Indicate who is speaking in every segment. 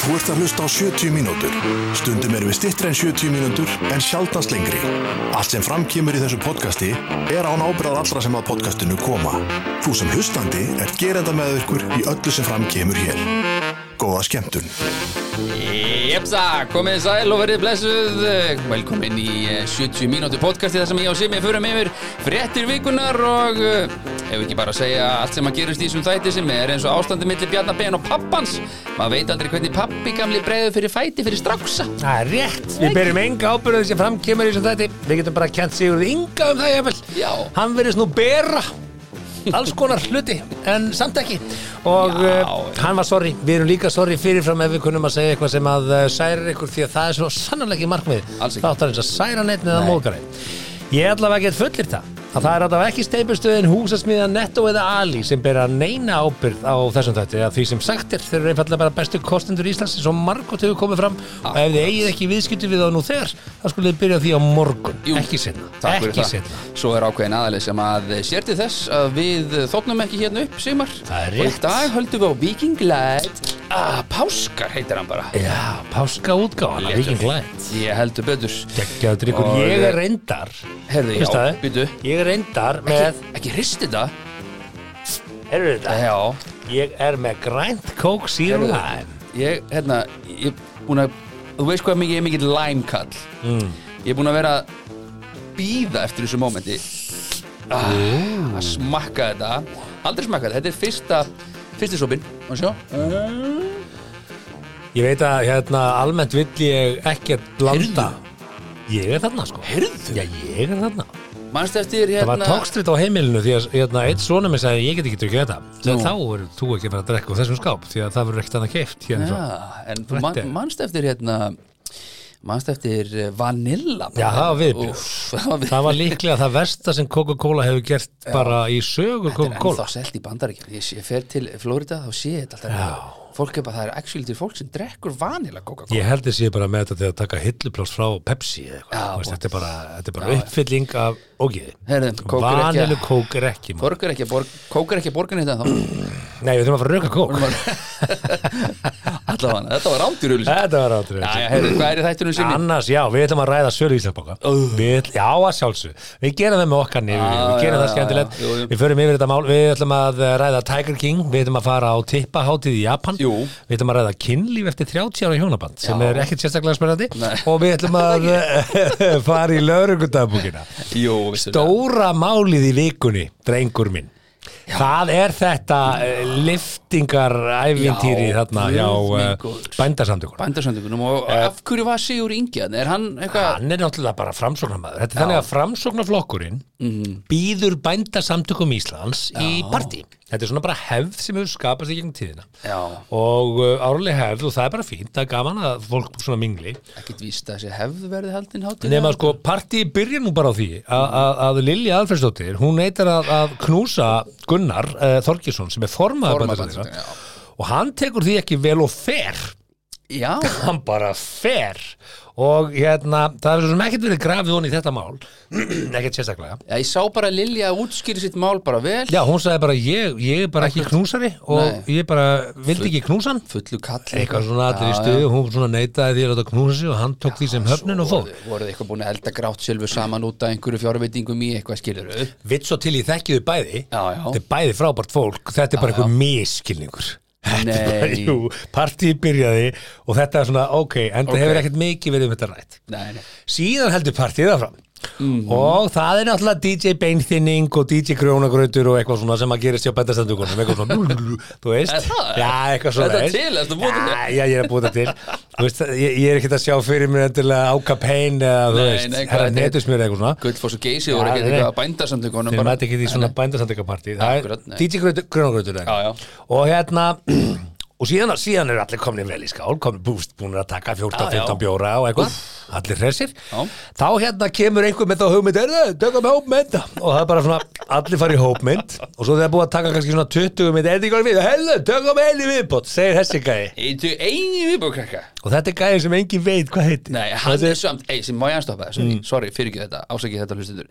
Speaker 1: Þú ert að hlusta á 70 mínútur. Stundum erum við stittri en 70 mínútur en sjaldast lengri. Allt sem framkýmur í þessu podcasti er án ábyrðað allra sem að podcastinu koma. Þú sem hlustandi er gerenda með ykkur í öllu sem framkýmur hér. Góða skemmtun.
Speaker 2: Jepsa, komið þið sæl og verið blessuð Velkomin í eh, 70 mínútu podcasti þar sem ég og Simi förum yfir fréttir vikunar og eh, ef ekki bara að segja allt sem að gerist í þessum þætti sem er eins og ástandi millir Bjarnar Ben og pappans maður veit aldrei hvernig pappi gamli breiður fyrir fæti fyrir stráksa
Speaker 3: Það er rétt, við berjum enga ábyrðið sem fram kemur í þessum þætti Við getum bara kjent Sigurð Inga um það jafnvel
Speaker 2: Já.
Speaker 3: Hann verðist nú bera alls konar hluti en samt ekki og
Speaker 2: Já.
Speaker 3: uh, hann var sorry, við erum líka sorry fyrirfram ef við kunnum að segja eitthvað sem að uh, særir ykkur því að það er svo sannarlega ekki markmið
Speaker 2: Alls ekki.
Speaker 3: þáttar eins að særa neitt neða
Speaker 2: Nei.
Speaker 3: móðgari ég ætla að geta fullir það að það er allavega ekki steipustöðin húsasmiða Netto eða Ali sem bera neina ábyrð á þessum þætti að því sem sagt er þeir eru einfallega bara bestu kostendur Íslands eins og margótt hefur komið fram og ef þið eigið ekki viðskipti við þá nú þegar þá skulle þið byrja á því á morgun
Speaker 2: Jú.
Speaker 3: ekki sinna
Speaker 2: Takk fyrir
Speaker 3: ekki
Speaker 2: það.
Speaker 3: sinna
Speaker 2: Svo er ákveðin aðaleg sem að sér til þess að við þóknum ekki hérna upp Sigmar
Speaker 3: Það er
Speaker 2: Og í
Speaker 3: rétt.
Speaker 2: dag höldum við á Viking Light ah, Páskar heitir hann bara
Speaker 3: já, páska útgáðan,
Speaker 2: Léttur.
Speaker 3: viking glætt
Speaker 2: Ég heldur betur
Speaker 3: geggjaður drikkur,
Speaker 2: Og-
Speaker 3: ég er reyndar
Speaker 2: Herðu, já,
Speaker 3: Veistu það?
Speaker 2: býtu
Speaker 3: ég er reyndar með
Speaker 2: Ekki, ekki hristi þetta
Speaker 3: heyrðu þetta,
Speaker 2: Já,
Speaker 3: ég er með grænt kók síðan
Speaker 2: Heyrðu. ég, hérna, ég er búin að þú veist hvað mikið, ég er mikill læmkall mm. ég er búin að vera að býða eftir þessu mómenti ah, að smakka þetta aldrei smakka þetta, þetta er fyrsta fyrsti sopin, má sjá
Speaker 3: Ég veit að hérna almennt vill ég ekkert blanda Ég er þarna sko
Speaker 2: Heyrðu?
Speaker 3: Já, ég er þarna
Speaker 2: mannstu eftir
Speaker 3: Það var
Speaker 2: hérna
Speaker 3: tókstritt á heimilinu því að hérna, eitt svona mér sagði ég get ekki drukkið þetta
Speaker 2: Nú.
Speaker 3: Þegar þá er þú ekki að fara að drekka úr þessum skáp því að það verður ekkert annað keift hérna
Speaker 2: ja,
Speaker 3: ja.
Speaker 2: en þú man,
Speaker 3: Þetta er-
Speaker 2: mannstu eftir hérna mannstu eftir eh, vanilla
Speaker 3: Já, það var viðbjóður.
Speaker 2: Úff, það var við
Speaker 3: Það var líklega það versta sem Coca-Cola hefur gert bara í sögu
Speaker 2: en
Speaker 3: Coca-Cola
Speaker 2: þá selt í bandaríkjum ég, sé- ég fer til Florida þá sé ég þetta alltaf fólk er bara, það er actually til fólk sem drekkur vanilla Coca-Cola
Speaker 3: Ég held þessi bara með þetta til að taka hilluplást frá Pepsi eða eitthvað
Speaker 2: Já,
Speaker 3: Þú veist,
Speaker 2: og-
Speaker 3: Þetta er bara, þetta er bara uppfylling af ógiði
Speaker 2: Heyrðu, kók er ekki-
Speaker 3: Vanilu kók er ekki maður.
Speaker 2: Borgur ekki, borg, kókar ekki borgin þetta
Speaker 3: Nei, við þurfum að fara að rauka kók
Speaker 2: Allavega, þetta var rándjur Já,
Speaker 3: Þetta var áttur
Speaker 2: já, heyrðu, hvað er í þættunum sinni?
Speaker 3: Annars, já, við ætlum að ræða sölu Íslandsbóka uh. Já, að sjálfsög Við gerum það með okkar nýju Við
Speaker 2: Já,
Speaker 3: gerum
Speaker 2: já,
Speaker 3: það
Speaker 2: já,
Speaker 3: skemmtilegt
Speaker 2: já, jú, jú.
Speaker 3: Við förum yfir þetta mál Við ætlum að eh, ræða Tiger King Við ætlum að fara á tippahátíð í Japan
Speaker 2: Jú.
Speaker 3: Við ætlum að ræða kynlíf eftir 30 ára hjónaband sem
Speaker 2: Já.
Speaker 3: er ekkert sérstaklega spennandi
Speaker 2: Nei.
Speaker 3: og við ætlum að eh, fara í lögregundagbúkina
Speaker 2: Jú, vissu þetta.
Speaker 3: Dóra málið í vikunni, drengur minn Það er þetta uh, liftingaræfintýri
Speaker 2: Já,
Speaker 3: þarna
Speaker 2: guð
Speaker 3: hjá
Speaker 2: minn
Speaker 3: uh,
Speaker 2: góður.
Speaker 3: bændasamtökunum
Speaker 2: Bændarsamtökunum og af hverju var Sigur Ingi þarna? Er hann eitthvað
Speaker 3: hann er náttúrulega bara framsóknarmæður þetta er þannig að framsóknarflokkurinn
Speaker 2: Mhm.
Speaker 3: býður bændasamtökum Íslands í partí, þetta er svona bara hefð sem hefur skapast í gegnum tíðina
Speaker 2: Já,
Speaker 3: og uh, árlega hefð og það er bara fínt það er gaman að fólk svona mingli
Speaker 2: ekkert víst að þessi hefð verði haldin hátíð
Speaker 3: nema sko partí byrja nú bara á því að, að, að Lilja Alfredsdóttir hún neitar að, að knúsa Gunnar uh, Þorgesson sem er formaður
Speaker 2: Formaður
Speaker 3: bændasamtökum
Speaker 2: Bændasamtakanna,
Speaker 3: og hann tekur því ekki vel og fer
Speaker 2: Já,
Speaker 3: hann bara fer og hérna, það er svo sem ekkert verið grafið hon í þetta mál ekkert sérstaklega
Speaker 2: já, ég sá bara Lilja útskýri sitt mál bara vel
Speaker 3: já, hún sagði bara, ég, ég er bara ekki knúsari og ég bara vildi ekki knúsan
Speaker 2: Fullu kall
Speaker 3: eitthvað svona allir í stuði og hún svona neytaði því að láta knúsa sig og hann tók því sem höfnin og fór
Speaker 2: Voruð voruð þið eitthvað búin að elda grátt sjálfur saman út af einhverju fjárveitingum í eitthvað skilur Já,
Speaker 3: vitt svo til ég þekki þau bæði
Speaker 2: já
Speaker 3: þetta er bæði frábært fólk, þetta er bara einhver miskilningur Þetta er bara,
Speaker 2: Nei.
Speaker 3: jú, partíð byrjaði og þetta er svona, ok, en það
Speaker 2: Ok.
Speaker 3: hefur ekkert mikið verið um þetta rætt
Speaker 2: Nei, nei
Speaker 3: síðan heldur partíð áfram
Speaker 2: Mhm.
Speaker 3: og það er náttúrulega DJ beinþinning og DJ grjónagrautur og eitthvað svona sem að gerist hjá bændastendungunum eitthvað svona, þú veist
Speaker 2: Er það?
Speaker 3: já, eitthvað svona
Speaker 2: Þetta er til, ertu búin til
Speaker 3: já, já, ég er að búið þetta til Þú veist, ég, ég er ekkert að sjá fyrir mér endilega áka pein eða þú
Speaker 2: Nei,
Speaker 3: veist,
Speaker 2: nei, hvað
Speaker 3: herra
Speaker 2: þetta er-
Speaker 3: netusmjör eitthvað svona
Speaker 2: Gullfoss og Geysi voru
Speaker 3: Já,
Speaker 2: ekkert
Speaker 3: nei, nei.
Speaker 2: eitthvað bændarsamtökunum
Speaker 3: þeir
Speaker 2: bara-
Speaker 3: mæti ekki því svona bændastandegapartí það er
Speaker 2: Akkurat, nei.
Speaker 3: DJ grautur- grjónagrautur
Speaker 2: Já, já.
Speaker 3: eitthvað. og hérna og síðan, síðan er allir komnir vel í skál komnir búst búin að taka
Speaker 2: Já, já.
Speaker 3: 14-15 bjóra og eitthvað, allir hressir
Speaker 2: Já.
Speaker 3: þá hérna kemur einhver með þá hugmynd er það, tökum hópmynd og það er bara svona, allir fari í hópmynd og svo þegar búið að taka kannski svona 20 mynd er þetta ekki alveg við, helðu, tökum einu viðbót segir þessi gæði
Speaker 2: Eitu eini viðbúrkrakka
Speaker 3: og þetta er gæði sem engin veit hvað heitir
Speaker 2: Nei, hann er samt, ei, sem má ég anstoppa það Sorry, mm. sorry fyrir ekki þetta, ásækið þetta hlustendur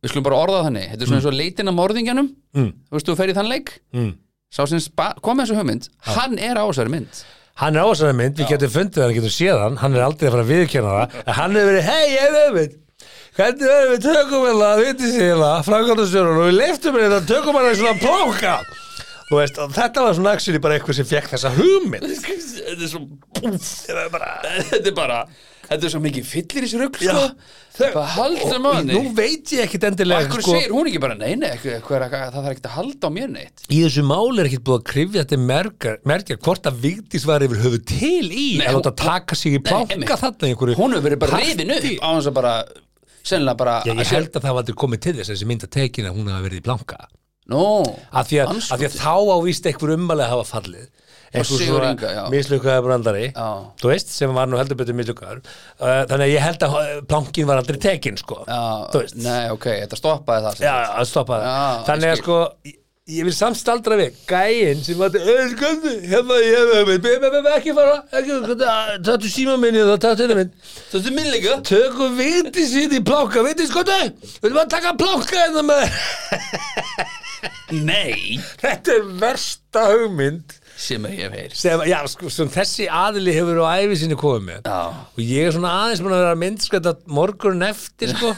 Speaker 2: Við skulum bara orða það þannig
Speaker 3: Mm.
Speaker 2: Þetta er svona eins og leitin að morðingjanum mm. Þú veist, þú fer í þann leik mm. Sá sem spa- kom með þessu hugmynd, hann er á þessari mynd
Speaker 3: hann er á þessari mynd, við getum fundið hann, getum séð hann, hann er aldrei að fara að viðkjöna það, en hann hefur verið, hei, ég hefur verið, hvernig verður við tökum hérna, vitið sér hérna, framkvæmdastjórun og við leiftum hérna, tökum hérna í svona plóka. Þú veist, og þetta var svona actually bara eitthvað sem fekk þessa hugmynd.
Speaker 2: Þetta er svo púf, Þetta er bara Þetta er svo mikið fyllir í sér rugl sko. Hvað haldum
Speaker 3: Og-
Speaker 2: að
Speaker 3: og
Speaker 2: henni?
Speaker 3: Nú veit ég ekkit endilega, sko,
Speaker 2: Akkur segir hún ekki bara Nei, nei, eitthvað, eitthvað, er að- það þarf ekki að halda á mér neitt
Speaker 3: í þessu máli er ekkert búið að krifja þetta merkja, merkja hvort að Vigdís var yfir höfu til í
Speaker 2: Nei,
Speaker 3: að
Speaker 2: hún-
Speaker 3: láta taka sig í plánka
Speaker 2: einmitt.
Speaker 3: þarna í einhverju
Speaker 2: Hún hefur verið bara
Speaker 3: partí.
Speaker 2: reyfin upp á hans að bara Sennilega bara
Speaker 3: Já, ég held að það var aldrei komið til þess að þessi mynd að tekin að hún hafa verið í plánka
Speaker 2: Nó
Speaker 3: af því að,
Speaker 2: Andskotinn.
Speaker 3: af því að þá ávist einhver umvalið að hafa fallið einhver
Speaker 2: Sigurður Inga, já.
Speaker 3: mislukkaði brandari
Speaker 2: Já.
Speaker 3: þú veist, sem var nú heldur betur mislukkaður Uh, þannig að ég held að uh, plánkin var aldrei tekin sko, þú veist
Speaker 2: Nei, ok, þetta stoppaði það sem
Speaker 3: Já, að stoppa það
Speaker 2: Já,
Speaker 3: Þannig
Speaker 2: ég
Speaker 3: að sko, ég, ég vil samt staldra við Gæinn sem var Sköndi, hérna, ég hef með Be, be, be, ekki fara ekki, Tattu síma minni og tattu þetta minn
Speaker 2: Þetta er minn líka
Speaker 3: Tökum vindi síðan í plánka Vindi skoði, við erum að taka plánka hérna með
Speaker 2: Nei
Speaker 3: Þetta er versta hugmynd
Speaker 2: Sem að ég hef heyrst
Speaker 3: sem, já, sko, sem þessi aðili hefur á æfi sinni komið með
Speaker 2: Já.
Speaker 3: og ég er svona aðeins búin að vera að myndskvæta morgun eftir sko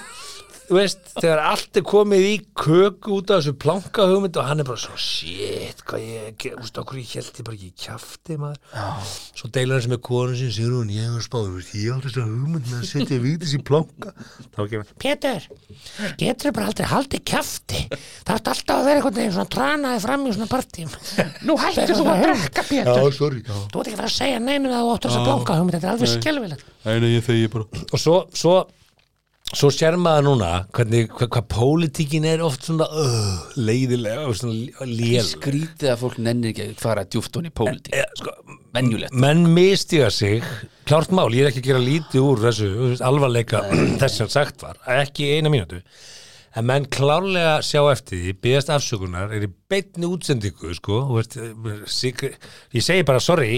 Speaker 3: þú veist, þegar allt er komið í köku út af þessu planka hugmynd og hann er bara svo, shit, hvað ég ge- þú veist, okkur ég held ég bara ekki í kjafti maður já. svo deilur hann sem er konu sín sér hún, ég hefur spáð, þú veist, ég átti þessu hugmynd með að setja vítis í planka þá kemur, Pétur, getur bara aldrei haldið kjafti, það átti alltaf að vera einhvern veginn svona tranaði fram í svona partím
Speaker 4: Nú hættir þú að drekka, Pétur.
Speaker 3: sorry, já
Speaker 4: Þú ert ekki að fara að segja neinum að þú áttur þess að blánka hugmynd. Þetta er alveg skelvilegt.
Speaker 3: Ah, og svo, svo, svo sér maður núna hvernig, hvað, hvað pólitíkin er oft svona uh, leiðilega og svona lél
Speaker 2: Skrítið að fólk nennir ekki að fara djúft hún í pólitík
Speaker 3: sko,
Speaker 2: Venjulegt
Speaker 3: menn mistiga sig klárt mál, ég er ekki að gera lítið úr þessu þú veist, alvarleika þess sem sagt var ekki í eina mínútu en menn klárlega sjá eftir því beðast afsökunar, er í beinni útsendingu sko, þú veist, sig, ég segi bara sorry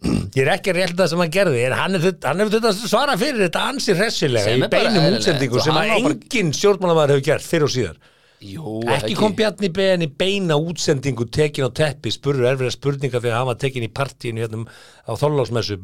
Speaker 3: ég er ekki að rétta það sem hann gerði en hann er þurft- hann hefur þetta svara fyrir þetta ansi hressilega
Speaker 2: Sem
Speaker 3: í
Speaker 2: er bara
Speaker 3: beinum
Speaker 2: eðlilegt.
Speaker 3: útsendingu
Speaker 2: Og
Speaker 3: sem
Speaker 2: hann á
Speaker 3: að
Speaker 2: bara-
Speaker 3: engin stjórnmálamæður hefur gert fyrir og síðar
Speaker 2: Jú,
Speaker 3: ekki kom Bjarni BN í beina útsendingu tekin á teppi, spurður erfiða spurninga þegar hann var tekin í partíinu hérna á Þorlásmessu,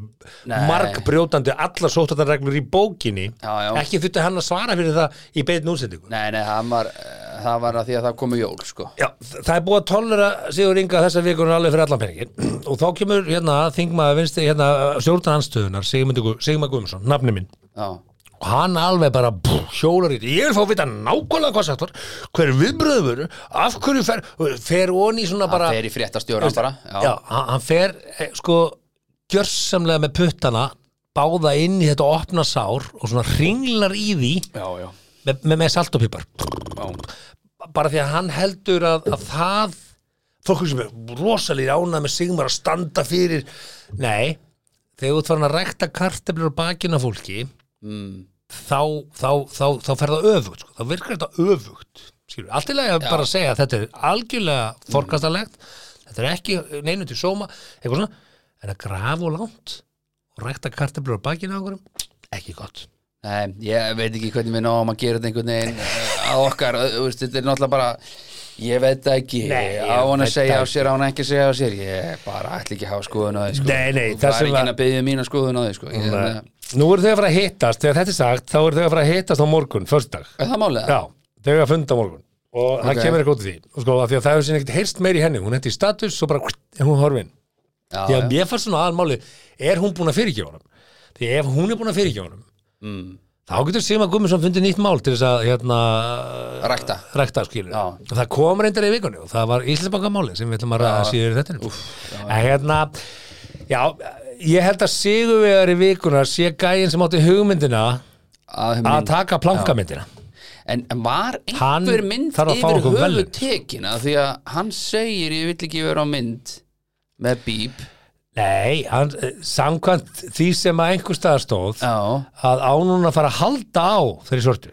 Speaker 2: Nei.
Speaker 3: mark brjótandi allar sóttatarreglur í bókinni
Speaker 2: Já, já.
Speaker 3: ekki þurfti hann að svara fyrir það í beinu útsendingu
Speaker 2: Nei, nei, það var, eh, það var að því að það komu jól, sko
Speaker 3: Já, þ- það er búið að tollera Sigur Inga þessa vikunum alveg fyrir allan peningin og þá kemur hérna þingmaður vinstri hérna stjórnarhansstöðunar Sigma Guðmundsson, nafni minn
Speaker 2: Já,
Speaker 3: og hann alveg bara bú, hjólar í þetta ég vil fá að vita nákvæmlega hvað sagt var hver viðbröður, af hverju fer fer onni svona bara
Speaker 2: það fer í fréttastjóra bara Já,
Speaker 3: já, hann hann fer eh, sko gjörsamlega með puttana báða inn í þetta opna sár og svona ringlar í því
Speaker 2: já, já,
Speaker 3: með, með, með salt og pipar
Speaker 2: já.
Speaker 3: bara því að hann heldur að, að það fólk sem er rosalíð ánað með Sigmar að standa fyrir nei, þegar þú ert farin að rækta karteflur á bakinu á fólki
Speaker 2: Mm.
Speaker 3: þá, þá, þá, þá fer það öfugt sko. þá virkar þetta öfugt Skilur, allt í lagi að bara segja að þetta er algjörlega forkastalegt, þetta er ekki neinu til sóma, eitthvað svona en að grafa og langt og rækta karteblur á bakinu á einhverjum, ekki gott
Speaker 2: Nei, ég veit ekki hvernig við náum að gera þetta einhvern veginn eh, að okkar, eh, þú veist, þetta er náttúrulega bara ég veit það ekki,
Speaker 3: Nei, ég
Speaker 2: á hann að
Speaker 3: veit
Speaker 2: segja á
Speaker 3: það
Speaker 2: sér, á hann ekki að segja á sér ég bara ætla ekki að hafa skoðun á því, sko
Speaker 3: Nei, nei, það
Speaker 2: það er
Speaker 3: sem
Speaker 2: ekki
Speaker 3: var-
Speaker 2: að byggja mína skoðun á því, sko ég,
Speaker 3: Nei.
Speaker 2: þannig
Speaker 3: Nú eru þau að fara að hittast, þegar þetta er sagt þá eru þau að fara að hittast á morgun, föstudag
Speaker 2: að- Er það málið?
Speaker 3: Já, þau eru að funda á morgun og það
Speaker 2: Ok.
Speaker 3: kemur eitthvað út af því og sko, af því að það hefur sinni ekkert heyrst meir í henni hún hendi í status og bara, en hún horfin
Speaker 2: já, já,
Speaker 3: Já, mér fannst svona aðalmáli er hún búin að fyrirgefa honum því ef hún er búin að fyrirgefa honum
Speaker 2: Mm.
Speaker 3: þá getur Sigmar Gumminsson fundið nýtt mál til þess að hérna,
Speaker 2: Rækta.
Speaker 3: rækta skilur
Speaker 2: Já.
Speaker 3: og það kom reyndar í vikunni og það var Íslandsbankamáli sem við ætlum að ræða síður þetta Úf, en hérna já, ég held að Sigurvegar í vikuna sé gæinn sem átti hugmyndina
Speaker 2: að
Speaker 3: að
Speaker 2: minn-
Speaker 3: taka plankamyndina
Speaker 2: En en var
Speaker 3: Hann
Speaker 2: einhver mynd
Speaker 3: þarf að fá
Speaker 2: yfir
Speaker 3: okkur
Speaker 2: höfu
Speaker 3: verðlaun.
Speaker 2: tekin af því að hann segir ég vill ekki vera á mynd með bíb
Speaker 3: nei, hann, eh, samkvæmt því sem að einhver staðar stóð
Speaker 2: Já,
Speaker 3: að á núna að fara að halda á þeirri svörtu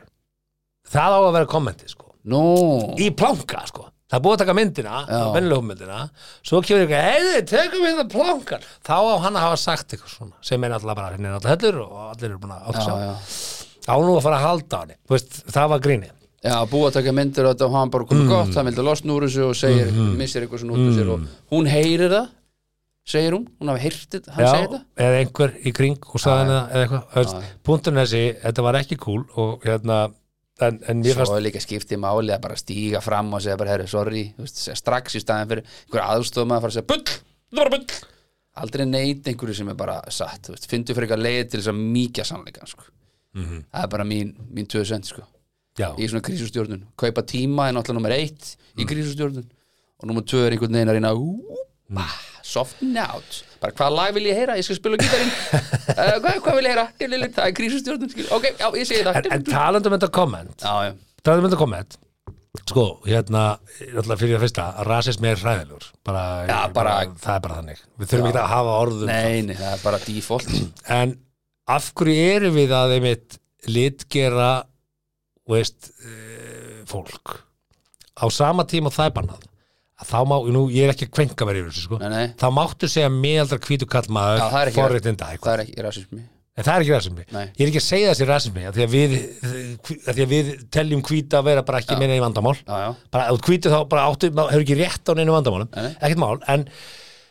Speaker 3: það á að vera kommenti sko.
Speaker 2: nú
Speaker 3: í planka sko. það er búið að taka myndina
Speaker 2: Já.
Speaker 3: mennlegum myndina svo kemur ykkur, heiði, tökum við það plankan þá á hann að hafa sagt eitthvað svona sem er alltaf bara, henni er alltaf hellur og allir eru búin að
Speaker 2: Já,
Speaker 3: átta sig á.
Speaker 2: já,
Speaker 3: á nú að fara að halda á henni Þú veist, það var grínið
Speaker 2: já búið að taka myndir á þetta og
Speaker 3: Mm. Mhm.
Speaker 2: hann bara komið gott, hann vildi losna úr þessu og segir, missir eitthvað svona út úr sér og hún heyrir það segir hún, hún hafi heyrt þetta, hann
Speaker 3: Já,
Speaker 2: segir þetta
Speaker 3: eða einhver í kring og sagði henni það eða eitthvað, þú veist, punkturinn er þessi, þetta var ekki cool og hérna, en, en mér fannst
Speaker 2: Svo er líka skiptið máli að bara stíga fram og segja bara, herru, sorry, þú veist, segja strax í staðin fyrir einhver aðstofum að fara að segja bull, þetta var bull aldrei neitt einhverju sem er bara satt, þú veist, fyndu fyrir eitthvað leið til þess að mýkja sannleikan, sko
Speaker 3: Mhm.
Speaker 2: það er bara mín, mín tvö sent, sko
Speaker 3: já,
Speaker 2: í svona krísustjórnun, kaupa tíma er náttúrulega nummer eitt í
Speaker 3: Mhm.
Speaker 2: krísustjórnun og nummer tvö er einhvern veginn að reyna
Speaker 3: Mhm.
Speaker 2: úpa, soften out bara hvað lag vil ég heyra, ég skal spila á gítarinn uh, hvað, hvað vil ég heyra, ég vil heyra það er krísustjórnun, skil, ok, já, ég segi það
Speaker 3: en, en talandum þetta komment
Speaker 2: já, já,
Speaker 3: talandum þetta komment sko, hérna, náttúrulega fyrir að fyrsta rasismi er hræðilur bara,
Speaker 2: Já, bara-
Speaker 3: það er bara þannig, við þurfum ekki að hafa orðum
Speaker 2: nei, nei, það er bara default
Speaker 3: en af hverju erum við að einmitt litgera þú veist, eh, fólk á sama tíma og það er bannað að þá má, nú ég er ekki að kvenka mér yfir þessu sko,
Speaker 2: Nei, nei.
Speaker 3: þá máttu segja meðaldra hvítu kall
Speaker 2: Já, það er
Speaker 3: maður
Speaker 2: ekki-
Speaker 3: forréttinda
Speaker 2: það
Speaker 3: eitthvað
Speaker 2: er ekki rasismi
Speaker 3: en það er ekki rasismi,
Speaker 2: Nei.
Speaker 3: ég er ekki að segja þessi rasismi af því að við, af því að við teljum hvíta að vera bara ekki meina í vandamál
Speaker 2: já, já,
Speaker 3: bara ef þú hvítur þá bara áttu maður hefur ekki rétt á neinu vandamálum,
Speaker 2: Nei, nei.
Speaker 3: ekkert mál en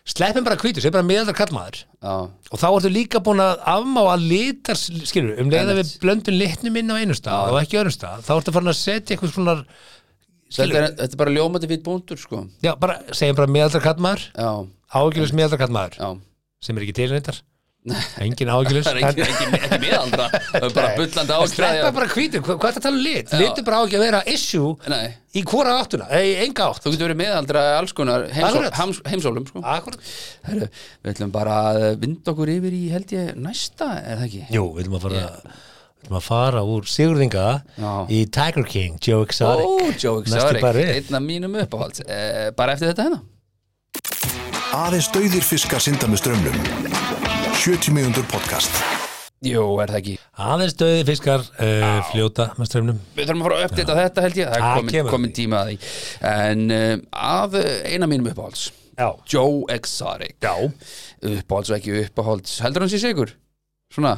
Speaker 3: sleppum bara hvítu, segja bara meðaldra kall maður
Speaker 2: já,
Speaker 3: og þá ertu líka búin að afmá að litar, skilur, um leiða við blöndum litnum inn á einu stað og ekki öðrum stað þá ertu farin að setja eitthvað svona
Speaker 2: þetta
Speaker 3: skilur,
Speaker 2: er, þetta er bara ljómandi fýtt búndur, sko
Speaker 3: já, bara, segjum bara meðaldra kallmaður
Speaker 2: já,
Speaker 3: ágjulus meðaldra kallmaður
Speaker 2: já
Speaker 3: sem er ekki til neitt engin ágjulus
Speaker 2: það er ekki, ekki, ekki miðaldra það er bara bullandi ástæði
Speaker 3: sleppa bara hvítur, hvað, hvað er það að tala um lit litur bara á ekki að vera issue
Speaker 2: nei,
Speaker 3: í hvora áttuna, ei, enga átt
Speaker 2: þú getur verið miðaldra í alls konar heimsól,
Speaker 3: Akkurat.
Speaker 2: hams, heimsólum, sko
Speaker 3: Akkurat.
Speaker 2: Heru, við ætlum bara að vinda okkur yfir í held ég næsta, eða ekki?
Speaker 3: Jú, við viljum að fara við viljum að fara úr Sigurðinga
Speaker 2: Já.
Speaker 3: í Tiger King, Joe Exotic
Speaker 2: Ó, Joe
Speaker 3: Næsti
Speaker 2: Exotic,
Speaker 3: barri.
Speaker 2: einn af mínum uppáhalds eh, bara eftir þetta hérna
Speaker 1: Aðeins dauðir fiskar synda með strömmnum. 70 mínútur podcast.
Speaker 2: Jú, er það ekki?
Speaker 3: aðeins döði fiskar uh, fljóta með strömmnum
Speaker 2: Við þurfum að fara að uppdata þetta held ég Það
Speaker 3: Ah,
Speaker 2: er komin,
Speaker 3: kemur.
Speaker 2: komin tíma að því En eh, að eh, eina mínum uppáhalds
Speaker 3: Já.
Speaker 2: Joe Exotic Já Uppáhalds og ekki uppáhalds Heldur hann sér sigur? Svona,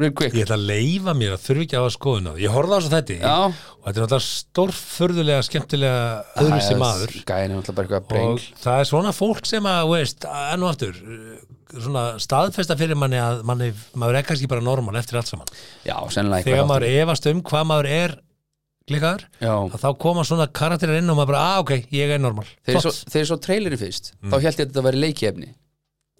Speaker 2: real quick
Speaker 3: Ég ætla að leifa mér að þurfi ekki að hafa skoðun á því. Ég horfði á svo þetta
Speaker 2: Já.
Speaker 3: og þetta er náttúrulega stórfurðulega skemmtilega öðruvísi maður
Speaker 2: Gæðin er náttúrulega bara eitthvað
Speaker 3: og
Speaker 2: brengl
Speaker 3: það er svona fólk sem að, þú veist, enn og aftur uh, svona staðfesta fyrir manni að manni, maður er kannski bara normal eftir allt saman.
Speaker 2: Já, sennilega
Speaker 3: Þegar
Speaker 2: eitthvað
Speaker 3: maður efast um hvað maður er klikaður,
Speaker 2: Já.
Speaker 3: að þá koma svona karakterir inn og maður bara, að ok, ég er normal.
Speaker 2: Þegar
Speaker 3: Flott. Mm.
Speaker 2: svo, þegar svo trailerinn fyrst Þá held ég að þetta væri leikjefni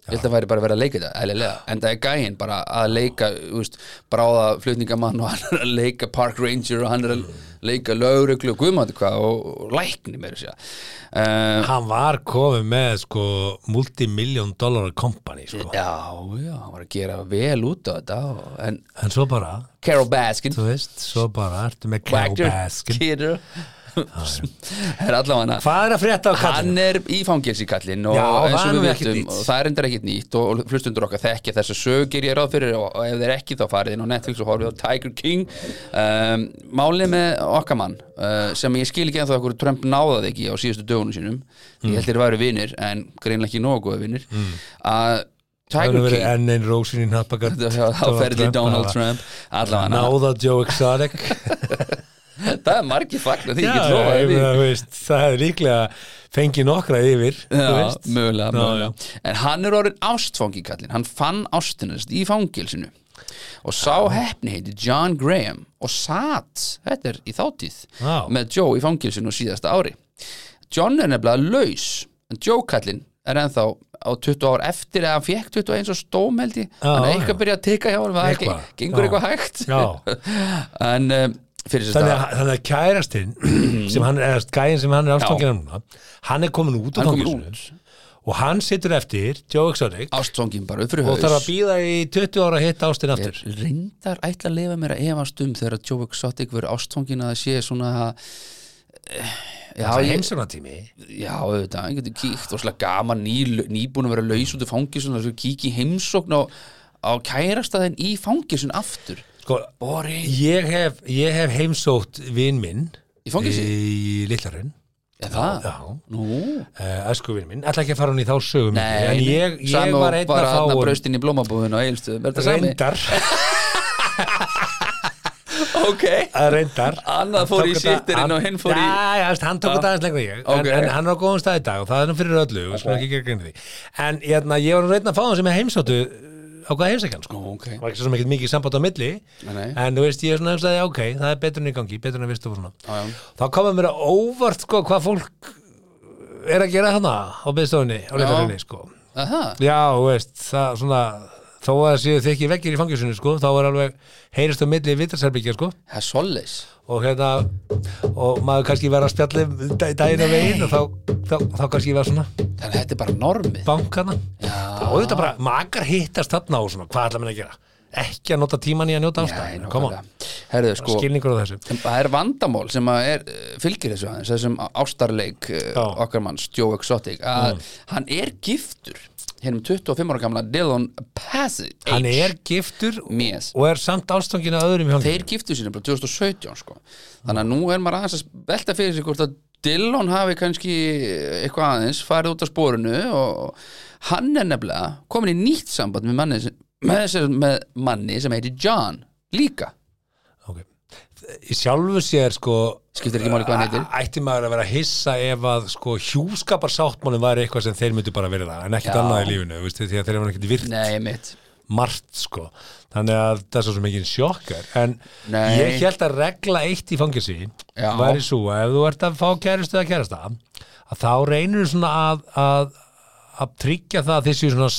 Speaker 2: Ég held að það væri bara að vera að leika þetta, eðlilega En það er gæinn bara að leika þú veist, Bráða flutningamann og hann er að leika Park Ranger og hann er að
Speaker 3: Mm.
Speaker 2: leika Lögreglu og guðmandi hvað og, og lækni meira sér uh,
Speaker 3: Hann var komið með sko multimillion dollar company sko.
Speaker 2: Já, já, hann var að gera vel út á þetta og- En
Speaker 3: en svo bara,
Speaker 2: Carol Baskin
Speaker 3: þú veist, svo bara ertu með
Speaker 2: Wagner,
Speaker 3: kjábæskin
Speaker 2: Kidder Er allavega hann
Speaker 3: Hvað er að frétta á
Speaker 2: Hann
Speaker 3: kallinu?
Speaker 2: er í fangelsi kallinn og
Speaker 3: Já,
Speaker 2: eins
Speaker 3: það er
Speaker 2: og
Speaker 3: nú
Speaker 2: við
Speaker 3: ekkert nýtt.
Speaker 2: vitum og það er endur ekkert nýtt og, og flustundur okkar þekkja þess að sögir ég ráð fyrir og, og ef þeir ekki þá farið inn á Netflix og horfið á Tiger King um, Málið með okkar mann uh, sem ég skil ekki ennþá okkur Trump náðaði ekki á síðustu dögunum sínum
Speaker 3: Mm.
Speaker 2: ég held þeir væri vinir en greinlega ekki nógu góða vinir að
Speaker 3: Það
Speaker 2: Tiger
Speaker 3: hefur Mm. verið
Speaker 2: King
Speaker 3: enn einn rósin í nappakar
Speaker 2: þá ferði Donald Trump allavega hann
Speaker 3: Náða Joe Exotic
Speaker 2: það er margir fagnar því
Speaker 3: Já,
Speaker 2: ég get lofa
Speaker 3: ég
Speaker 2: því
Speaker 3: meina, þú veist, Það hefur líklega fengið nokkra yfir þú
Speaker 2: Já,
Speaker 3: veist.
Speaker 2: mögulega,
Speaker 3: Já,
Speaker 2: mögulega. En hann er orðin ástfangi kallinn Hann fann ástinast í fangilsinu Og sá hefni heiti John Graham Og satt, þetta er í þáttíð
Speaker 3: Já.
Speaker 2: Með Joe í fangilsinu síðasta ári John er nefnilega laus En Joe kallinn er ennþá á 20 ár eftir eða hann fekk 21 og stómeldi hann er
Speaker 3: já.
Speaker 2: eitthvað að byrja að teka hjá hann
Speaker 3: Eitthvað.
Speaker 2: gengur
Speaker 3: Já.
Speaker 2: eitthvað hægt
Speaker 3: Já.
Speaker 2: en um, fyrir sér
Speaker 3: Þannig
Speaker 2: það
Speaker 3: að, þannig að kærastinn sem hann, eða gæinn sem hann er ástfangin af núna hann er komin út á
Speaker 2: hann kom
Speaker 3: fangilsinu
Speaker 2: út
Speaker 3: og hann situr eftir Joe Exotic
Speaker 2: ástfangin bara upp fyrir
Speaker 3: og þarf
Speaker 2: haus
Speaker 3: að býða í 20 ára að hitta ástinn aftur
Speaker 2: Ég reyndar ætla að lifa mér að efast um þegar Joe Exotic verið ástfóngin að það sé svona að Já,
Speaker 3: Það er
Speaker 2: ég,
Speaker 3: heimsóknartími
Speaker 2: já, auðvitað, hann getur kíkt og slag gaman ný, nýbúin að vera laus út í fangisun og kík í heimsókn á, á kærastaðin í fangisun aftur
Speaker 3: sko,
Speaker 2: Boring
Speaker 3: Ég hef, ég hef heimsótt vinn minn
Speaker 2: Í fangelsi? Ah.
Speaker 3: Í Lillarun
Speaker 2: Er það?
Speaker 3: Já,
Speaker 2: Nú, eh,
Speaker 3: uh, æsku vinn minn Ætla ekki að fara hún í þá sögum En
Speaker 2: nei,
Speaker 3: ég, ég var einn að fá
Speaker 2: hann
Speaker 3: hún
Speaker 2: braust inn í blómabúðun og eilstuðum, er það sami?
Speaker 3: Reyndar
Speaker 2: ok
Speaker 3: að Eh, reyndar
Speaker 2: Annað fór í sitterinn og hinn fór í-
Speaker 3: já, já, veist, hann tók þetta aðeins lengra en ég
Speaker 2: Ok.
Speaker 3: en, en hann er á góðum stað í dag og það er nú fyrir öllu og skulum ekki gera grein fyrir því en hérna, ég var nú reyndin að fá það sem ég heimsóttu uh, á hvað heimsækjan sko
Speaker 2: ok
Speaker 3: það var ekki svo mikið mikið samband á milli
Speaker 2: Nei, nei.
Speaker 3: en þú veist ég er svona aðeins að ok það er betur en í gangi, betur en að vistu og svona
Speaker 2: Já, já.
Speaker 3: þá komið mér á óvart sko hvað fólk eh, er að gera hana á byggstofunni á leitarinni sko
Speaker 2: Aha,
Speaker 3: Já, þú veist, það svona þó að það séu þykki veggir í fangjusinu sko, þá er alveg heyrist á milli vitarserbyggja sko,
Speaker 2: það er solleis
Speaker 3: og hérna og maður kannski verið að spjalli dag- daginn að veginn og þá, þá, þá kannski verið svona
Speaker 2: Þannig að þetta er bara normið
Speaker 3: bankana þá er þetta bara, makar hittast þarna og svona, hvað ætla menn að gera? ekki að nota tíman í að njóta
Speaker 2: Nei,
Speaker 3: ástæðin, koma
Speaker 2: nákvæmlega. Herðu, sko
Speaker 3: skilningur á þessu,
Speaker 2: En Það er vandamál sem að er, eh, fylgir þessu aðeins, þessum á- ástarleik Já.
Speaker 3: Já. Mm.
Speaker 2: okkar manns, Joe Exotic að hann er giftur hennum 25 ára gamla Dylan Passage
Speaker 3: hann er giftur
Speaker 2: Yes.
Speaker 3: og er samt ástöngin að öðrum í fangjusinu
Speaker 2: þeir giftu sér nefnilega 2017 sko. þannig að nú er maður aðeins að velta fyrir sig hvort að Dillon hafi kannski eitthvað aðeins farið út af spórinu og hann er nefnilega komin í nýtt samband með manni, sem- með, þessi- með manni sem heitir John líka
Speaker 3: okay. í sjálfu sér sko
Speaker 2: Skiptir ekki máli hvað hann heitir.
Speaker 3: a- ætti maður að vera hissa ef að sko hjúskaparsáttmálum var eitthvað sem þeir myndu bara verið það en ekkert
Speaker 2: Já.
Speaker 3: annað í lífinu, þú veist, því að þeir hafa ekkert virkt
Speaker 2: Nei, mitt
Speaker 3: margt sko þannig að það er svo sem ekki sjokkar en
Speaker 2: Nei.
Speaker 3: ég held að regla eitt í fangelsi
Speaker 2: Já.
Speaker 3: væri svo að ef þú ert að fá kæristu eða kærasta að þá reynir svona að, að að tryggja það að þið séu svona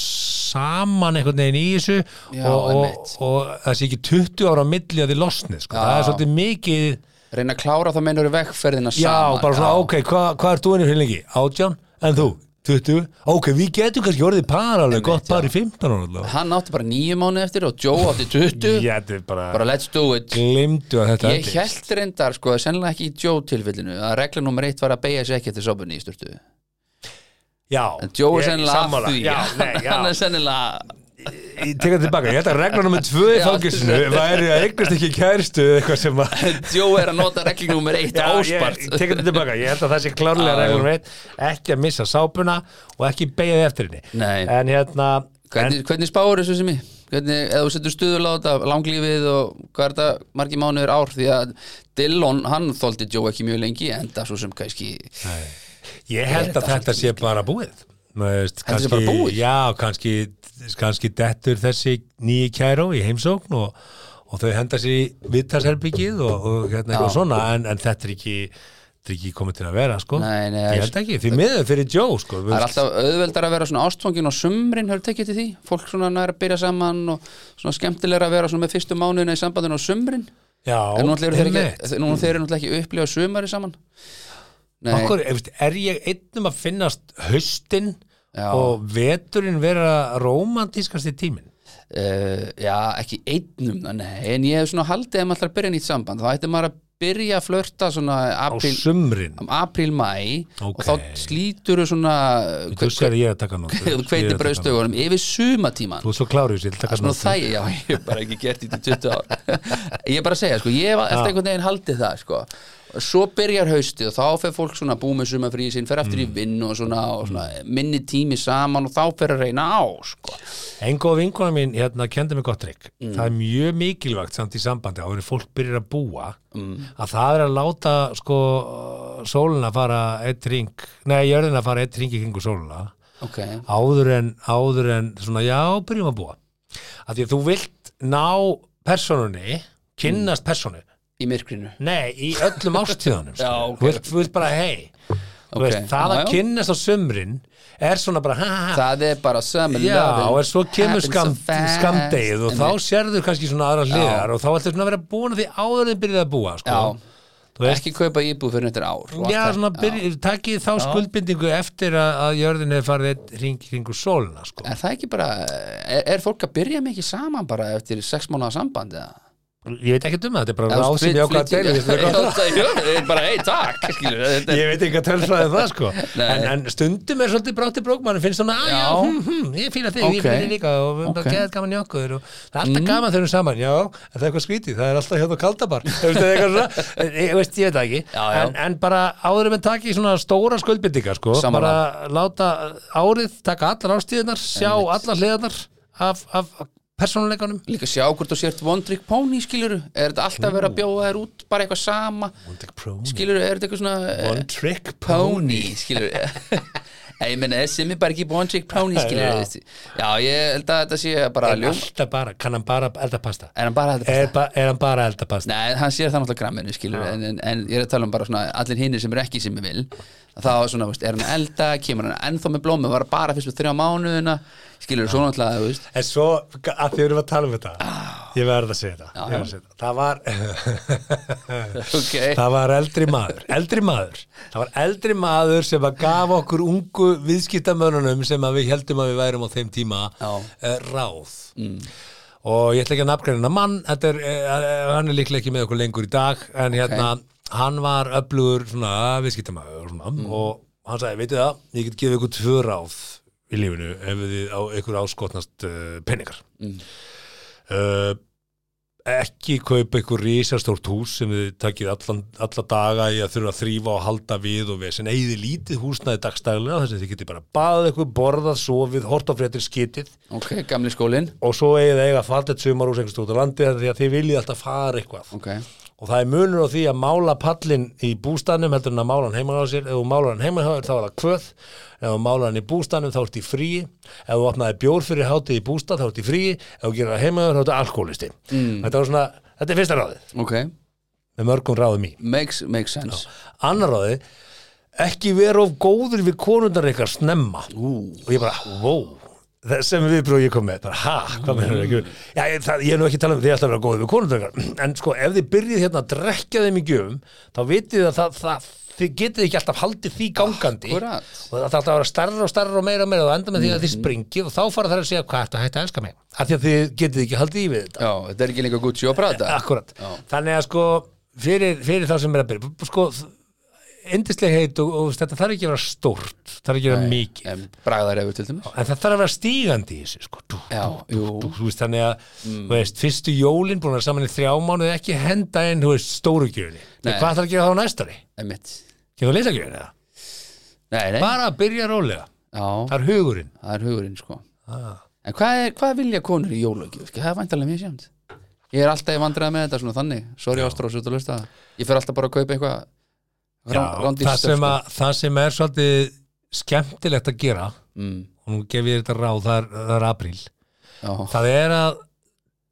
Speaker 3: saman einhvern veginn í þessu
Speaker 2: Já,
Speaker 3: og, og,
Speaker 2: einmitt.
Speaker 3: og það sé ekki 20 ára á milli að þið losni sko. það er
Speaker 2: Já.
Speaker 3: svolítið mikið
Speaker 2: reyna að klára þá mennur vegferðina
Speaker 3: já,
Speaker 2: saman
Speaker 3: bara svona, ok, hvað hva er þú ennir fyrir lengi? 18, en þú? 20? Ok, við getum kannski orðið par alveg, gott par í 15 ára allavega.
Speaker 2: hann átti bara nýju mánu eftir og Joe átti 20
Speaker 3: Já, þetta er
Speaker 2: bara let's do it
Speaker 3: glimtu að þetta
Speaker 2: ég held reyndar sko sennilega ekki í Joe tilfellinu að regla nummer eitt var að beigja sér ekki eftir sopunni í sturtu
Speaker 3: já,
Speaker 2: en Joe er
Speaker 3: ég-
Speaker 2: sennilega
Speaker 3: sammála.
Speaker 2: að því
Speaker 3: já, nei, já.
Speaker 2: hann er sennilega
Speaker 3: ég tek það tilbaka, ég held að regla nummer tvö í
Speaker 2: Já.
Speaker 3: fangisinu væri að eignast ekki kæristu eða eitthvað sem að
Speaker 2: Joe er að nota regla nummer eitt
Speaker 3: Já,
Speaker 2: áspart
Speaker 3: ég tek þetta tilbaka, ég held að það sé klárlega
Speaker 2: Já, já.
Speaker 3: regla nummer eitt, ekki að missa sápuna og ekki beigja þig eftir henni
Speaker 2: Nei.
Speaker 3: en hérna, en,
Speaker 2: hvernig, hvernig spáur þessu sem ég hvernig, eða þú setur stuðul á þetta langlífið og hvað er þetta margi mánuður ár því að Dillon, hann þóldi Joe ekki mjög lengi en það svo sem kannski
Speaker 3: ég held að þetta sé bara búið Nú, veist,
Speaker 2: Heldur sé bara búið?
Speaker 3: já, kannski, kannski dettur þessi nýji kæró í heimsókn og, og þau henda sér í vittarserbyggið og, og hérna eitthvað svona en, en þetta er ekki þetta er ekki komið til að vera sko
Speaker 2: Nei, nei,
Speaker 3: ég held ekki, því miður fyrir Joe sko
Speaker 2: það er alltaf auðveldar að vera svona ástfangin og sumrin, höfðu tekið til því fólk svona nær að byrja saman og svona skemmtilega að vera svona með fyrstu mánuðina í sambandinu og sumrin
Speaker 3: já,
Speaker 2: en nú þeir eru
Speaker 3: einmitt.
Speaker 2: ekki, nú þeir eru náttúrulega ekki að upplifa sumari saman Nei,
Speaker 3: Okkur, ef, veist, er ég einnum að finnast haustin
Speaker 2: Já.
Speaker 3: og veturinn vera romantískast í tíminn
Speaker 2: uh, já, ekki einnum nei, en ég hef svona haldið ef maður ætlar að byrja nýtt samband þá ætti maður að byrja að flörta svona
Speaker 3: á
Speaker 2: apríl,
Speaker 3: sumrin
Speaker 2: um apríl mæ
Speaker 3: Ok.
Speaker 2: og þá slítur þú svona
Speaker 3: þú sér að ég er að taka nú
Speaker 2: þú kveiti brauðstögunum yfir sumatíman
Speaker 3: þú er svo klárið sér, taka
Speaker 2: svona
Speaker 3: nú
Speaker 2: þæg, já, ég hef bara ekki gert þetta í 20 ár ég er bara að segja, sko, ég hef alltaf einhvern veginn haldið það, sko svo byrjar haustið og þá fer fólk svona búið með sumafríi sín, fer aftur
Speaker 3: Mm.
Speaker 2: í vinn og svona, og svona minni tími saman og þá fer að reyna á, sko
Speaker 3: en góð vinkona mín hérna kendi mig gott trygg
Speaker 2: Mm.
Speaker 3: það er mjög mikilvægt samt í sambandi á hvernig fólk byrjar að búa
Speaker 2: Mm.
Speaker 3: að það er að láta sko sóluna fara eitt ring nei, jörðina fara eitt ring í kringu sóluna
Speaker 2: ok,
Speaker 3: áður en, áður en svona, já, byrjum að búa af því að þú vilt ná personunni,
Speaker 2: Mm.
Speaker 3: kynnast personu
Speaker 2: í myrkrinu
Speaker 3: nei, í öllum ástíðanum
Speaker 2: Já,
Speaker 3: skilur.
Speaker 2: ok.
Speaker 3: þú vilt, þú vilt bara hei
Speaker 2: Ok,
Speaker 3: okay. veist,
Speaker 2: já,
Speaker 3: það
Speaker 2: já.
Speaker 3: að kynnast á sömrin er svona bara ha, ha, ha,
Speaker 2: það er bara sömur
Speaker 3: já, og svo kemur skam, skamdegið og þá sérðu kannski svona aðra hliðar og þá ættu svona að vera búin að því áður en byrjað að búa sko.
Speaker 2: Já.
Speaker 3: þú veist,
Speaker 2: ekki kaupa íbúð fyrir þetta ár og allt
Speaker 3: já,
Speaker 2: það.
Speaker 3: svona byrj, takið þá skuldbindingu eftir að, að jörðin hefur farið einn hring kringur sólina sko.
Speaker 2: er það ekki bara, er, er fólk að byrja mikið saman bara eftir sex mánuða samband eða?
Speaker 3: ég veit ekki um það, þetta er bara
Speaker 2: Eða
Speaker 3: ráð sem
Speaker 2: flyt-
Speaker 3: ég ákvað að
Speaker 2: flytja-
Speaker 3: deila við, þetta er
Speaker 2: Já,
Speaker 3: gott ráð.
Speaker 2: það- já, það er bara, hei, takk skilur, þetta er-
Speaker 3: ég veit ekki að tölfræði það sko
Speaker 2: Nei.
Speaker 3: en, en stundum er svolítið brátti brókmann finnst svona, að já,
Speaker 2: Já.
Speaker 3: hm, hm, ég fíla þig
Speaker 2: Ok.
Speaker 3: ég fíla þig líka og við erum
Speaker 2: Ok.
Speaker 3: bara
Speaker 2: Mm.
Speaker 3: okay. gaman í okkur og það er alltaf gaman þegar við erum saman, já, en það er eitthvað skrítið það er alltaf hérna á kaldabar Þú veist, það er eitthvað svona, ég, ég veist, ég veit það ekki
Speaker 2: Já, já.
Speaker 3: En, en bara áður með taki svona stóra skuldbindingar sko,
Speaker 2: Sammála.
Speaker 3: bara láta árið taka allar ástíðunar, sjá allar hliðarnar af, af persónuleikanum
Speaker 2: líka sjá hvort þú sért One Trick Pony skiluru, er þetta alltaf verið að bjóða þér út bara eitthvað sama, skiluru er þetta eitthvað svona eh,
Speaker 3: One Trick
Speaker 2: Pony skiluru Nei, ég meina, þessi er mér bara ekki One Trick Pony
Speaker 3: Já.
Speaker 2: skiluru já, ég held að þetta sé bara
Speaker 3: Er
Speaker 2: ljúm,
Speaker 3: alltaf bara, kann hann bara eldapasta
Speaker 2: er hann bara þetta
Speaker 3: er, ba er hann bara eldapasta
Speaker 2: Nei, hann sér það náttúrulega gramminu, skilur en, en, en ég er að tala um bara svona allir hinnir sem er ekki sem ég vil þá svona, veist, er hann að elda, kemur hann ennþá með blómi var bara fyrst með þrjá mánuðina skilur svo náttúrulega, þú veist
Speaker 3: En svo, að því við erum að tala um þetta Ég verð að segja þetta,
Speaker 2: Ah. Já,
Speaker 3: ég verð að segja þetta. Það var
Speaker 2: Ok.
Speaker 3: Það var eldri maður Eldri maður Það var eldri maður sem að gaf okkur ungu viðskiptamönunum sem að við heldum að við værum á þeim tíma
Speaker 2: Já. Mm.
Speaker 3: eh, ráð Og ég ætla ekki að nafngreina þennan mann þetta er, eh, Hann er líklega ekki með okkur lengur í dag En hérna, hann var öflugur svona viðskiptamaður svona,
Speaker 2: Mm.
Speaker 3: og hann sagði, veitu það, ég get gefið ykkur tvö ráð í lífinu ef þið á ykkur áskotnast uh, peningar
Speaker 2: Mm.
Speaker 3: uh, ekki kaupa ykkur risastórt hús sem þið takið allan, alla daga í að þurfa að þrýfa og halda við og vesen eigið lítið húsnaði dagstaglega þess að þið getið bara baðað ykkur, borðað, sofið, hort á fréttir skitið
Speaker 2: ok, gamli skólin
Speaker 3: og svo eigið þið eiga fallet sumarús einhvers út á landi því að þið viljið alltaf fara eitthvað
Speaker 2: ok,
Speaker 3: og það er munur á því að mála pallin í bústanum heldur en að mála hann heima á sér ef þú málar hann heima á þér þá er það kvöð ef þú málar hann í bústanum þá ert í fríi ef þú opnaði bjór fyrir hátið í bústað þá ert í fríi ef þú gerir það heima á þér þá ertu alkoholisti mm. þetta, var svona, þetta er fyrsta ráðið
Speaker 2: ok
Speaker 3: með mörgum ráðum í
Speaker 2: makes, makes sense
Speaker 3: annar ráðið ekki vera of góður við konundar ykkar snemma Ú. og ég bara, wow það sem við brúið ég kom með, bara, ha, hvað með ekki já, ég, það, ég er nú ekki að tala um því alltaf að vera góð við konundar ykkar, en sko, ef þið byrjið hérna að drekja þeim í gjöfum, þá vitið þið að það, það þið getið ekki alltaf haldið því gangandi
Speaker 2: Akkúrat.
Speaker 3: og það þarf alltaf að vera starra og starra og meira og meira og enda með því að þið springið og þá fara það að segja hvað ertu að hætta að elska mig, af því að þið getið ekki haldið í við þetta
Speaker 2: já, þetta er ekki líka Gucci og Prada
Speaker 3: Akkurat,
Speaker 2: Já.
Speaker 3: þannig að sko fyrir, fyrir það sem er að byrja b- sko, endislega heit og, og þetta þarf ekki að vera stórt þarf ekki að vera mikið
Speaker 2: en bragðar efur til dæmis
Speaker 3: en það þarf að vera stígandi í þessu sko. dú,
Speaker 2: já, Mm. jú,
Speaker 3: dú, þú veist, þannig að þú veist, fyrstu jólin búin að vera saman í þrjá mánuði ekki henda inn þú veist, stóru gjöfinni
Speaker 2: Nei.
Speaker 3: hvað þarf að gera þá næst ári?
Speaker 2: emitt
Speaker 3: Kemur að leysa gjöfinni það?
Speaker 2: nei, nei,
Speaker 3: bara að byrja rólega,
Speaker 2: já,
Speaker 3: það er hugurinn Ah.
Speaker 2: það er hugurinn sko en hvað, er, hvað vilja konur í jólagjöf Sko, það er væntalega mjög sjönd ég er alltaf í vandræða með þetta svona þannig sorry Ástrós, út að lusta ég fer alltaf bara að kaupa eitthvað
Speaker 3: Já,
Speaker 2: rán- rándýrt
Speaker 3: það,
Speaker 2: stöf,
Speaker 3: sem
Speaker 2: sko.
Speaker 3: að, það sem er svolítið skemmtilegt að gera
Speaker 2: mm,
Speaker 3: og nú gef ég þetta ráð, það er, það er apríl
Speaker 2: já,
Speaker 3: það er að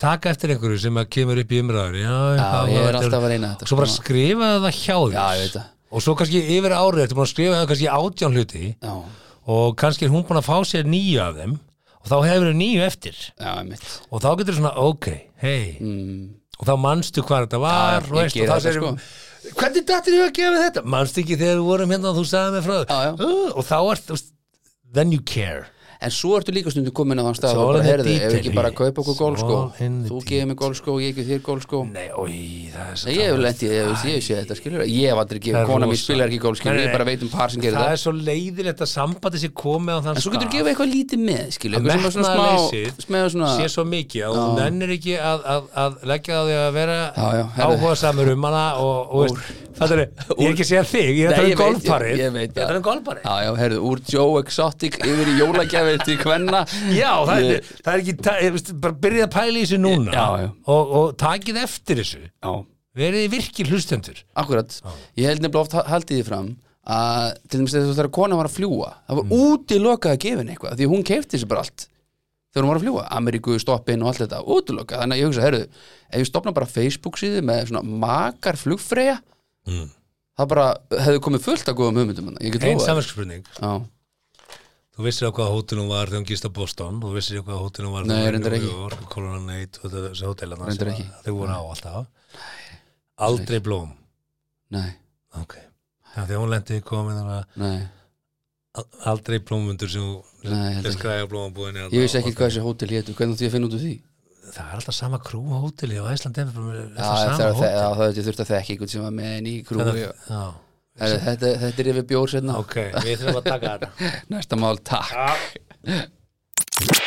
Speaker 3: taka eftir einhverju sem að kemur upp í umræður já,
Speaker 2: já,
Speaker 3: já,
Speaker 2: ég er
Speaker 3: þetta
Speaker 2: alltaf að reyna þetta
Speaker 3: svo bara
Speaker 2: sko.
Speaker 3: skrifa það hjá þér
Speaker 2: Já, ég veit það.
Speaker 3: og svo kannski yfir árið ertu búin að skrifa það kannski átján hluti
Speaker 2: já,
Speaker 3: og kannski er hún búin að fá sér nýju af þeim og þá hefur þau nýju eftir
Speaker 2: já, mitt
Speaker 3: og þá getur svona, ok, hei
Speaker 2: mm,
Speaker 3: og þá manstu hvað þetta
Speaker 2: Já,
Speaker 3: var og,
Speaker 2: ég
Speaker 3: veist,
Speaker 2: geri
Speaker 3: og þá
Speaker 2: þetta, sko.
Speaker 3: segir hvernig dattir ég að gefa þetta? manstu ekki þegar við vorum hérna og þú sagði mig frá
Speaker 2: Já, já.
Speaker 3: þér uh, og þá er then you care
Speaker 2: en svo ertu líka stundum komin á þann stað
Speaker 3: It's
Speaker 2: og
Speaker 3: all
Speaker 2: bara
Speaker 3: in the
Speaker 2: heyrðu, ef
Speaker 3: detail,
Speaker 2: ekki bara
Speaker 3: Hugi.
Speaker 2: að kaupa okkur
Speaker 3: It's
Speaker 2: gólskó
Speaker 3: all in the
Speaker 2: þú gefið mér gólskó, ég gefið þér sko. gólskó
Speaker 3: nei, oi, það er svo
Speaker 2: Nei, ég hef
Speaker 3: gaman.
Speaker 2: lendið, ég, ég, ég sé þetta skilur ég hef aldrei
Speaker 3: sko. Það
Speaker 2: gefið,
Speaker 3: er
Speaker 2: kona mín
Speaker 3: rosa.
Speaker 2: spilar ekki gólskó
Speaker 3: Nei, nei,
Speaker 2: ég bara
Speaker 3: nei.
Speaker 2: veit um par sem gerir
Speaker 3: það
Speaker 2: það
Speaker 3: er svo leiðilegt að sambandi sér komið á þann
Speaker 2: en svo getur
Speaker 3: stað.
Speaker 2: þú gefið eitthvað lítið með skilur,
Speaker 3: Að
Speaker 2: eitthvað sem er svona
Speaker 3: metnaðarleysið
Speaker 2: smá smeða svona,
Speaker 3: sé svo mikið að hún nennir ekki að, að, að leggja á því að vera
Speaker 2: Já, já, herðu.
Speaker 3: áhuga samur um hana og, og veist, fattur, ég er ekki að segja þig ég er
Speaker 2: Nei,
Speaker 3: að tala
Speaker 2: ég veit,
Speaker 3: um golfparið
Speaker 2: ég- ég veit
Speaker 3: er að tala
Speaker 2: það.
Speaker 3: um golfparið
Speaker 2: Já, já, heyrðu, úr Joe Exotic yfir í jólagjafir til kvenna
Speaker 3: já, það
Speaker 2: Ég-
Speaker 3: er, það er ekki ta- ég veist, bara byrjið að pæla í þessu núna
Speaker 2: Já, já.
Speaker 3: Og, og takið eftir þessu
Speaker 2: Já,
Speaker 3: verið virkið hlustendur
Speaker 2: akkurat Ég held nefnilega oft haldið því fram að til dæmis þegar þess að kona var að fljúa það var mm. útilokað að gefa henni eitthvað því að hún keifti sér bara allt þegar hún var að fljúa Ameríku, stoppin og allt þetta, útilokað þannig að ég hugsa, heyrðu, ef ég stopna bara Facebook síðu með svona makar flugfreyja það bara hefði komið fullt að góðum hugmyndum þarna, ég get
Speaker 3: Mm. ein
Speaker 2: lofað þér.
Speaker 3: samanskjöfning
Speaker 2: Já,
Speaker 3: Þú vissir á hvaða hótel hún var þegar hún gist á Boston Þú vissir á hvaða hótel hún var
Speaker 2: Nei,
Speaker 3: þegar hún
Speaker 2: reyndar
Speaker 3: var
Speaker 2: ekki.
Speaker 3: York, Colonel Nate og þetta- þessi hótel þarna
Speaker 2: Reyndar
Speaker 3: sem
Speaker 2: ekki.
Speaker 3: að Þau voru á alltaf Aldrei blóm
Speaker 2: nei,
Speaker 3: Ok Það því að hún lendi komin þannig að
Speaker 2: nei,
Speaker 3: al- aldrei blómundur sem hún
Speaker 2: nei ég held ekki.
Speaker 3: skræði á blómabúðinni
Speaker 2: Ég vissi ekki hvað þessi hótel hétu, hvernig átti ég að finna út úr því
Speaker 3: Það er alltaf sama krú á hóteli og Æsland er
Speaker 2: Já, það
Speaker 3: alltaf sama
Speaker 2: er það,
Speaker 3: hótel
Speaker 2: það er þurft að þekki einhvern sem var með henni í krúi og-
Speaker 3: Já,
Speaker 2: Herðu, Þetta, þetta er yfir bjór sérna
Speaker 3: ok, við þurfum að taka þetta
Speaker 2: Næsta mál, takk
Speaker 1: Þetta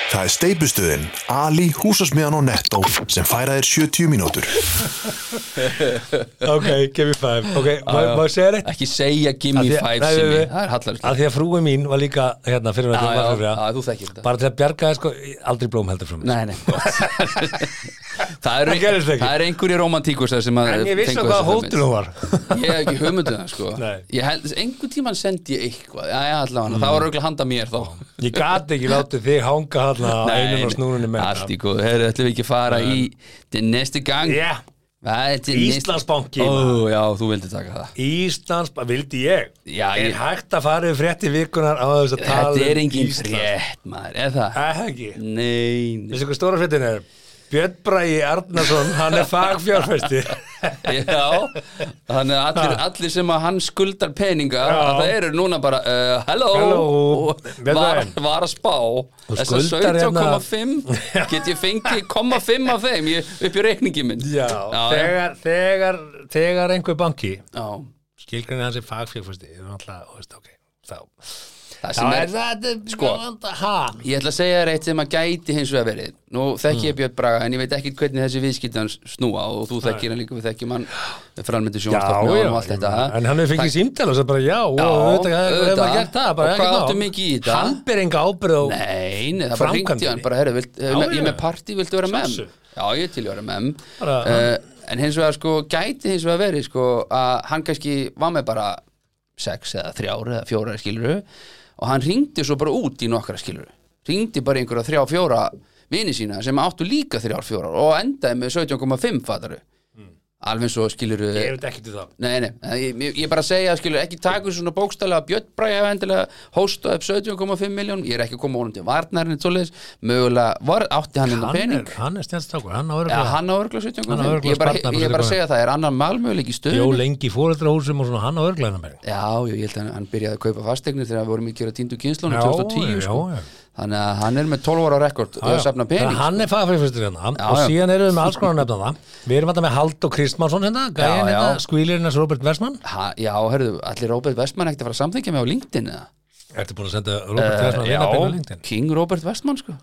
Speaker 1: Það er steipustöðin, Ali, húsasmiðan og Netto sem færa þér 70 mínútur.
Speaker 3: Ok, give me five Ok, má má ég segja þetta?
Speaker 2: Ekki segja gimme
Speaker 3: Af því að-
Speaker 2: five
Speaker 3: nei,
Speaker 2: simmi
Speaker 3: nei, nei.
Speaker 2: Það er hallarslið
Speaker 3: Að því að frúi mín var líka hérna fyrir að
Speaker 2: Já,
Speaker 3: það
Speaker 2: já,
Speaker 3: var fyrir
Speaker 2: já, þú þekkir þetta.
Speaker 3: Bara til að bjarga þér sko, aldrei blóm heldur frá mér
Speaker 2: Nei, nei Það eru
Speaker 3: Það gerist ekki.
Speaker 2: það eru einhverjir romantíkustar sem að
Speaker 3: En ég vissi
Speaker 2: fengu
Speaker 3: hvað
Speaker 2: þessa hugmynd.
Speaker 3: hóttur hún var
Speaker 2: Ég hef ekki hugmynduð það sko
Speaker 3: Nei. Mm.
Speaker 2: Ég held, einhvern tíman sendi ég eitthvað Já, já, allavega, það var auðvitað handa mér þá
Speaker 3: Ég gat ekki látið þig hanga hérna á
Speaker 2: Nei,
Speaker 3: einun og
Speaker 2: nei,
Speaker 3: snúrunni með
Speaker 2: Allt í góð, herru, ætlum við ekki að fara í til næsti gang
Speaker 3: Yeah,
Speaker 2: Hvað er til næsti-
Speaker 3: Íslandsbanki.
Speaker 2: Ó, já, þú vildi taka það
Speaker 3: Íslands, vildi ég
Speaker 2: Já,
Speaker 3: Er
Speaker 2: ég-
Speaker 3: hægt að fara yfir frétti vikunar á þess að tala
Speaker 2: Þetta er
Speaker 3: um
Speaker 2: engin
Speaker 3: Ísland?
Speaker 2: frétt, maður, er það?
Speaker 3: Það er ekki
Speaker 2: Nei, nei
Speaker 3: Veistu hvað stóra fréttin er? Björn Bragi Arnason, hann er fagfjárfæsti
Speaker 2: Já, þannig að allir, allir sem að hann skuldar peninga að það eru núna bara uh, hello,
Speaker 3: Hello.
Speaker 2: og
Speaker 3: Björn
Speaker 2: var,
Speaker 3: Bragi.
Speaker 2: var að spá þess að
Speaker 3: skuldar hérna-
Speaker 2: 17,5 get ég fengið 0,5 af þeim ég, upp í reikningi minn
Speaker 3: Já,
Speaker 2: já,
Speaker 3: þegar, þegar, þegar einhver banki
Speaker 2: já.
Speaker 3: skilgrinni hans er fagfjárfæsti er náttúrulega, þú veist, ok, þá
Speaker 2: Það
Speaker 3: Þá
Speaker 2: sem
Speaker 3: er
Speaker 2: er,
Speaker 3: það,
Speaker 2: sko.
Speaker 3: ha
Speaker 2: ég ætla að segja þér eitt sem að gæti hins vegar verið nú þekki
Speaker 3: Mm.
Speaker 2: ég Björn Braga en ég veit ekki hvernig þessi viðskiptan snúa og þú þekkir hann líka við þekkjum hann framöndu sjónstofnum og allt þetta
Speaker 3: en hann hefur fengið símtæl og svo bara já, og
Speaker 2: Já,
Speaker 3: auðvitað,
Speaker 2: auðvitað.
Speaker 3: hefur maður gert það, bara
Speaker 2: Og hvað
Speaker 3: ekkert mál.
Speaker 2: áttu mikið í þetta?
Speaker 3: Hann ber enga ábyrð á
Speaker 2: Nei, nei, það bara ringti
Speaker 3: Framkvæmdinni.
Speaker 2: hann bara, herru, vilt, já,
Speaker 3: Já,
Speaker 2: ég er
Speaker 3: já.
Speaker 2: með partí, viltu vera með?
Speaker 3: Sjálfsög.
Speaker 2: Já, ég er til að vera með
Speaker 3: Bara,
Speaker 2: uh, En hins vegar, sko, gæti hins vegar verið, sko að hann kannski var með bara sex eða þrjár eða fjóra skiluru og hann ringdi svo bara út í nokkra skiluru ringdi bara í einhverja þrjá fjóra vini sína sem áttu líka þrjár fjórar og endaði með 17,5 fattaru alveg svo skiluru
Speaker 3: Mm. Ég veit ekki til það
Speaker 2: Nei, nei, ég, ég- ég bara segja, skilur, ekki taka svona bókstælega að Björn Bræði hafa endilega hóstað upp 17,5 miljón, ég er ekki að koma honum til varnarinn svoleiðis, mögulega var, átti hann innan
Speaker 3: Hann er,
Speaker 2: pening,
Speaker 3: hann er stjálfstrákur, hann á
Speaker 2: ja,
Speaker 3: örugglega-
Speaker 2: hann á örgla
Speaker 3: Hann á
Speaker 2: 17,5
Speaker 3: örugglega sko.
Speaker 2: ég bara,
Speaker 3: sparnað
Speaker 2: ég bara
Speaker 3: bara.
Speaker 2: segja það, er annar malmöguleik í
Speaker 3: Bjó
Speaker 2: stöðun
Speaker 3: lengi í fóreldrahúsum og svona hann á örglæðina mér
Speaker 2: Já, já, ég held að hann, hann byrjaði að kaupa fasteignir þegar við vorum ekki að gera týndu kynslunum
Speaker 3: Já,
Speaker 2: 2010
Speaker 3: já,
Speaker 2: sko.
Speaker 3: já.
Speaker 2: þannig að hann er með 12 ára rekord og safna pening sko.
Speaker 3: hann er fagfræðfyrstur hérna
Speaker 2: Já,
Speaker 3: og
Speaker 2: já.
Speaker 3: síðan erum við með alls konar nefna það Við erum alltaf með Hald og Kristmánsson hérna Gæin
Speaker 2: Já, já.
Speaker 3: hérna, skvílirinn hans Robert Versmann
Speaker 2: ha, Já, herðu, allir Róbert Vestmann ekkert að fara að samþykja mig á LinkedIn eða?
Speaker 3: Ertu búin að senda Robert Versmann
Speaker 2: Eh, já,
Speaker 3: vinabinn á LinkedIn?
Speaker 2: King Róbert Vestmann sko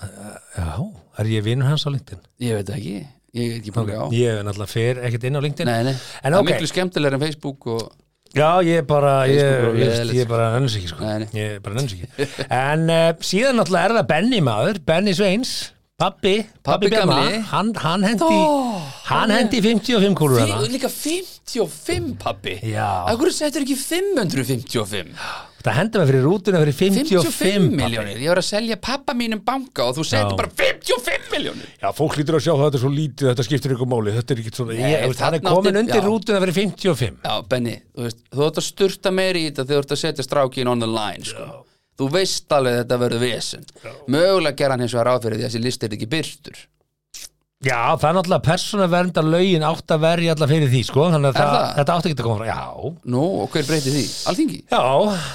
Speaker 3: Já, er ég vinur hans á LinkedIn?
Speaker 2: Ég veit það ekki, ég er ekki búin að á
Speaker 3: Ég er náttúrulega fer ekkert inn á LinkedIn
Speaker 2: Nei, nei,
Speaker 3: En
Speaker 2: það
Speaker 3: ok.
Speaker 2: er miklu skemmtilegur en Facebook og
Speaker 3: Já, ég bara, ég,
Speaker 2: Facebook er sko
Speaker 3: ég,
Speaker 2: leiðilegt,
Speaker 3: ég, ég bara nennis ekki sko
Speaker 2: Nei, nei.
Speaker 3: Ég bara nennis ekki En uh, síðan náttúrulega er það Benny maður, Benny Sveins Pappi,
Speaker 2: Pabbi
Speaker 3: pappi Bjarma
Speaker 2: gamli.
Speaker 3: Hann, hann hendi, hann hendi 55 kúlur
Speaker 2: Fí,
Speaker 3: hérna
Speaker 2: Líka 55 pappi
Speaker 3: Já.
Speaker 2: Akkur settur ekki 555
Speaker 3: Það hendi maður fyrir rútuna fyrir 55,
Speaker 2: 55
Speaker 3: pappi.
Speaker 2: miljónir Ég var að selja pappa mínum banka og þú
Speaker 3: Já.
Speaker 2: settur bara 55 miljónir
Speaker 3: Já, fólk lítur að sjá það, þetta er svo lítið, þetta skiptir ykkur máli, þetta er ekki svona,
Speaker 2: Nei,
Speaker 3: ég, það er
Speaker 2: þarna
Speaker 3: komin
Speaker 2: átti-
Speaker 3: undir
Speaker 2: já.
Speaker 3: rútuna fyrir 55.
Speaker 2: Já, Benny, þú veist, þú ert að sturta meiri í þetta þegar þú ert að setja strákin on the line sko. Þú veist alveg að þetta verður vesen Mögulega gera hann hins vegar ráð fyrir því að þessi list er ekki byrtur
Speaker 3: Já, það er náttúrulega persónaverndar lögin átt að verja alla fyrir því, sko, þannig
Speaker 2: Er
Speaker 3: að það,
Speaker 2: það?
Speaker 3: þetta átt ekki að koma frá, já.
Speaker 2: Nú, og hver breyti því? Alþingi?
Speaker 3: Já,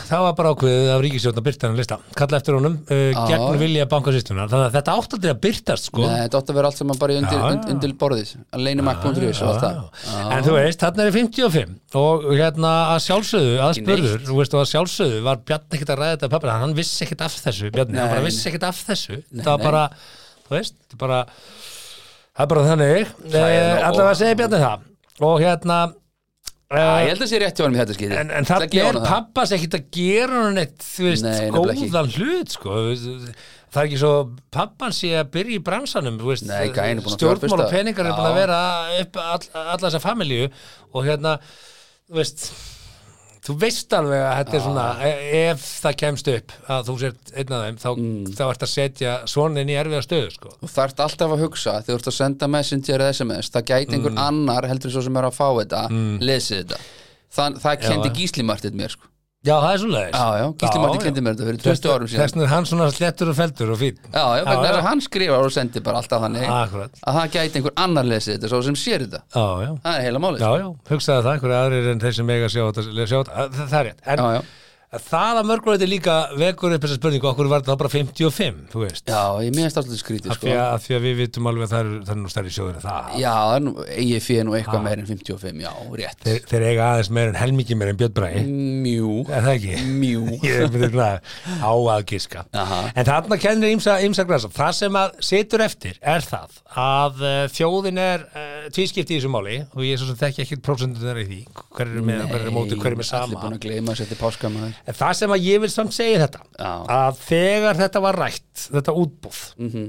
Speaker 3: það var bara ákveðið af ríkisjóðna byrtaðan lista, kalla eftir honum, uh,
Speaker 2: Já.
Speaker 3: gegn vilja bankasýstunar, þannig að þetta átt aldrei að byrtast, sko.
Speaker 2: Nei, þetta átti að vera allt saman bara í undir,
Speaker 3: Já, já.
Speaker 2: undir, undir borðið Leinumak.is og allt það
Speaker 3: Já. En þú veist, þarna er 55 og hérna að sjálfsögðu, að spurður, þú veist og að sjálfsögðu var Bjarni ekkert að ræða þetta pappa, hann vissi ekkert af þessu, Bjarni, hann
Speaker 2: Nei,
Speaker 3: bara
Speaker 2: nei.
Speaker 3: vissi ekkert af þessu, það var
Speaker 2: nei.
Speaker 3: bara, þú veist, þetta er bara, það er bara þannig, Eh,
Speaker 2: Hlægilega
Speaker 3: allavega
Speaker 2: og-
Speaker 3: segi Bjarni það og hérna,
Speaker 2: Já, ég
Speaker 3: eh,
Speaker 2: held að sé rétt hjá hann í þetta skýri
Speaker 3: en, en þarna er pappas ekkert að gera hann eitt, þú veist,
Speaker 2: Nei, nefnilega ekki.
Speaker 3: góðan hlut, sko, það er ekki svo, pappan sé að byrja í bransanum, þú veist,
Speaker 2: Nei, gæinn er búinn að
Speaker 3: stjórnmál og
Speaker 2: fjárfesta.
Speaker 3: peningar er búin að
Speaker 2: Já.
Speaker 3: vera upp all, alla þessa familju og hérna, þú veist þú veist alveg að þetta er svona e- ef það kemst upp að þú sért einn af þeim, þá,
Speaker 2: Mm.
Speaker 3: þá ert að setja svona inn í erfiða stöðu, sko
Speaker 2: Þú þarft alltaf að hugsa þegar þú ert að senda messenger eða sms það gæti einhver annar heldur en svo sem er að fá þetta lesið þetta Þann, það kendi
Speaker 3: já.
Speaker 2: Gísli Martið mér sko.
Speaker 3: Já, það er svoleiðis
Speaker 2: já, já, Gísli Martið kendi mér þetta fyrir 20 árum síðan
Speaker 3: Þessna er hann svona slettur og feltur og fín
Speaker 2: já, já, Ah. vegna þess að hann skrifar og sendir bara alltaf þannig
Speaker 3: Akkurat,
Speaker 2: að það gæti einhver annar lesið þetta svo sem sér þetta,
Speaker 3: já, já
Speaker 2: það er heila málið sko.
Speaker 3: Já, já, hugsaði það, einhverja aðrir en þeir sem eiga að sjá þetta sjá þetta. Þa- það er rétt, en,
Speaker 2: Já, já.
Speaker 3: En það að mörgur þetta líka vekur upp þessa spurningu, okkur var þetta þá bara 55, þú veist
Speaker 2: Já, ég meðast alltaf skrítið
Speaker 3: af
Speaker 2: sko
Speaker 3: því, að, af því að við vitum alveg að það eru- það er nú stærri sjóður en það
Speaker 2: Já, það er nú, eigi fyrir nú eitthvað meir en 55, já, rétt
Speaker 3: þeir, þeir eiga aðeins meira en helmingi meira en Björn Bræði
Speaker 2: Mjú,
Speaker 3: Er það ekki?
Speaker 2: mjú
Speaker 3: Ég er myndið að á að giska
Speaker 2: Aha.
Speaker 3: En þarna kennir ymsa, ymsa grasa Það sem að situr eftir er það að uh, þjóðin er uh, tvískipt í þessu máli og ég er svo sem þekki ekkert prósendunar í því hver er með, hver er móti, hver er með
Speaker 2: Allir
Speaker 3: sama
Speaker 2: búin að gleyma að setja páska maður
Speaker 3: En það sem að ég vil samt segja þetta
Speaker 2: Já.
Speaker 3: að þegar þetta var rætt þetta útbúð
Speaker 2: Mhm.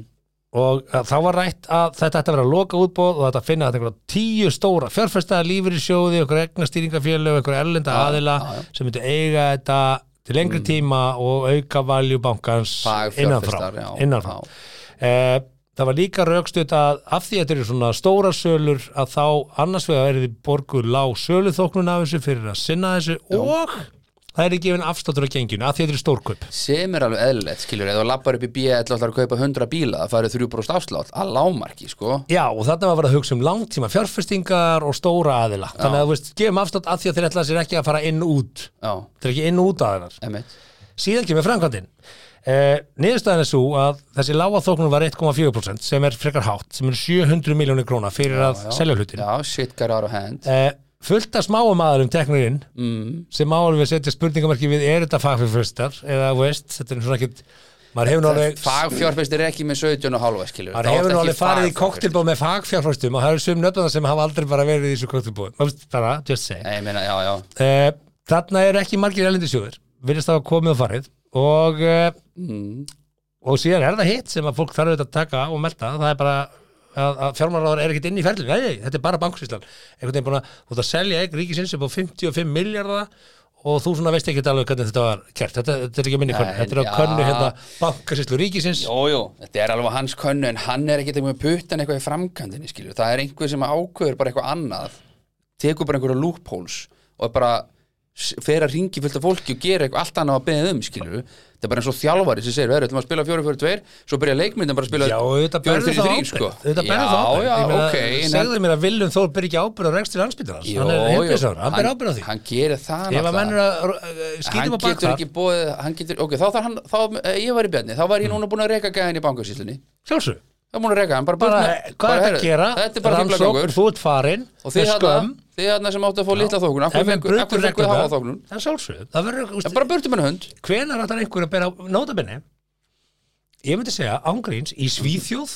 Speaker 3: og að þá var rætt að þetta ætti að vera að loka útbúð og þetta finna þetta einhverja tíu stóra fjárfestaða lífur í sjóði, einhverja egnastýringafélög einhverja erlenda aðila sem myndi eiga þetta til lengri tíma og auka valjú bankans innanfrá,
Speaker 2: Mm. Fagfjárfestar, já,
Speaker 3: innanfrá.
Speaker 2: já.
Speaker 3: Eh, það var líka raukstuð að af því að þetta eru svona stóra sölur að þá annars vegar er þið borguð lág söluþóknun af þessu fyrir að sinna þessu og það er gefin afsláttur á genginu af því að þetta eru stórkaup
Speaker 2: Sem er alveg eðlilegt, skilur, eða þú lappar upp í B.E. ætlar að kaupa 100 bíla, það farið 3% afslátt að lámarki, sko
Speaker 3: Já, og þarna var að vera að hugsa um langtíma fjárfestingar og stóra aðila þannig að þú veist, gefum afslátt af því að þeir ætla sér ekki að fara inn út
Speaker 2: Já,
Speaker 3: þeir ekki inn út aðeinar
Speaker 2: emitt
Speaker 3: síðan kemur framkvæmdin eh, niðurstaðan er svo að þessi lága þóknun var 1,4% sem er frekar hátt sem er 700 miljónir króna fyrir að selja hlutin
Speaker 2: Já, shit got out of hand
Speaker 3: eh, fullt af smáum aðalum teknur inn mm. sem má alveg setja spurningamarki við er þetta fagfjörfustar eða þú veist, þetta er svona ekkit maður hefur nú alveg
Speaker 2: Fagfjárfestir er ekki með 17 og halva, skilur
Speaker 3: maður hefur nú alveg farið í koktelbóð með fagfjárfjörfustum og það eru sum nöfnum sem hafa aldrei bara verið í þessu koktelbóð bara, just say
Speaker 2: Nei, ég meina, já, já
Speaker 3: eh, þarna eru ekki margir elendisjóður virðist það að komið og farið og, eh,
Speaker 2: Mm.
Speaker 3: og síðan er það hitt sem að fólk þarf auðvitað að taka og melda það er bara að, að fjármálaráður er ekkert inn í ferlinu, nei, nei, þetta er bara bankursýslan einhvern veginn búin að, þú ert að selja eign ríkisins upp á 55 miljardar og þú svona veist ekki alveg hvernig þetta var kert þetta, þetta er ekki minni könnu,
Speaker 2: Nei,
Speaker 3: þetta er á
Speaker 2: já.
Speaker 3: könnu hérna bankarsýslu ríkisins
Speaker 2: Jó, jó, þetta er alveg hans könnu en hann er ekkert með puttan eitthvað í framkandinni skilur. það er einhver sem ákveður bara eitthvað annað tekur bara einhverja loopholes og bara s- fer að ringi fullt af fólki og gera eitthvað allt annað að beðið um skilur. þetta er bara eins og þjálfari sem segir, verður, ætlum að spila 4-4-2 svo byrja leikmyndin bara að spila
Speaker 3: Já, auðvitað berðu þá
Speaker 2: 4-3-3
Speaker 3: ábyrgð
Speaker 2: sko.
Speaker 3: Auðvitað berðu þá
Speaker 2: Já,
Speaker 3: ábyrgð
Speaker 2: já,
Speaker 3: Ég meina,
Speaker 2: ok en hann-
Speaker 3: Segðu mér að Viljum Þór ber ekki ábyrgð á rekstur anspýtarans
Speaker 2: Jó,
Speaker 3: Hann er
Speaker 2: jó,
Speaker 3: heilbíðsára, hann ber
Speaker 2: hann-
Speaker 3: ábyrgð á því
Speaker 2: Hann gerir það
Speaker 3: Ef að
Speaker 2: náttúrulega.
Speaker 3: menn eru að uh,
Speaker 2: hann
Speaker 3: skýtum á bak
Speaker 2: getur
Speaker 3: þar
Speaker 2: ekki bóðið hann getur, ok, þá þarf hann þá, eh, ég var í björni, þá
Speaker 3: Mm.
Speaker 2: var ég núna búin að reka gæðin í bankasýslunni,
Speaker 3: Sjálfsög
Speaker 2: þá búin að reka hann bara,
Speaker 3: Bara,
Speaker 2: burt
Speaker 3: eh,
Speaker 2: með-
Speaker 3: hvað er þetta
Speaker 2: heyrðu,
Speaker 3: að gera?
Speaker 2: þetta er bara
Speaker 3: Rannsókn,
Speaker 2: fíblagangur
Speaker 3: Þú ert farinn
Speaker 2: og
Speaker 3: með
Speaker 2: þið
Speaker 3: skömm
Speaker 2: þarna, þið þarna sem áttu að fá litla þókun af
Speaker 3: Ef
Speaker 2: hverju
Speaker 3: við
Speaker 2: fengu- af
Speaker 3: brutur
Speaker 2: hverju fenguð
Speaker 3: reglum
Speaker 2: háa þóknun
Speaker 3: Það er sjálfsög Það verður, þú
Speaker 2: En
Speaker 3: veist,
Speaker 2: bara burtu með hund
Speaker 3: hvenær ætlar einhver að bera nótabenni ég myndi segja ángríns í Svíþjóð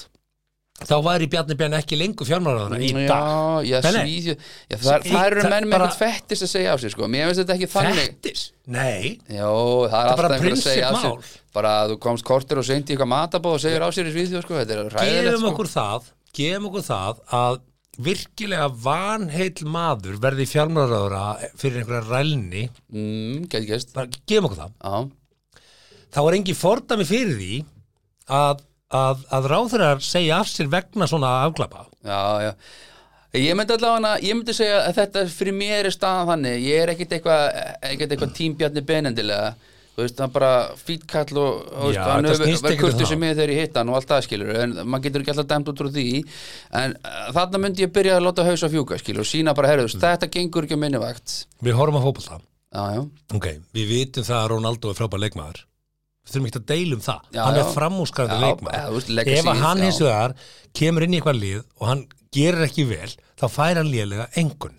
Speaker 3: þá væri Bjarni Bjarni ekki lengur fjármálaráðara í
Speaker 2: já,
Speaker 3: dag
Speaker 2: já,
Speaker 3: Nei, nei.
Speaker 2: svíð, já, það,
Speaker 3: Í-
Speaker 2: það eru
Speaker 3: það-
Speaker 2: menn með
Speaker 3: bara-
Speaker 2: eitthvað fettis að segja á sig sko. mér finnst þetta ekki þannig
Speaker 3: Fettis? Nei,
Speaker 2: Jó, það er
Speaker 3: bara
Speaker 2: alltaf einhver að segja á
Speaker 3: prinsippmál.
Speaker 2: sig bara að þú komst kortir og seint í eitthvað matabóð og segir á sér í svíðjóð sko. þetta er ræðilegt
Speaker 3: gefum
Speaker 2: sko.
Speaker 3: okkur það gefum okkur það að virkilega vanheill maður verði fjármálaráðara fyrir einhverja rælni
Speaker 2: mm, gæti gæst
Speaker 3: bara gefum okkur það
Speaker 2: já,
Speaker 3: þá er engin fordami fyrir því að, að, að ráðurar segja af sér vegna svona afglapa
Speaker 2: Já, já Ég myndi allavega, ég myndi segja að þetta fyrir mér er staðan þannig, ég er ekkert eitthvað ekkert eitthvað tímbjarni benendilega þú veist, hann bara fýtkall og þú veist,
Speaker 3: Já,
Speaker 2: hann
Speaker 3: þetta snýst
Speaker 2: hefur
Speaker 3: ekkert um
Speaker 2: kurtu sem
Speaker 3: það.
Speaker 2: mig þegar ég hitt hann og allt það skilur en maður getur ekki alltaf dæmt út úr því en uh, þarna myndi ég byrja að láta haus að fjúka skilur og sína bara, herrðu, mm. þetta gengur ekki að minni vakt
Speaker 3: við horfum að fópa það
Speaker 2: Já, já,
Speaker 3: Ok, við vitum það að Ronaldo er frábær leikmaður Við þurfum ekki að deila um það
Speaker 2: Já,
Speaker 3: Hann
Speaker 2: já.
Speaker 3: er framúskarandi
Speaker 2: Já,
Speaker 3: leikmaður
Speaker 2: já, þú veist, legacy,
Speaker 3: Ef að hann
Speaker 2: já.
Speaker 3: hins vegar kemur inn í eitthvað lið og hann gerir ekki vel þá fær hann lélega engun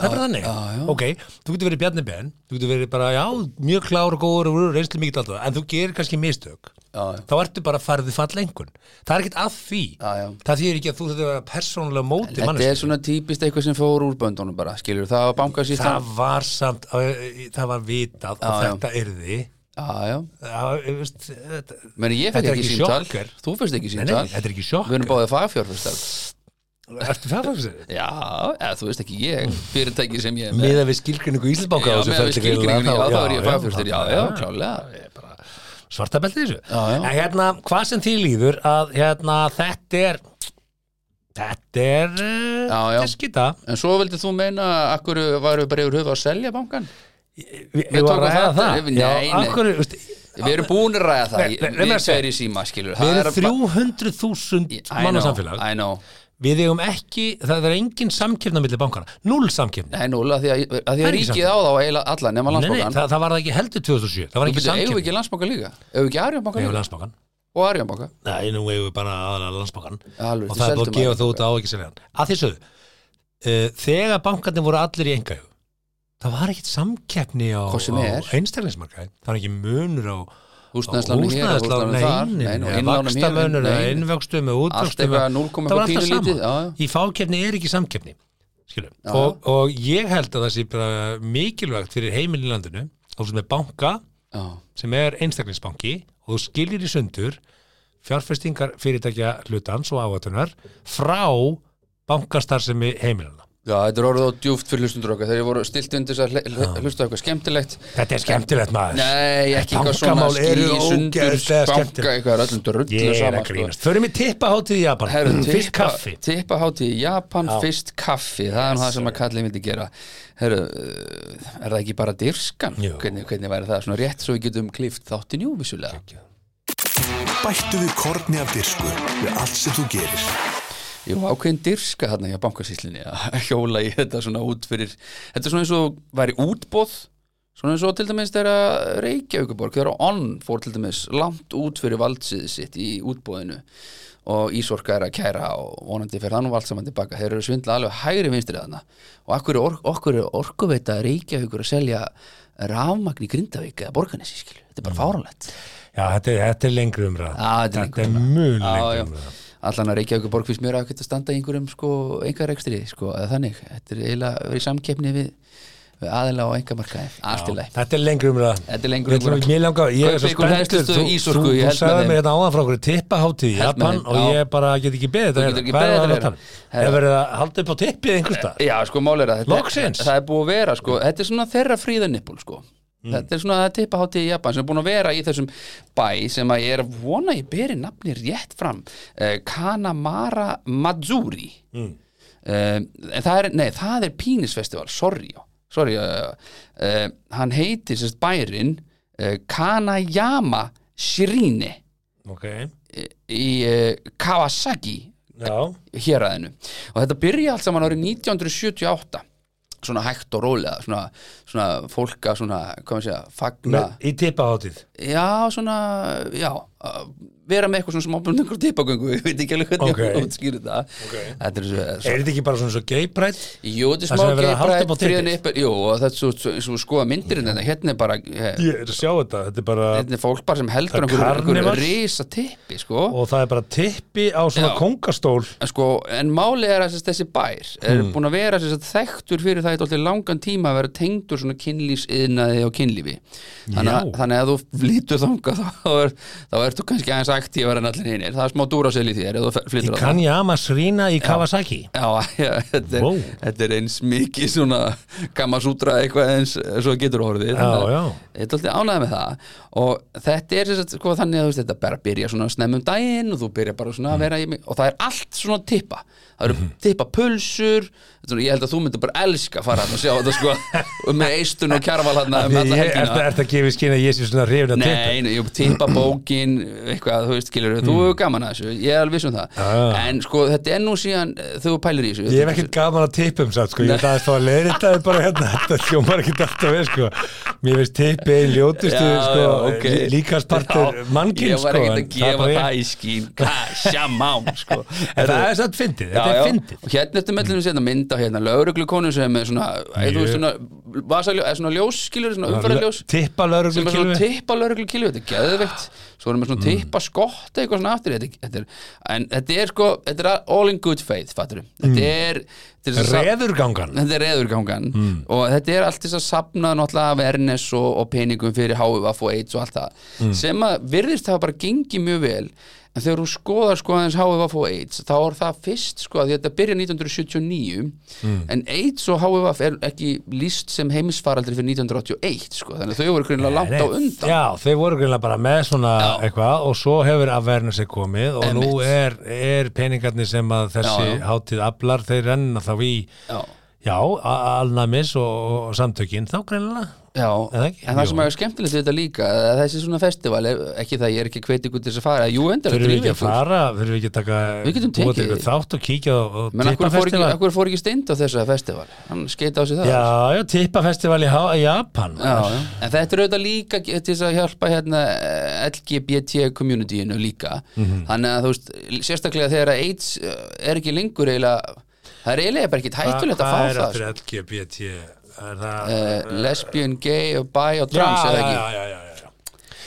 Speaker 3: Það er bara þannig Ok, þú getur verið Bjarni Ben Þú getur verið bara, já, mjög klár og góður og reynslu mikið alltaf en þú gerir kannski mistök
Speaker 2: já, já.
Speaker 3: þá ertu bara að farið fall engun Það er ekkert að því
Speaker 2: Já, já.
Speaker 3: Það þýðir ekki að þú þetta vera persónulega á móti
Speaker 2: Þetta er
Speaker 3: manneskjunni.
Speaker 2: svona típist eitthvað sem fór úr böndunum bara, skilur, það var bankasýstan
Speaker 3: Það var samt, eh, það var vitað að
Speaker 2: Já, já.
Speaker 3: þetta yrði
Speaker 2: Já, já,
Speaker 3: Já, ég veist, þetta,
Speaker 2: meni ég
Speaker 3: Þetta
Speaker 2: fekk
Speaker 3: er
Speaker 2: ekki
Speaker 3: ekki
Speaker 2: símtal
Speaker 3: sjokker.
Speaker 2: Þú fyrst ekki
Speaker 3: Nei, nei,
Speaker 2: símtal
Speaker 3: þetta er ekki
Speaker 2: Við erum
Speaker 3: sjokk
Speaker 2: báðið fagfjörfustar
Speaker 3: Ertu það fólks þér?
Speaker 2: Já, eða, þú veist ekki ég, fyrirtæki sem ég er með
Speaker 3: Miða við skilgrinningu Íslandbanka
Speaker 2: Já, með við skilgrinningu, já, þá er ég fagfjörstur, já, já, klálega
Speaker 3: Svarta beltið þessu
Speaker 2: Já, já.
Speaker 3: En hérna, hvað sem því líður að hérna, þetta er þetta er eh,
Speaker 2: Já, já.
Speaker 3: skita
Speaker 2: En svo vildið þú meina, akkur varum við bara yfir höfu að selja bankan?
Speaker 3: Við, við varum
Speaker 2: tókum
Speaker 3: að ræða
Speaker 2: þetta,
Speaker 3: það
Speaker 2: við- nei, nei.
Speaker 3: akkur, veist,
Speaker 2: Við erum búin að ræða það
Speaker 3: Nei,
Speaker 2: í-
Speaker 3: nei, nei,
Speaker 2: Við
Speaker 3: nei,
Speaker 2: tveir í síma, skilur
Speaker 3: Við
Speaker 2: Það
Speaker 3: erum
Speaker 2: bara-
Speaker 3: 300.000
Speaker 2: I
Speaker 3: mann
Speaker 2: know,
Speaker 3: og samfélag
Speaker 2: I know
Speaker 3: Við eigum ekki, það er engin samkefna millir bankana, null samkefni
Speaker 2: Nei, núl, að því að, að, því
Speaker 3: Það
Speaker 2: að
Speaker 3: er ekki
Speaker 2: ríkið á þá eiginlega alla nema
Speaker 3: Nei, nei,
Speaker 2: landsbókan
Speaker 3: það, það var það ekki heldur 2007 Það var
Speaker 2: Þú byrju, eigum
Speaker 3: ekki
Speaker 2: við
Speaker 3: samkefni
Speaker 2: ekki landsbókan líka? Eigum við ekki Arjónbankan
Speaker 3: Við
Speaker 2: líka?
Speaker 3: eigum landsbankan
Speaker 2: Og Arjónbankan
Speaker 3: Nei, nú eigum við bara aðalega landsbankan
Speaker 2: Alveg,
Speaker 3: og
Speaker 2: þið
Speaker 3: það er búið
Speaker 2: seldum
Speaker 3: að gefa
Speaker 2: Arion
Speaker 3: þú út
Speaker 2: banka.
Speaker 3: á ekki sem hann að því sögðu uh, þegar bankarnir voru allir í engahjú það var ekkit samkeppni á,
Speaker 2: Hvort sem
Speaker 3: á
Speaker 2: er.
Speaker 3: einstaklingsmarkaði það var ekki munur á
Speaker 2: Húsnæðislánum hér, húsnæðislánum þar Nei, nú,
Speaker 3: nein,
Speaker 2: innlánum hér,
Speaker 3: vakstamönur
Speaker 2: nei,
Speaker 3: eða innvöxtum eða
Speaker 2: Allt
Speaker 3: útvöxtum
Speaker 2: eitthvað
Speaker 3: eða-
Speaker 2: 0,1
Speaker 3: það var alltaf
Speaker 2: pínu lítið, já,
Speaker 3: sama
Speaker 2: já.
Speaker 3: í fákeppni er ekki samkeppni skilum
Speaker 2: Já.
Speaker 3: og, og ég held að það sé bara mikilvægt fyrir heiminn í landinu og sem er banka
Speaker 2: Já,
Speaker 3: sem er einstaklingsbanki og þú skilir í sundur fjárfestingar fyrirtækja hlutans og áhættunar frá bankastarfsemi heimilana.
Speaker 2: Já, þetta er orðið á djúft fyrir hlustundur okkar Þegar ég voru stilt undir þess að hl- hl- hlusta á eitthvað skemmtilegt
Speaker 3: Þetta er skemmtilegt maður.
Speaker 2: Nei, ekki eitthvað svona
Speaker 3: Bankamál
Speaker 2: ský,
Speaker 3: eru
Speaker 2: sundur,
Speaker 3: ógeðslega
Speaker 2: banka
Speaker 3: skemmtileg.
Speaker 2: Eitthvað er öllum drullu
Speaker 3: Ég er að grínast. Förum í tippa hátíð í Japan.
Speaker 2: sko. Herru,
Speaker 3: Fyrst
Speaker 2: tippa,
Speaker 3: kaffi.
Speaker 2: tippa hátíð í Japan,
Speaker 3: Já.
Speaker 2: fyrst kaffi það er nú það sem að kallið myndi gera Herru, uh, er það ekki bara dyrskan?
Speaker 3: Jú.
Speaker 2: Hvernig, hvernig væri það? Svona rétt svo við getum klift þáttin jú, vissulega
Speaker 1: Bættu við korni af dirsku við allt sem þú gerir.
Speaker 2: Jú, ákveðin dyrska þarna hjá bankasýslinni að hjóla í þetta svona út fyrir Þetta er svona eins og væri útbóð Svona eins og til dæmis þegar Reykjavíkuborg, þegar onn fór til dæmis langt út fyrir valdsið sitt í útbóðinu og Ísorka er að kæra og vonandi fyrir þannig vald saman tilbaka. Þeir eru að svindla alveg hægri vinstri þarna og akkur er, ork, okkur er orkuveita Reykjavíkur að selja rafmagn í Grindavík eða Borganessi, skilu. Þetta er bara fáránlegt.
Speaker 3: Já, þetta er, þetta er lengri umræð.
Speaker 2: Já, þetta er
Speaker 3: Þetta
Speaker 2: lengri
Speaker 3: er mun
Speaker 2: Já,
Speaker 3: lengri
Speaker 2: já.
Speaker 3: umræð.
Speaker 2: allan að Reykjavík borg fyrst mér að geta standa í einhverjum sko, einhverjum sko, eða þannig þetta er eiginlega að vera í samkeppni við, við aðila og einhvermarkaði, allt í læg
Speaker 3: Þetta er lengri umræð.
Speaker 2: Þetta er lengur
Speaker 3: Ég ætlum- Mér langar, ég er svo
Speaker 2: Kaupið ykkur
Speaker 3: spenntur.
Speaker 2: hræðslustöð í
Speaker 3: Þú, þú,
Speaker 2: Ísorku, ég
Speaker 3: þú
Speaker 2: held með
Speaker 3: sagði
Speaker 2: þeim.
Speaker 3: mér þetta áðan frá okkur tippa hátíð í
Speaker 2: Held með
Speaker 3: Japan
Speaker 2: þeim,
Speaker 3: og
Speaker 2: já.
Speaker 3: ég bara get ekki beðið þetta.
Speaker 2: Þú
Speaker 3: að
Speaker 2: getur
Speaker 3: heyra.
Speaker 2: ekki beðið þetta hérna. að heyra.
Speaker 3: Hvað er það að tala um? Er verið að halda upp á tippið einhvers staðar?
Speaker 2: Já, sko, mál er að þetta
Speaker 3: Loksins.
Speaker 2: það er búið að vera, sko, þetta er svona þeirra fríðanippul, sko Þetta er svona að tippa hátíð í Japan sem er búin að vera í þessum bæ sem að ég er að vona að ég beri nafni rétt fram eh, Kanamara Mazzuri mm. en það er, nei, það er Pínisfestival, sorry sorry, uh, uh, hann heitir sérst bærin uh, Kanayama Shirine eh.
Speaker 3: Ok,
Speaker 2: í uh, Kawasaki
Speaker 3: já.
Speaker 2: héraðinu og þetta byrja allt saman árið 1978 svona hægt og rólega svona, svona fólka svona, hvað maður segja, fagna
Speaker 3: Með, í tippahátíð
Speaker 2: já, svona, já að vera með eitthvað svona smábund einhver tipagöngu, ég veit ekki alveg hvernig
Speaker 3: Ok.
Speaker 2: okay. útskýri það
Speaker 3: Ok.
Speaker 2: þetta er svo,
Speaker 3: Er þetta ekki bara svona svo geiprætt?
Speaker 2: Jú, þetta er
Speaker 3: Það
Speaker 2: smá
Speaker 3: sem er verið að halda upp á
Speaker 2: geibrætt, fríðan
Speaker 3: tippið.
Speaker 2: yppir, jú, og þetta er svo, svo, svo skoða myndirinn þetta, hérna er bara, eh,
Speaker 3: Ég er að sjá þetta, þetta er bara
Speaker 2: hérna er fólk bara sem heldur
Speaker 3: Það er
Speaker 2: einhver,
Speaker 3: karneval.
Speaker 2: einhver risa tippi, sko.
Speaker 3: Og það er bara tippi á svona
Speaker 2: Já.
Speaker 3: kongastól
Speaker 2: En sko, en máli er að sérst, þessi bær er búin að vera sérst, þekktur fyrir það í dálítið langan tíma að vera tengdur svona kynlýsiðnaði og kynlífi þannig að,
Speaker 3: Já.
Speaker 2: þannig að ef þú flytur þangað þá, er, þá ertu kannski aðeins aktívar en allir hinir, það er smá dúrasel í þér ef þú fer- flytur þangað.
Speaker 3: Kanyama Srina í Kawasaki
Speaker 2: Já, já, þetta, er,
Speaker 3: Vó.
Speaker 2: þetta er eins mikið svona gammasútra eitthvað eins svo getur orðið þannig að
Speaker 3: já.
Speaker 2: Þetta er alltaf ánægð með það og þetta er þess að sko þannig að þú veist, þetta bara byrja svona snemmum daginn og þú byrja bara svona
Speaker 3: Mhm.
Speaker 2: að vera í mig og það er allt svona tippa það eru tippa pulsur svona, ég held að þú myndir bara elska að fara hann og sjá þetta sko og með eistun og kjarval hann um
Speaker 3: Ég
Speaker 2: alla
Speaker 3: er
Speaker 2: helgina
Speaker 3: þetta að gefa í skinn að ég sé svona hrifin að tippa
Speaker 2: Nei, nei, jú, tippa bókin eitthvað, þú veist, skilur, þú hefur gaman að þessu ég er alveg viss um það,
Speaker 3: Mhm. Já, já.
Speaker 2: en sko þetta er nú síðan, eh, þegar þú pælir í þessu
Speaker 3: Ég hef ekkert gaman að tippum satt sko, ég veit aðeins þá að leiðir þetta er bara hérna, þetta hljómar ekkert alltaf vel sko Mér finnst tippi einn ljótustu
Speaker 2: Já,
Speaker 3: sko,
Speaker 2: já, ok.
Speaker 3: lí- líkamspartur
Speaker 2: Já,
Speaker 3: mannkinn
Speaker 2: Ég var
Speaker 3: sko
Speaker 2: ekkert að
Speaker 3: en
Speaker 2: gefa
Speaker 3: bara
Speaker 2: það
Speaker 3: ég-
Speaker 2: í skín Sjamán sko
Speaker 3: En það
Speaker 2: Herðu,
Speaker 3: er satt fyndið,
Speaker 2: já,
Speaker 3: þetta
Speaker 2: já.
Speaker 3: er fyndið
Speaker 2: Og hérna eftir mellinu sérna mynd á hérna lauruglukonu sem er svona, eða þú veist svona vasaljó, eða svona ljós skilur, svona umferðarljós
Speaker 3: Tippa
Speaker 2: sem er svona
Speaker 3: lögreglukilvi
Speaker 2: tippa lauruglukilvi, þetta er geðveikt svo erum við
Speaker 3: Mm.
Speaker 2: svona tippa skotta eitthvað svona aftur þetta, þetta er, en þetta er sko þetta er all in good faith, fattur þetta
Speaker 3: Mm.
Speaker 2: er, þetta er svo-
Speaker 3: Reðurgangan
Speaker 2: þetta er reðurgangan
Speaker 3: Mm.
Speaker 2: og þetta er allt þess að safna náttúrulega af ernes og, og peningum fyrir HVF og AIDS og allt það
Speaker 3: Mm.
Speaker 2: sem að virðist hafa bara gengið mjög vel en þegar þú skoðar sko aðeins HVF og AIDS þá er það fyrst sko að því þetta byrja 1979
Speaker 3: Mm.
Speaker 2: en AIDS og HVF er ekki líst sem heimisfaraldri fyrir 1981 sko þannig að þau voru greinlega langt á undan
Speaker 3: Já, þeir voru greinlega bara með svona eitthvað og svo hefur avernissi komið og nú er, er peningarnir sem að þessi
Speaker 2: Já, já.
Speaker 3: hátíð aflar, þeir renna þá í
Speaker 2: Já.
Speaker 3: Já, a- alnæmis og, og samtökin þá greinilega
Speaker 2: Já,
Speaker 3: það
Speaker 2: en
Speaker 3: ekki?
Speaker 2: það sem
Speaker 3: Jú.
Speaker 2: er skemmtilegt við þetta líka að þessi svona festival, ef- ekki það ég er ekki hvetið til þess að fara, jú endur
Speaker 3: Þurfum við ekki að fara, þurfum við ekki að taka
Speaker 2: Við getum
Speaker 3: búa til
Speaker 2: tekið-
Speaker 3: eitthvað þátt og kíkja á, á
Speaker 2: menn akkur fór, ekki,
Speaker 3: tippafestival
Speaker 2: akkur fór ekki steind á þessu festival hann skeita á sig það
Speaker 3: Já, já, tippafestival í Ha- í Japan
Speaker 2: Já, já. en þetta er auðvitað líka ge- til þess að hjálpa hérna eh, LGBT communityinu líka
Speaker 3: Mhm.
Speaker 2: þannig að þú veist, sérstaklega þegar að AIDS eh, er ekki lengur eiginlega, það er eiginlega bara ekkit hættulegt að fá það
Speaker 3: Hvað
Speaker 2: sko.
Speaker 3: er aftur LGBT? Er það...
Speaker 2: Eh, lesbian, gay, og bi og
Speaker 3: Já,
Speaker 2: trans
Speaker 3: já,
Speaker 2: eða
Speaker 3: já,
Speaker 2: ekki,
Speaker 3: já, já, já, já.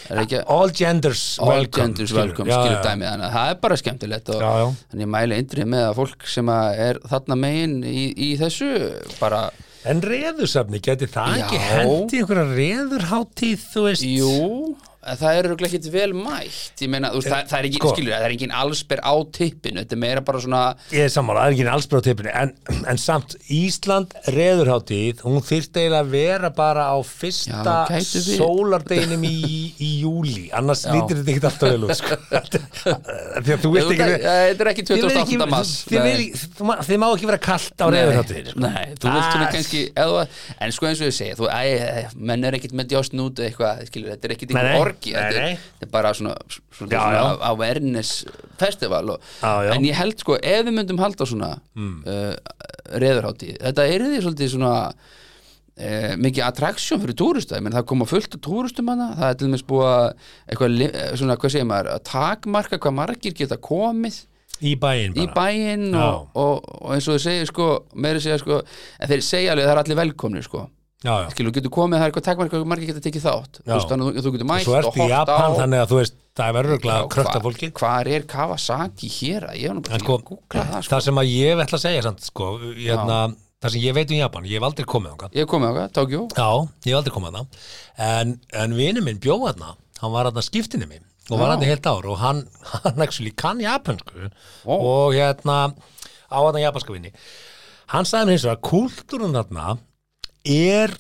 Speaker 2: er ekki
Speaker 3: All genders
Speaker 2: all
Speaker 3: welcome
Speaker 2: genders
Speaker 3: skilur.
Speaker 2: welcome,
Speaker 3: Já,
Speaker 2: skilur
Speaker 3: já.
Speaker 2: dæmið þannig að það er bara skemmtilegt og
Speaker 3: Já, já.
Speaker 2: þannig ég mæli indrið með að fólk sem að er þarna megin í, í þessu bara,
Speaker 3: En reðursafni, geti það
Speaker 2: Já.
Speaker 3: ekki hendi einhverja reðurháttíð, þú veist
Speaker 2: jú en það er örugglega ekkit vel mætt ég meina, þú veist, það, það er ekki,
Speaker 3: Sko.
Speaker 2: skilur, það er engin allsber á tippinu, þetta er meira bara svona
Speaker 3: Ég er sammála, það er ekki allsbyrð á tippinu en, en samt, Ísland reðurháttíð hún þyrfti eiginlega að vera bara á fyrsta
Speaker 2: Já, gæti verið.
Speaker 3: sólardeginum í, í júli annars
Speaker 2: Já.
Speaker 3: lítur þetta ekki alltaf vel út sko. því að
Speaker 2: Jú,
Speaker 3: þú veist ekki
Speaker 2: það- þetta er ekki 28. mars
Speaker 3: Þið vil- þú- þið má ekki vera kallt á sko. reðurháttíð
Speaker 2: Nei, nei, þú vilt
Speaker 3: Ah.
Speaker 2: svona kannski eða, en sko eins og ég segi, þú, æ, æ, menn er ekkit með djásn út eða eitthvað, skilur, þetta er ekkit
Speaker 3: Nei,
Speaker 2: einhver
Speaker 3: nei.
Speaker 2: orgi, þetta
Speaker 3: Nei,
Speaker 2: er-
Speaker 3: nei.
Speaker 2: þetta er bara svona, svona,
Speaker 3: Já,
Speaker 2: svona
Speaker 3: já.
Speaker 2: awareness festival og,
Speaker 3: Já, Hmm. já.
Speaker 2: en ég held sko, ef við myndum halda svona mm. reðurhátti, þetta er því svolítið svona Eh, mikið attraction fyrir túrista menn, það koma fullt af túristum hana það er til dæmis búið að eitthvað, li- eh, svona, hvað segir maður, að takmarka hvað margir geta komið
Speaker 3: í bæinn
Speaker 2: í
Speaker 3: bara
Speaker 2: bæinn
Speaker 3: Já.
Speaker 2: og, og, og eins og þau segir sko, meiri segja sko en þeir segja alveg að það er allir velkomni sko
Speaker 3: já, já.
Speaker 2: skilur, getur komið, það er eitthvað takmark hvað margir geta tekið þátt þú,
Speaker 3: Já.
Speaker 2: veist, þannig, að þú, þú getur mætt
Speaker 3: svo
Speaker 2: og
Speaker 3: ertu í
Speaker 2: hort
Speaker 3: Japan
Speaker 2: á
Speaker 3: þannig að þú veist það verður
Speaker 2: Já,
Speaker 3: örugglega að krökta
Speaker 2: hva-
Speaker 3: fólki
Speaker 2: hvar er Kawasaki hér að ég var nú bara
Speaker 3: en
Speaker 2: til
Speaker 3: sko,
Speaker 2: að googla það sko
Speaker 3: það sem að ég ætla að segja samt, sko, hérna, það sem ég veit um Japan ég hef aldrei komið þangað
Speaker 2: ég er komið okkar, Tokjó
Speaker 3: Já, ég hef aldrei komið hana en, en vinur minn bjóð hana hann var hana skiptinni minn og var
Speaker 2: Já.
Speaker 3: hana heilt ár og hann, hann actually kann japansku
Speaker 2: Ó.
Speaker 3: og hérna á hana japanska vinni hann sagði mér hins vegar að kultúrun þarna er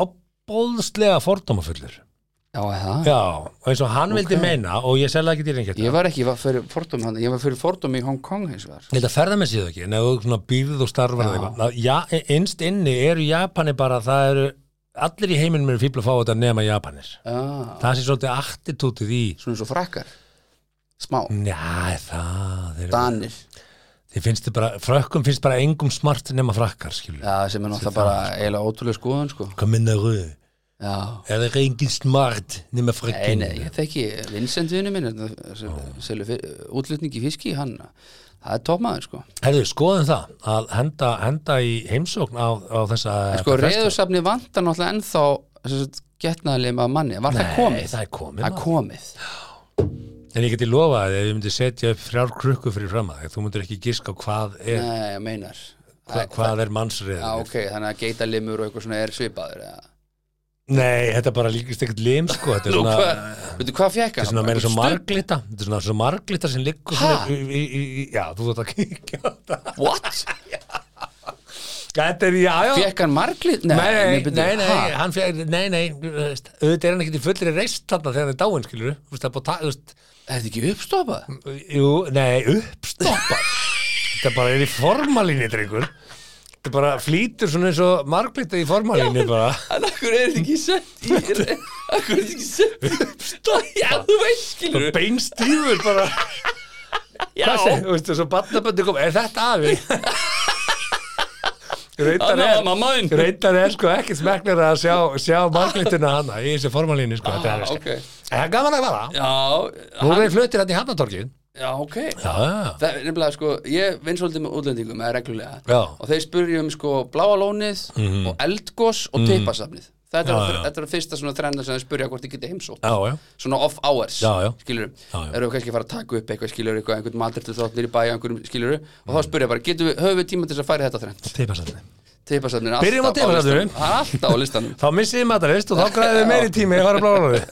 Speaker 3: opbóðslega fordómafullur
Speaker 2: já, er það
Speaker 3: Já, og eins og hann vildi meina og ég selja ekki dýrin
Speaker 2: ég var ekki ég var fyrir fordum hann ég var fyrir fordum í Hong Kong hins vegar
Speaker 3: Ég held að ferða með síðu ekki, en ef þú svona býrð og starfar eða eitthvað. Já, einst inni eru Japani bara, það eru allir í heiminum eru fíbl að fá þetta nema Japanir.
Speaker 2: já,
Speaker 3: Það sé svolítið attitútið í,
Speaker 2: Ah, svona eins og frakkar smá,
Speaker 3: Mm. njá, það, þeir,
Speaker 2: danir
Speaker 3: þeir finnst þið bara, frökkum finnst bara engum smart nema frakkar, skilur.
Speaker 2: já, sem er náttúrulega bara eiginlega ótrúlega skoðan sko
Speaker 3: Hvað minna rauð?
Speaker 2: já
Speaker 3: Er það engin smart nema
Speaker 2: Nei,
Speaker 3: frakkinu?
Speaker 2: nei, ég þekki Vincent vinnu minn hérna, sem selur fyr- útlutning í fiski hann, það er topmaður sko
Speaker 3: Herðu, skoðum það, að henda, henda í heimsókn á, á þessa...
Speaker 2: sko
Speaker 3: festival.
Speaker 2: reyðursafni vantar náttúrulega ennþá getnaðlega með manni, var það
Speaker 3: Nei,
Speaker 2: komið?
Speaker 3: það er komið.
Speaker 2: það er
Speaker 3: maður.
Speaker 2: komið
Speaker 3: En ég geti lofað að ef ég myndi setja upp þrjár krukku fyrir fram að þig, þú myndir ekki giska á hvað er,
Speaker 2: Nei, ég meinar
Speaker 3: hva, hvað er mannsrið.
Speaker 2: Já, ok, þannig að geitalimur og eitthvað svona er svipaður eða.
Speaker 3: Nei, þetta bara líkist ekkert lim, sko. Þetta er
Speaker 2: Nú,
Speaker 3: svona,
Speaker 2: hvað, veitu hvað fekk
Speaker 3: þetta er
Speaker 2: hann?
Speaker 3: svona meira svo
Speaker 2: Stubb?
Speaker 3: marglita. Þetta er svona svo marglita sem liggur
Speaker 2: Ha?
Speaker 3: svona í, í, í, í, já, þú þátt að kíkja á þetta.
Speaker 2: What?
Speaker 3: Þetta er, já, já.
Speaker 2: Fekk hann marglið? Nei,
Speaker 3: Nei, nei,
Speaker 2: byrju,
Speaker 3: nei, nei,
Speaker 2: ha?
Speaker 3: hann fjær, nei, nei, þú veist, auðvitað er hann ekkert í fullri reist þarna þegar það er dáin, skilur þú veist, það er búið að ta- þú veist,
Speaker 2: Er þetta ekki uppstopað?
Speaker 3: Mm. Jú, nei, uppstoppa Þetta bara er í formalíni, drengur Þetta bara flýtur svona eins og marglita í formalíni bara
Speaker 2: En akkur er þetta ekki sett í Akkur er þetta ekki sett í uppstopað? Já, þú veist, skilur
Speaker 3: Beinstífur bara
Speaker 2: Já,
Speaker 3: Hvað segir, þú veist, svo barnaböndi kom Er þetta afi?
Speaker 2: Hann
Speaker 3: Reyndar
Speaker 2: var
Speaker 3: er,
Speaker 2: mamma þín.
Speaker 3: reyndar er sko ekkert smekknar að sjá, sjá marglituna hana í þessu formalíni sko, þetta er,
Speaker 2: Ah, ok.
Speaker 3: En það er gaman að vara
Speaker 2: Já,
Speaker 3: Nú
Speaker 2: hann,
Speaker 3: er við fluttir hann í hafnatorkin
Speaker 2: já, ok
Speaker 3: Já,
Speaker 2: Það er nefnilega sko, ég vinn svolítið með útlendingum eða reglulega
Speaker 3: Já. Mhm.
Speaker 2: og þeir spurjum sko bláa lónið og eldgos og teipasafnið þetta,
Speaker 3: Já,
Speaker 2: er
Speaker 3: já.
Speaker 2: að- þetta er að fyrsta svona þrenna sem þeir spurja hvort þið geti heimsótt
Speaker 3: já, já
Speaker 2: svona off hours,
Speaker 3: Já, já.
Speaker 2: skilur
Speaker 3: Já, já.
Speaker 2: eru kannski að fara að taka upp eitthvað, skilur eitthvað, einhvern matritur þátt nýri bæja, einhverjum skilur og
Speaker 3: Mhm.
Speaker 2: þá spurja bara, getum við, höfum við tíma til þess að færa þetta þrennt
Speaker 3: Teipasafni
Speaker 2: teipasafnið er
Speaker 3: Byrjum á
Speaker 2: alltaf
Speaker 3: teipasafninu.
Speaker 2: listanum. það er alltaf á listanum
Speaker 3: Þá missið þið matarist og þá græðið þið meiri tími að fara bláðanóði.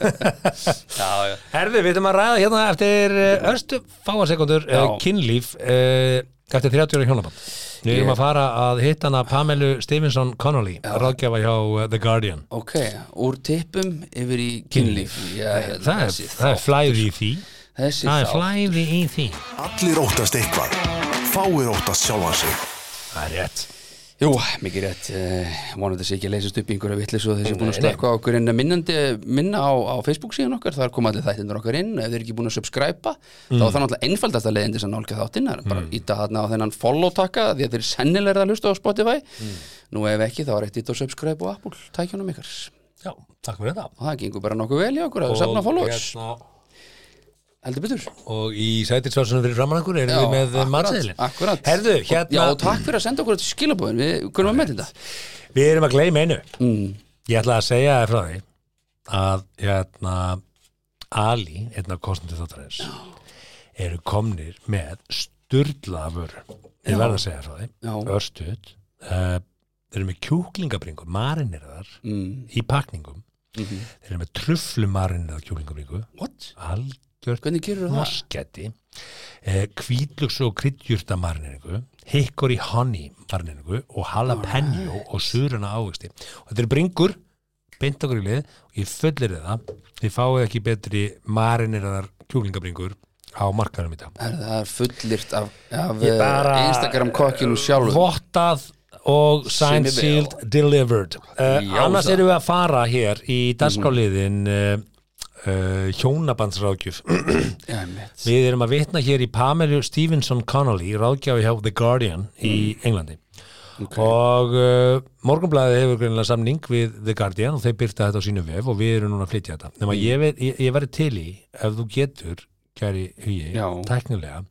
Speaker 2: já, já.
Speaker 3: Herðu, við erum að ræða hérna eftir eh, örstu fáasekundur uh,
Speaker 2: Já.
Speaker 3: kynlíf uh, eftir 30 ára hjónaband. Við erum að fara að hitta hana Pamelu Stevenson Connolly, ráðgjafa hjá eh, The Guardian.
Speaker 2: ok, úr teipum yfir í kynlíf já, já,
Speaker 3: Það er,
Speaker 2: þessi
Speaker 3: það er
Speaker 2: þátt.
Speaker 3: flæði í því.
Speaker 2: þessi
Speaker 3: Það er
Speaker 2: þá
Speaker 3: flæði í því.
Speaker 1: Allir óttast eitthvað. Fáir óttast sjálfan sig.
Speaker 3: Það er rétt.
Speaker 2: Jú, mikið rétt, eh, vonandi sé ekki að leysast upp í einhverja vittlis og þessi búin að slökka á okkur en minnandi, minna á, á Facebook síðan okkar, þar koma allir þættindur okkar inn ef þeir eru ekki búin að subscriba, þá
Speaker 3: Mm.
Speaker 2: er það náttúrulega einfaldasta leiðin til þess að nálga þáttinn, það er bara mm. íta þarna á þennan follow takka því að þeir sennilega er að hlusta á Spotify,
Speaker 3: Mm.
Speaker 2: nú ef ekki þá er eitt ít og subscribe og Apple, tækjunum ykkar og
Speaker 3: Já, takk fyrir þetta
Speaker 2: það gengur bara nokkuð vel í okkur að safna followers,
Speaker 3: hérna,
Speaker 2: heldur betur
Speaker 3: Og í sætisvarsunum fyrir framann okkur erum við með
Speaker 2: akkurat,
Speaker 3: matseðilin
Speaker 2: akkurat.
Speaker 3: Herðu,
Speaker 2: Og- Já,
Speaker 3: hérna,
Speaker 2: og takk fyrir að senda okkur þetta skilabóðin, við kunum að metta þetta
Speaker 3: við erum að gleyma einu
Speaker 2: mm.
Speaker 3: Ég ætla að segja þér frá því að hérna, Ali, einn af kostnandi þáttarins eru komnir með styrla vöru ég verð að segja þér frá því,
Speaker 2: Já.
Speaker 3: örstuð uh, þeir eru með kjúklingabringur marinirðar
Speaker 2: Mm.
Speaker 3: í pakningum
Speaker 2: Mhm.
Speaker 3: þeir eru með truflu marinirðar kjúklingabringu
Speaker 2: What?
Speaker 3: algjört
Speaker 2: Hvernig gerur það?
Speaker 3: maskætti kvítlöks eh, og kryddjurta marniringu hickory honey marniringu og jalapeno og suruna ávegsti og þetta er bringur beint okkur í lið og ég fullir það þið fáið ekki betri mariniraðar kjúklingabringur á markanum í dag
Speaker 2: Er það fullirt af, af
Speaker 3: Ég bara-
Speaker 2: eh, Instagram kokkinu sjálfum?
Speaker 3: vottað og signed,
Speaker 2: Sinni vel.
Speaker 3: sealed, delivered uh,
Speaker 2: Já,
Speaker 3: annars
Speaker 2: það.
Speaker 3: erum við að fara hér í dagskáliðin uh, uh, hjónabandsráðgjöf
Speaker 2: Já, einmitt.
Speaker 3: Við erum að vitna hér í Pamela Stevenson Connolly, ráðgjáfi hjá The Guardian í
Speaker 2: Mm.
Speaker 3: Englandi og uh, Morgunblæði hefur greinilega samning við The Guardian og þeir byrta þetta á sínu vef og við erum núna að flytja þetta
Speaker 2: Mm.
Speaker 3: nema ég, ver, ég, ég verið til í ef þú getur, kæri hugi
Speaker 2: Já. Mm.
Speaker 3: tæknilega,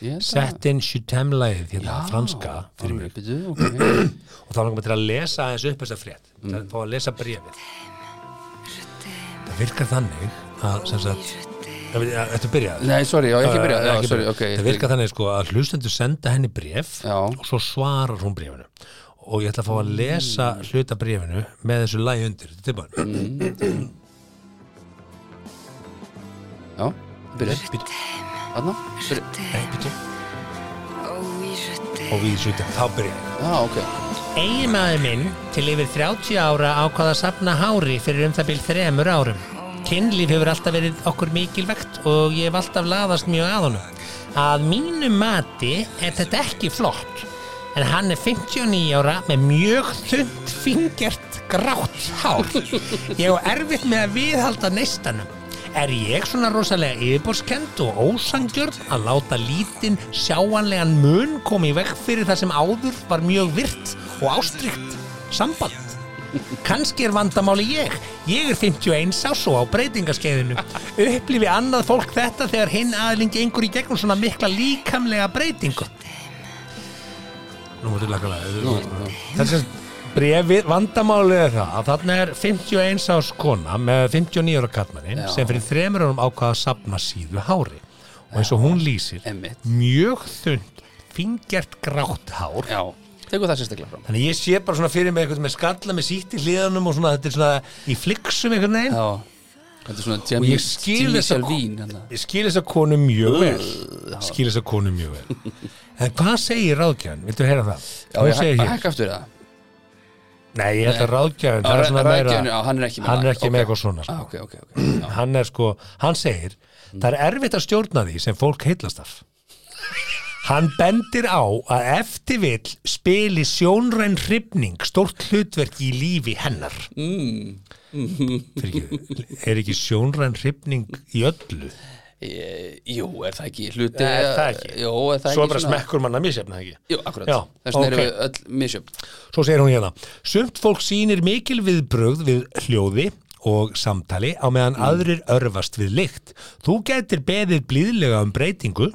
Speaker 2: Ég
Speaker 3: sett inn sjutemlaðið hérna, franska fyrir mig
Speaker 2: Býtu, okay.
Speaker 3: og þá langar mig til að lesa aðeins upp þessa frétt mm. þá að lesa brefið það virkar þannig að sem sagt, Ég veit, þetta byrjaði
Speaker 2: Nei, sorry, já, ég ekki byrja
Speaker 3: Já,
Speaker 2: Já,
Speaker 3: Eh, Uh, ekki
Speaker 2: sorry,
Speaker 3: byrjað.
Speaker 2: ok
Speaker 3: það virka þannig sko að hlustendur senda henni bref
Speaker 2: Já.
Speaker 3: og svo svarar hún brefinu og ég ætla að fá að lesa
Speaker 2: Mm.
Speaker 3: hluta brefinu með þessu lagi undir þetta er bara
Speaker 2: Já, byrja Þarna? Byrja-
Speaker 3: Nei, bíddu. og við sjutum þá byrja ég.
Speaker 2: Já, ok
Speaker 5: Eiginmaður minn til yfir 30 ára ákvaða að safna hári fyrir um það byrð þremur árum. Kynlíf hefur alltaf verið okkur mikilvægt og ég hef alltaf laðast mjög að honum. Að mínu mati er þetta ekki flott, en hann er 59 ára með mjög þund fingert grátt hár. Ég á erfitt með að viðhalda neistanum. Er ég svona rosalega yfirborskend og ósangjörn að láta lítinn sjáanlegan mun koma í veg fyrir það sem áður var mjög virt og ástrykt samband? Kanski er vandamáli ég. Ég er 51 ás og á breytingaskeiðinu. Upplifi annað fólk þetta þegar hinn aðling gengur í gegnum svona mikla líkamlega breytingu.
Speaker 3: nú mútið laka lagi
Speaker 5: Þess að
Speaker 3: brefið, vandamálið er það að þarna er 51 árs kona með 59 ára kattmannin
Speaker 2: Já.
Speaker 3: sem fyrir þremur árum ákvaða að safna síðu hári og eins og hún lýsir
Speaker 2: Einmitt.
Speaker 3: mjög þund fingert grátt hár
Speaker 2: Já, tekur það sérstaklega fram
Speaker 3: Þannig ég sé bara svona fyrir mig eitthvað með skalla með sítt í hliðanum og svona þetta er svona í fliksum einhvern veginn
Speaker 2: Já Þetta er svona
Speaker 3: og
Speaker 2: tjemi
Speaker 3: ég skil þess að
Speaker 2: vín hérna.
Speaker 3: ég skil þess að konu mjög vel skil þess að konu mjög vel en hvað segir ráðgjafan, viltu heyra það
Speaker 2: Já,
Speaker 3: hún
Speaker 2: ég
Speaker 3: segir hér,
Speaker 2: hækka aftur það
Speaker 3: nei ég held að ráðgjafan
Speaker 2: Já,
Speaker 3: það er svona
Speaker 2: ráðgjafinn,
Speaker 3: meira,
Speaker 2: já, hann er ekki með
Speaker 3: hann
Speaker 2: það.
Speaker 3: er ekki
Speaker 2: Ok.
Speaker 3: með eitthvað svona
Speaker 2: ah,
Speaker 3: sko.
Speaker 2: Ok, ok, ok Já,
Speaker 3: hann er sko, hann segir það er erfitt að stjórna því sem fólk heillast af hann bendir á að eftir vill spili sjónræn hrifning stórt hlutverk í lífi hennar mm. Ekki, er ekki sjónræn hrifning í öllu
Speaker 2: Ég- Eh, Jú, er það ekki hluti
Speaker 3: Nei, er það ekki?
Speaker 2: Jú, er það
Speaker 3: svo
Speaker 2: ekki
Speaker 3: bara
Speaker 2: svona-
Speaker 3: smekkur manna misjafna ekki
Speaker 2: Jú, akkurat
Speaker 3: Já,
Speaker 2: Þess vegna erum
Speaker 3: ok.
Speaker 2: við öll misjöfn
Speaker 3: Svo segir hún hérna Sumt fólk sýnir mikil viðbrögð við hljóði og samtali á meðan aðrir örfast við lykt. Þú getur beðið blíðlega um breytingu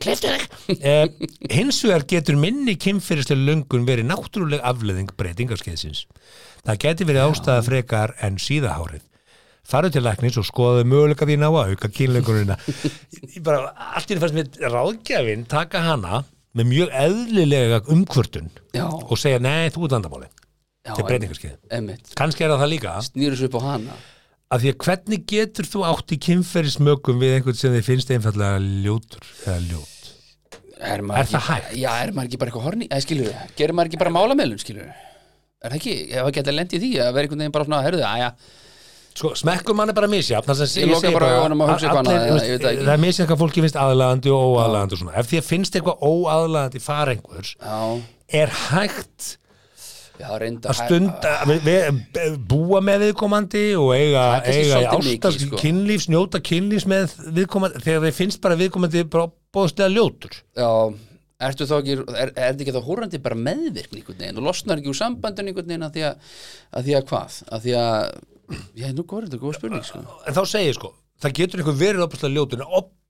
Speaker 4: Kliftu þig.
Speaker 3: eh, hins vegar getur minni kynfyrirslega löngun verið náttúruleg afleðing breytingarskeiðsins. Það getur verið ástæða frekar en síðahárið. Farðu til læknis og skoðaðu möguleika þín á að auka kynlöngunina. Ég- ég bara, allt í fannst með ráðgjafin taka hana með mjög eðlilega umkvörtun
Speaker 2: Já.
Speaker 3: og segja, nei, þú ert vandamáli.
Speaker 2: Já,
Speaker 3: Þetta er breytingarskeið.
Speaker 2: Emmitt,
Speaker 3: Kannski er það það líka,
Speaker 2: snýru svo upp á hana
Speaker 3: af því að hvernig getur þú átt í kynferðismökum við einhvern sem þið finnst einfallega ljótur eða ljót?
Speaker 2: Er,
Speaker 3: Er
Speaker 2: maður ekki-
Speaker 3: það hægt?
Speaker 2: Já, er maður ekki bara eitthvað horni? Eða skilur við, gerir maður ekki bara málameðlun, skilur við? Er það ekki, ef að geta lent í því að vera einhvern veginn bara svona, herðu, aðja,
Speaker 3: sko, smekkur mann er bara misjafn þar sem
Speaker 2: Ég
Speaker 3: ég
Speaker 2: loka
Speaker 3: segi
Speaker 2: bara augunum og hugsa eitthvað
Speaker 3: allir-
Speaker 2: annað,
Speaker 3: þú
Speaker 2: ég
Speaker 3: veist,
Speaker 2: veit það ekki.
Speaker 3: það er misjafn hvað fólki finnst aðlaðandi og óaðlaðandi og svona. ef því að finnst eitthvað óaðlaðandi fara einhvers
Speaker 2: Já,
Speaker 3: er hægt
Speaker 2: já, reynda
Speaker 3: að stunda við- við- búa með viðkomandi og
Speaker 2: Það
Speaker 3: eiga,
Speaker 2: er kannski
Speaker 3: eiga
Speaker 2: svolítið
Speaker 3: ástas,
Speaker 2: mikið, sko.
Speaker 3: kynlífs, njóta kynlífs með viðkomandi, þegar þeir finnst bara viðkomandi bara bóðslega ljótur
Speaker 2: Já, ertu þá ekki, er, er þetta ekki þá hórandi bara meðvirkni einhvern veginn og losnar ekki úr sambandun einhvern veginn að því að, að því að hvað, að því að, já, nú góður þetta góð spurning, sko.
Speaker 3: en þá segir sko, það getur einhver verið opaslega ljótur, en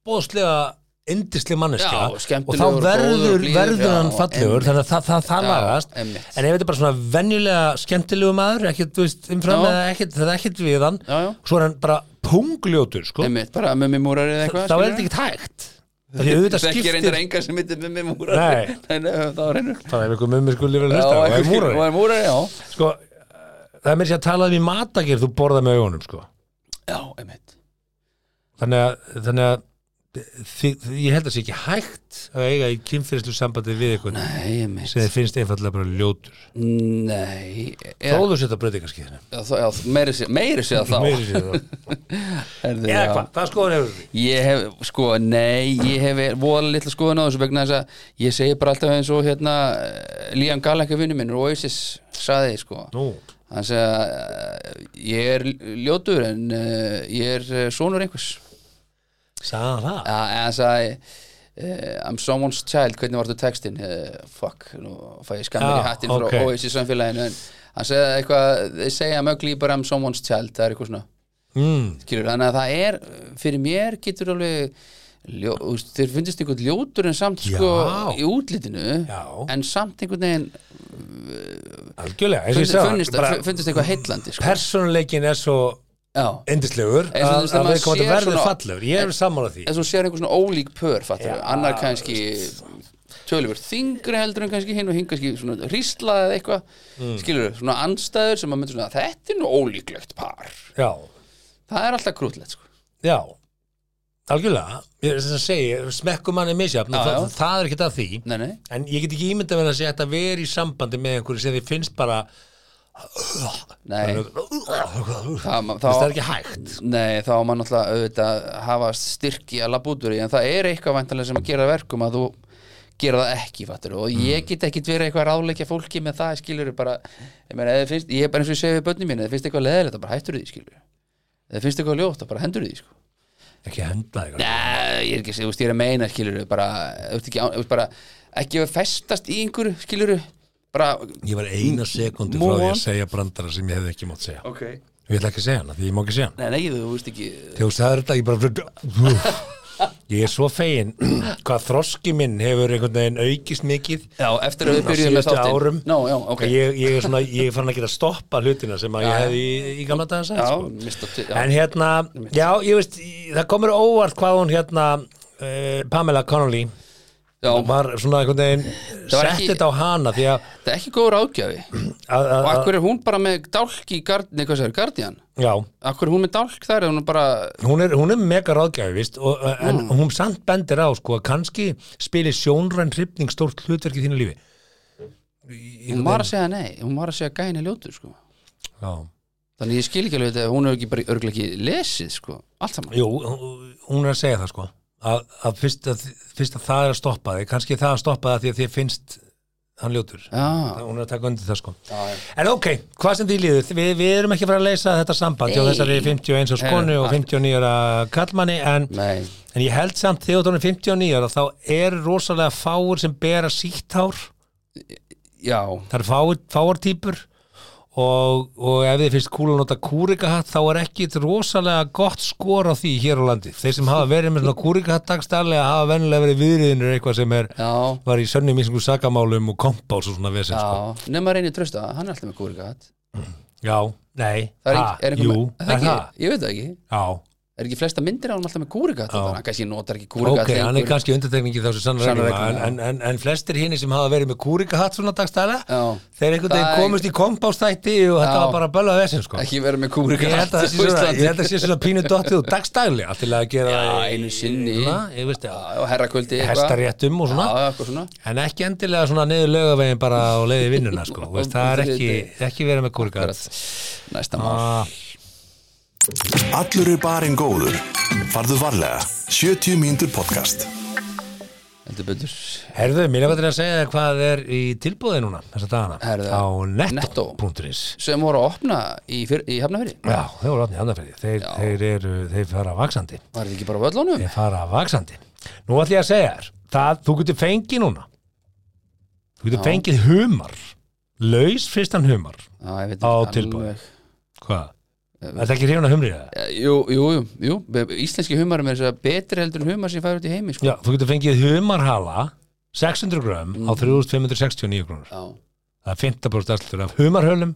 Speaker 3: opaslega yndisli manneskja
Speaker 2: Já,
Speaker 3: og
Speaker 2: skemmtilegur,
Speaker 3: þá
Speaker 2: góður,
Speaker 3: verður,
Speaker 2: blíður,
Speaker 3: verður
Speaker 2: já,
Speaker 3: hann fallegur
Speaker 2: einmitt.
Speaker 3: þannig að það, það, það
Speaker 2: Já,
Speaker 3: lagast
Speaker 2: einmitt.
Speaker 3: en ef þetta er bara svona venjulega skemmtilegu maður ekkert, þú veist, umfram
Speaker 2: Já.
Speaker 3: eða ekkert það er ekkert við hann,
Speaker 2: Já, já.
Speaker 3: svo er hann bara pungljótur, sko,
Speaker 2: Einmitt, bara með mér múrar eða
Speaker 3: þá
Speaker 2: eitthvað.
Speaker 3: er þetta ekki hægt Af því auðvitað
Speaker 2: Það ekki
Speaker 3: skiptir
Speaker 2: reyndar enga sem heitir með mér múrar.
Speaker 3: Nei.
Speaker 2: Nei, nei, það var reynur.
Speaker 3: Það er einhver mummi skuldi verið hlusta og er múrari.
Speaker 2: Og er múrari, já.
Speaker 3: Sko, það er mér sér að tala um í matagir þú borða með augunum, sko.
Speaker 2: Já, einmitt.
Speaker 3: Þannig að, þannig að þi, þi, ég held að það sé ekki hægt að eiga í kynfyrirslu sambandi við einhvern
Speaker 2: Nei, einmitt.
Speaker 3: sem þið finnst einfallega bara ljótur.
Speaker 2: Nei.
Speaker 3: Ja.
Speaker 2: eða-
Speaker 3: Þóðu sér þetta breytingarskiðinu.
Speaker 2: Já, þá- já, Meiri sé- meiri sé að þá.
Speaker 3: Meiri sér það.
Speaker 2: Herðu,
Speaker 3: Eða
Speaker 2: já.
Speaker 3: hvað, það er skoðan hefur því.
Speaker 2: Ég hef, sko, nei, ég hef voðalega litla skoðun á þessu vegna þess að ég segi bara alltaf eins og hérna eh, Líam Galek er vinnu minn og Oasis saði, sko
Speaker 3: Nú,
Speaker 2: hann segi að eh, ég er ljótur en uh, ég er eh, sonur einhvers
Speaker 3: sagði hann það.
Speaker 2: Ja, en hann sagði uh, I'm someone's child, hvernig var þetta textin uh, fuck, nú fæ ég skammir
Speaker 3: Já,
Speaker 2: í hattinn frá
Speaker 3: ok.
Speaker 2: Oasis samfélaginu en hann segði eitthvað, þeir segja mögli bara I'm someone's child, það er eitthvað svona
Speaker 3: Mm.
Speaker 2: Skilur, þannig að það er, fyrir mér getur alveg ljó, þú veist, þeir fundist einhvern ljótur en samt sko
Speaker 3: Já.
Speaker 2: í útlitinu
Speaker 3: Já.
Speaker 2: en samt einhvern veginn
Speaker 3: Algjörlega, eins og ég
Speaker 2: fundist,
Speaker 3: sagði,
Speaker 2: fundist,
Speaker 3: bara
Speaker 2: fundist eitthvað heillandi sko.
Speaker 3: persónuleikin er svo
Speaker 2: Já.
Speaker 3: endislegur
Speaker 2: Eins og þú
Speaker 3: að,
Speaker 2: veist,
Speaker 3: að
Speaker 2: maður
Speaker 3: við komum
Speaker 2: sér
Speaker 3: að verður
Speaker 2: svona-
Speaker 3: fallegur. Ég er sammálað því.
Speaker 2: en svo sér einhver svona ólík pör fattur,
Speaker 3: Já,
Speaker 2: annar kannski tölumur þingri heldur en kannski hinn og hinn kannski svona hrísla eða eitthvað
Speaker 3: Mm.
Speaker 2: skilur, svona andstæður sem að myndir svona þetta er nú ólíklegt par
Speaker 3: Já.
Speaker 2: það er alltaf krútlegt sko.
Speaker 3: Já, algjörlega ég er sem að segja, smekkum manni misjafn
Speaker 2: Já,
Speaker 3: það,
Speaker 2: já.
Speaker 3: það er ekkert að því
Speaker 2: nei, nei,
Speaker 3: en ég get ekki ímyndað með að segja að vera í sambandi með einhverju sem þið finnst bara
Speaker 2: nei
Speaker 3: það,
Speaker 2: það,
Speaker 3: það er ekki hægt
Speaker 2: Nei, þá á maður náttúrulega auðvitað hafa styrki að labba út úr því en það er eitthvað væntanlega sem að gera það verkum að þú gera það ekki, fattur og ég get ekki verið eitthvað að ráleikja fólki með það, skilur bara, ég meina, ef þér finnst, ég er bara eins og ég segi við börnum mínu, eða finnst eitthvað leðilegt, þá bara hættur því, skilur eða finnst eitthvað ljótt, þá bara hendur því, sko
Speaker 3: ekki henda eitthvað
Speaker 2: Nei, ég er ekki, þú veist, ég er að meina, skilur bara, þú veist ekki, á- þú veist bara ekki að festast í einhverju, skilur bara,
Speaker 3: ég var eina sekundi
Speaker 2: Move
Speaker 3: frá því
Speaker 2: on.
Speaker 3: að segja brandara sem ég hefði ekki mátt segja
Speaker 2: ok Nei,
Speaker 3: ég ætla ekki að segja hana, því ég má ekki segja hana
Speaker 2: nei, þú veist ekki
Speaker 3: þegar þú sagði þetta, ég bara ég er svo fegin hvað þroski minn hefur einhvern veginn aukist mikið
Speaker 2: Já, eftir að við
Speaker 3: Á
Speaker 2: byrjuðum með
Speaker 3: síðustu
Speaker 2: þáttinn.
Speaker 3: árum.
Speaker 2: Nó, já, ok.
Speaker 3: ég, ég er svona, ég er fann að geta stoppa hlutina sem að
Speaker 2: Já,
Speaker 3: ég
Speaker 2: já.
Speaker 3: hefði í, í gamla daga sagt
Speaker 2: Já,
Speaker 3: sko.
Speaker 2: mista til- já.
Speaker 3: en hérna, já, ég veist í- það komur óvart hvað hún hérna uh, Pamela Connolly
Speaker 2: Já,
Speaker 3: var svona einhvern veginn
Speaker 2: var
Speaker 3: sett
Speaker 2: ekki-
Speaker 3: þetta á hana því að,
Speaker 2: það er ekki góður ágjafi
Speaker 3: að,
Speaker 2: og
Speaker 3: að, að
Speaker 2: akkur er hún bara með dálk í gard, nei, hvað sér, Guardian
Speaker 3: já,
Speaker 2: akkur er hún með dálk þar eða hún er bara
Speaker 3: hún er, hún er mega ráðgjafi víst, og, eh, en
Speaker 2: Mm.
Speaker 3: hún samt bendir á sko, að kannski spili sjónræn hrifning stórt hlutverk í þínu lífi
Speaker 2: hún var að segja nei, hún var að segja gæni ljótur sko.
Speaker 3: já.
Speaker 2: þannig ég skil ekki alveg þetta hún er ekki bara örglega ekki lesið sko. allt saman
Speaker 3: Jú, hún er að segja það sko að, að, fyrst, að fyrst að það er að stoppa þig kannski það að stoppa það því að þið finnst hann ljótur,
Speaker 2: já,
Speaker 3: hún er að taka undir það sko
Speaker 2: já,
Speaker 3: en ok, hvað sem því líður, við, við erum ekki að fara að leysa þetta samband hjá
Speaker 2: Nei.
Speaker 3: þessari 51 og skonu
Speaker 2: Heyrðu,
Speaker 3: og 59 ára kallmanni en,
Speaker 2: nei,
Speaker 3: en ég held samt þegar þú erum 59 ára þá er rosalega fáur sem bera síktár
Speaker 2: já
Speaker 3: það er fáur, fáur típur og, og ef þið finnst kúla að nota kúrikahatt þá er ekkit rosalega gott skor á því hér á landi þeir sem hafa verið með svona kúrikahatt dagstallega hafa vennilega verið viðriðinir eitthvað sem er
Speaker 2: já,
Speaker 3: var í sönnum í svona sakamálum og kompás og svona vesens sko.
Speaker 2: já nema reynir trösta, hann er alltaf með kúrikatt
Speaker 3: já, nei,
Speaker 2: það er,
Speaker 3: ha,
Speaker 2: ekki- er einhver
Speaker 3: jú,
Speaker 2: með,
Speaker 3: það er
Speaker 2: ekki,
Speaker 3: það
Speaker 2: ég veit það ekki
Speaker 3: já,
Speaker 2: er ekki flesta myndir á hann alltaf með kúrikatt
Speaker 3: Já.
Speaker 2: þannig að kannski notar ekki kúrikatt
Speaker 3: ok, hann er kannski undirtekningi þá sem sannar
Speaker 2: Sannar
Speaker 3: regluna en,
Speaker 2: regluna,
Speaker 3: en, en, en flestir hinn sem hafa verið með kúrikahatt svona dagstallega
Speaker 2: já,
Speaker 3: þeir einhvern
Speaker 2: Það
Speaker 3: veginn
Speaker 2: er-
Speaker 3: komust í kompástætti og þetta
Speaker 2: Já.
Speaker 3: var bara að bölva vesens sko.
Speaker 2: ekki verið með
Speaker 3: ég held
Speaker 2: kúrikatt
Speaker 3: að það sé svona, ég held að það sé svona pínu dottið og dagstæli allt til að gera
Speaker 2: Já,
Speaker 3: það í-
Speaker 2: einu sinni.
Speaker 3: svona, ég veist já,
Speaker 2: og herrakvöldi
Speaker 3: hestaréttum um og
Speaker 2: já,
Speaker 3: svona
Speaker 2: eitthvað svona
Speaker 3: en ekki endilega svona niður lögavegin bara á leiði vinnuna sko, Þú veist, það er ekki, ekki verið með kúrgar
Speaker 2: Akkurat. næsta mál
Speaker 1: Allur er barinn góður. Farðu varlega. 70 mínútur podcast.
Speaker 2: Heldur betur
Speaker 3: Herðu, mér langar til að segja þér hvað er í tilbúði núna þessa dagana
Speaker 2: Herðu,
Speaker 3: á
Speaker 2: Netto.
Speaker 3: netto.is
Speaker 2: Sem voru að opna í, fyr, í hefnafyrir
Speaker 3: Já, þau voru ofnið andarferði þeir,
Speaker 2: Já.
Speaker 3: þeir, eru- þeir fara vaksandi
Speaker 2: Var þetta ekki bara á völlunum?
Speaker 3: þeir fara vaksandi Nú ætlum ég að segja þér það, þú getur fengið núna þú getur
Speaker 2: Já.
Speaker 3: fengið humar laus fyrstan humar
Speaker 2: Já, ég veit
Speaker 3: Á
Speaker 2: ekki
Speaker 3: tilboði.
Speaker 2: alveg.
Speaker 3: hvað? Það er ekki hrifin að humrið það?
Speaker 2: Eh, Jú, jú, jú, jú Íslenski humarum er þess að betri heldur en humar sem fær út í heimi sko.
Speaker 3: Já, þú getur fengið humarhala 600 grömm
Speaker 2: Mm.
Speaker 3: á 3569 krónur
Speaker 2: Já,
Speaker 3: það er 50% afslutur af humarhölum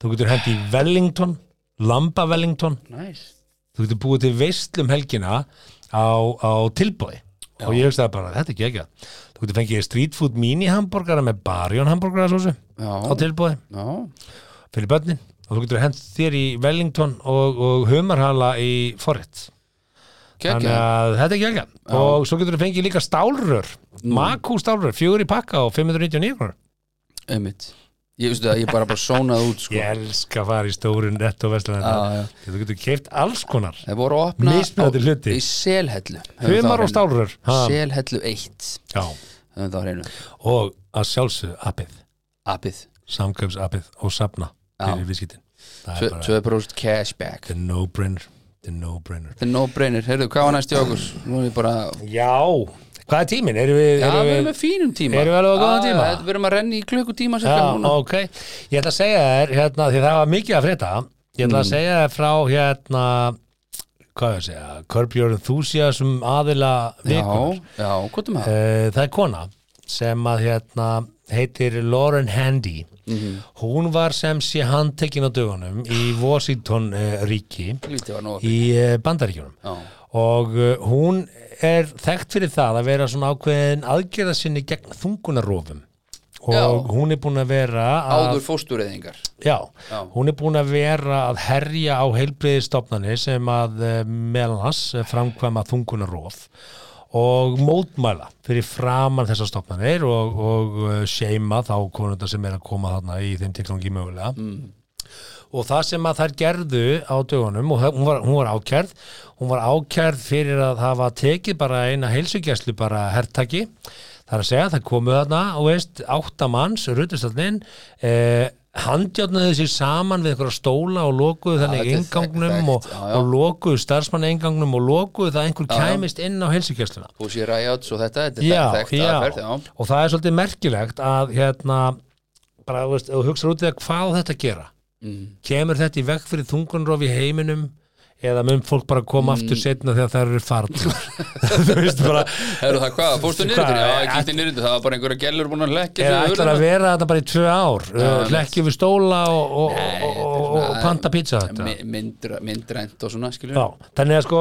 Speaker 3: þú getur hendi í Wellington Lamba Wellington
Speaker 2: næs
Speaker 3: þú getur búið til veistlum helgina á, á tilbúi og ég hugsaði bara, þetta er ekki ekki þú getur fengið street food mini hamburgara með barjón hamburgara sósu á
Speaker 2: Já,
Speaker 3: tilbúi
Speaker 2: já,
Speaker 3: fyrir börnin og þú getur hent þér í Wellington og, og humarhala í forrétt þannig
Speaker 2: kekja
Speaker 3: að þetta er ekki ekki og svo getur þú fengið líka stálrör makú stálrör, fjögur í pakka og 599 krónur
Speaker 2: Einmitt Ég veistu það, ég bara bara sónað út sko.
Speaker 3: ég elska að fara í stóru
Speaker 2: Já,
Speaker 3: netto
Speaker 2: já.
Speaker 3: vestlana þú getur keift alls konar
Speaker 2: Það voru að opna
Speaker 3: Mismunandi
Speaker 2: á-
Speaker 3: hluti.
Speaker 2: Í selhellu höfum það á
Speaker 3: humar
Speaker 2: hreinu.
Speaker 3: og stálrör Ha,
Speaker 2: Selhellu 1
Speaker 3: já.
Speaker 2: Höfum það á hreinu
Speaker 3: og að sjálfsögðu appið
Speaker 2: Appið
Speaker 3: samkjömsappið og safna
Speaker 2: Já.
Speaker 3: fyrir viðskiptin það er bara
Speaker 2: 2% cashback
Speaker 3: the no-brainer the no-brainer
Speaker 2: Þetta er no-brainer, heyrðu, hvað var næst í okkur? Nú er ég bara,
Speaker 3: já, hvað er tíminn? erum við,
Speaker 2: já,
Speaker 3: erum
Speaker 2: við
Speaker 3: við,
Speaker 2: erum með fínum tíma
Speaker 3: Erum við alveg á góðan
Speaker 2: Já,
Speaker 3: tíma?
Speaker 2: Við erum að renna í klukkutíma sem
Speaker 3: já,
Speaker 2: kemur núna
Speaker 3: ok ég ætla að segja þér, hérna, því það var mikið að frétta ég ætla
Speaker 2: Mm.
Speaker 3: að segja þér frá hérna hvað ég að segja, Curb Your Enthusiasm aðila vikunar
Speaker 2: Já, já, hvað er maður?
Speaker 3: Eh, það er kona sem að hérna heitir Lauren Handy
Speaker 2: Mhm.
Speaker 3: hún var sem sé handtekin á dögunum í
Speaker 2: Ah.
Speaker 3: Washington uh, ríki
Speaker 2: Lítið var nú að
Speaker 3: í uh, bandaríkjunum
Speaker 2: Já,
Speaker 3: og uh, hún er þekkt fyrir það að vera svona ákveðin aðgerða sinni gegn þungunarofum og
Speaker 2: Já.
Speaker 3: hún er búin að vera að,
Speaker 2: áður fóstureyðingar
Speaker 3: já,
Speaker 2: Já.
Speaker 3: hún er búin að vera að herja á heilbreyðistofnani sem að eh, meðal hans eh, framkvæma þungunarof og mótmæla fyrir framan þessar stofnanir og, og eh, seima þá konunda sem er að koma þarna í þeim tilgangi
Speaker 2: Mm.
Speaker 3: mögulega og það sem að þær gerðu á dögunum og það- hún var, hún var ákjærð hún var ákjærð fyrir að hafa tekið bara eina heilsugjæslu bara hertaki það er að segja það komu þarna og veist áttamanns rutustallinn eh, handjárnaðu sér saman við einhverja stóla og lokuðu
Speaker 2: þetta
Speaker 3: þannig
Speaker 2: er
Speaker 3: engangnum
Speaker 2: þekkt,
Speaker 3: og,
Speaker 2: já, já.
Speaker 3: og lokuðu starfsmann engangnum og lokuðu það að einhver
Speaker 2: Já, já.
Speaker 3: kæmist inn á heilsugjæsluna
Speaker 2: Pussy Riots og þetta, þetta
Speaker 3: já,
Speaker 2: er þekkt
Speaker 3: já.
Speaker 2: aðferð Já,
Speaker 3: og það er svolítið merkilegt að hérna bara, þú veist, ef þú hugsar út í það hvað á þetta að gera
Speaker 2: mm.
Speaker 3: kemur þetta í vekk fyrir þungunrof í heiminum eða mun fólk bara
Speaker 2: Mm.
Speaker 3: koma aftur setna þegar það eru farnar þú veist bara
Speaker 2: Herru það hvað, fórstu
Speaker 3: Hvað,
Speaker 2: nýrður? Já, ég
Speaker 3: ætl-
Speaker 2: kýtti nýrður, það var bara einhverja gellur búin að leggja
Speaker 3: eða
Speaker 2: sig í
Speaker 3: ætlar
Speaker 2: hurðina.
Speaker 3: að vera þetta bara í tvö ár uh,
Speaker 2: Já,
Speaker 3: hlekkjum við stóla og, og,
Speaker 2: Nei,
Speaker 3: og,
Speaker 2: þetta er
Speaker 3: og,
Speaker 2: svona-
Speaker 3: og panta pizza þetta
Speaker 2: Mi- myndra- Myndrænt og svona, skilur
Speaker 3: Já, þannig að sko